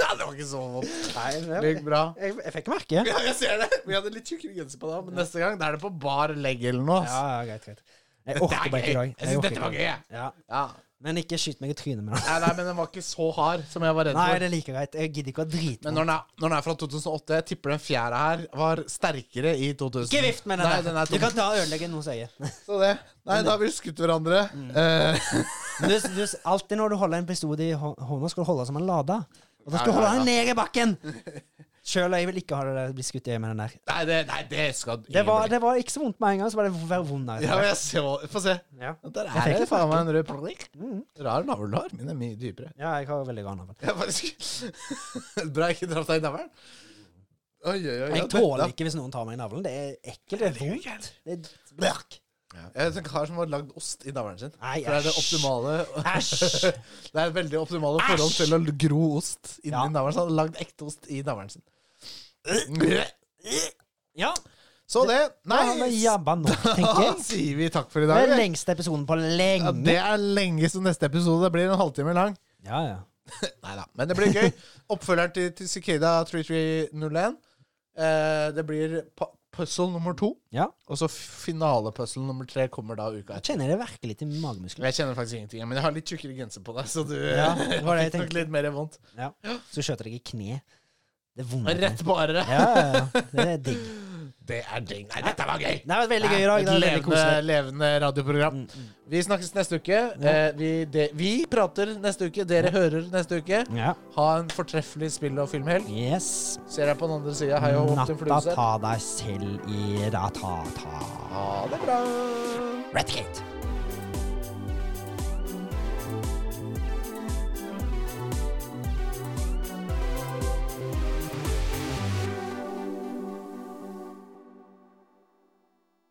A: Ja, det var ikke så vondt.
B: Nei,
A: Det
B: jeg,
A: gikk bra.
B: jeg, jeg fikk merke. Ja,
A: Ja, jeg ser det. Vi hadde litt tjukkere genser på da, men neste gang da er det på bar legg eller noe. ass.
B: ja, greit, greit. Jeg
A: Dette
B: orker
A: er
B: bare ikke i
A: gøy.
B: dag.
A: Jeg synes
B: orker
A: dette
B: ikke
A: var
B: i
A: gøy,
B: dag.
A: jeg.
B: Ja.
A: Ja.
B: Men ikke skyt meg i trynet med det.
A: Nei, nei, men den var ikke så hard som jeg var redd
B: Nei,
A: for.
B: det er like greit. Jeg gidder ikke å drite
A: Men når den, er, når den er fra 2008, jeg tipper den fjerde her var sterkere i 2000.
B: Ikke vift med den
A: Nei,
B: der.
A: den er
B: du
A: tom.
B: kan ta og ødelegge noe som jeg sier.
A: Så det. Nei, da har vi skutt hverandre.
B: Mm.
A: Eh, [LAUGHS]
B: Men Du, du, alltid når du holder en pistol i hå- hånda, skal du holde den som en lada. Og da skal
A: Ja,
B: du
A: ja,
B: holde
A: ja.
B: den ned i bakken! Sjøl jeg vil ikke ha det bli skutt i øyet med den der.
A: nei, det, nei, det skal ingen
B: Det var,
A: bli.
B: det var ikke så vondt med en gang, så var det v- vond der.
A: Ja, men jeg ser, Få se.
B: Ja.
A: Der
B: Jeg
A: er
B: fikk
A: det
B: litt
A: faen meg en rød plakk.
B: Mm.
A: Rar navl du har. Min er mye dypere.
B: ja, jeg har veldig god navn.
A: Jeg faktisk [LAUGHS] Bra jeg ikke traff deg i navlen. Oi, oi, oi. ja,
B: Jeg
A: dette-
B: tåler ikke hvis noen tar meg i navlen. Det er ekkelt. Det er vondt. Det er blørk.
A: Ja. Jeg er en kar som har lagd ost i navlen sin.
B: Nei,
A: For det er det
B: æsj.
A: optimale
B: Æsj!
A: [LAUGHS] Det er et veldig optimale forhold til å gro ost inni
B: Ja. Mm.
A: navlen. Så han har lagd ekte ost i navlen sin.
B: Ja,
A: Så det.
B: da har vi
A: Nei,
B: jabba [LAUGHS] nok, tenker
A: [LAUGHS] da
B: jeg.
A: sier vi takk for i
B: Det
A: dag.
B: er
A: vi.
B: lengste episoden på
A: Ja, det
B: lenge.
A: er lenge som neste episode. Det blir en halvtime lang.
B: Ja, ja.
A: Nei da. Men det blir
B: [LAUGHS]
A: gøy. Oppfølgeren til, til Cicada 3301. Eh, det blir pu- puzzle nummer to.
B: Ja.
A: Og så finalepuzzle nummer tre kommer da uka
B: Jeg
A: etter.
B: kjenner det virkelig til magemusklene.
A: Jeg kjenner faktisk ingenting, men jeg har litt tjukkere genser på deg, så du
B: Ja, det
A: [LAUGHS]
B: var det jeg
A: fikk nok
B: tenkte.
A: litt mer vondt.
B: Ja. Så skjøter jeg i kne. Det er vondt.
A: Rett på arret.
B: Ja, ja, ja. Det er [LAUGHS] digg.
A: Det er ding. Nei, dette var gøy!
B: Det har vært veldig gøy i
A: Et
B: dag. Det er veldig
A: levende,
B: koselig. Mm,
A: levende radioprogram. Vi snakkes neste uke. Eh, vi, de, vi prater neste uke. Dere hører neste uke.
B: Ja.
A: Ha en fortreffelig spill- og filmhelg.
B: Yes.
A: Ser deg på den andre sida. Hei og hopp til
B: Natta
A: fluesett.
B: ta deg selv i ratata.
A: Ha det bra.
B: Redgate.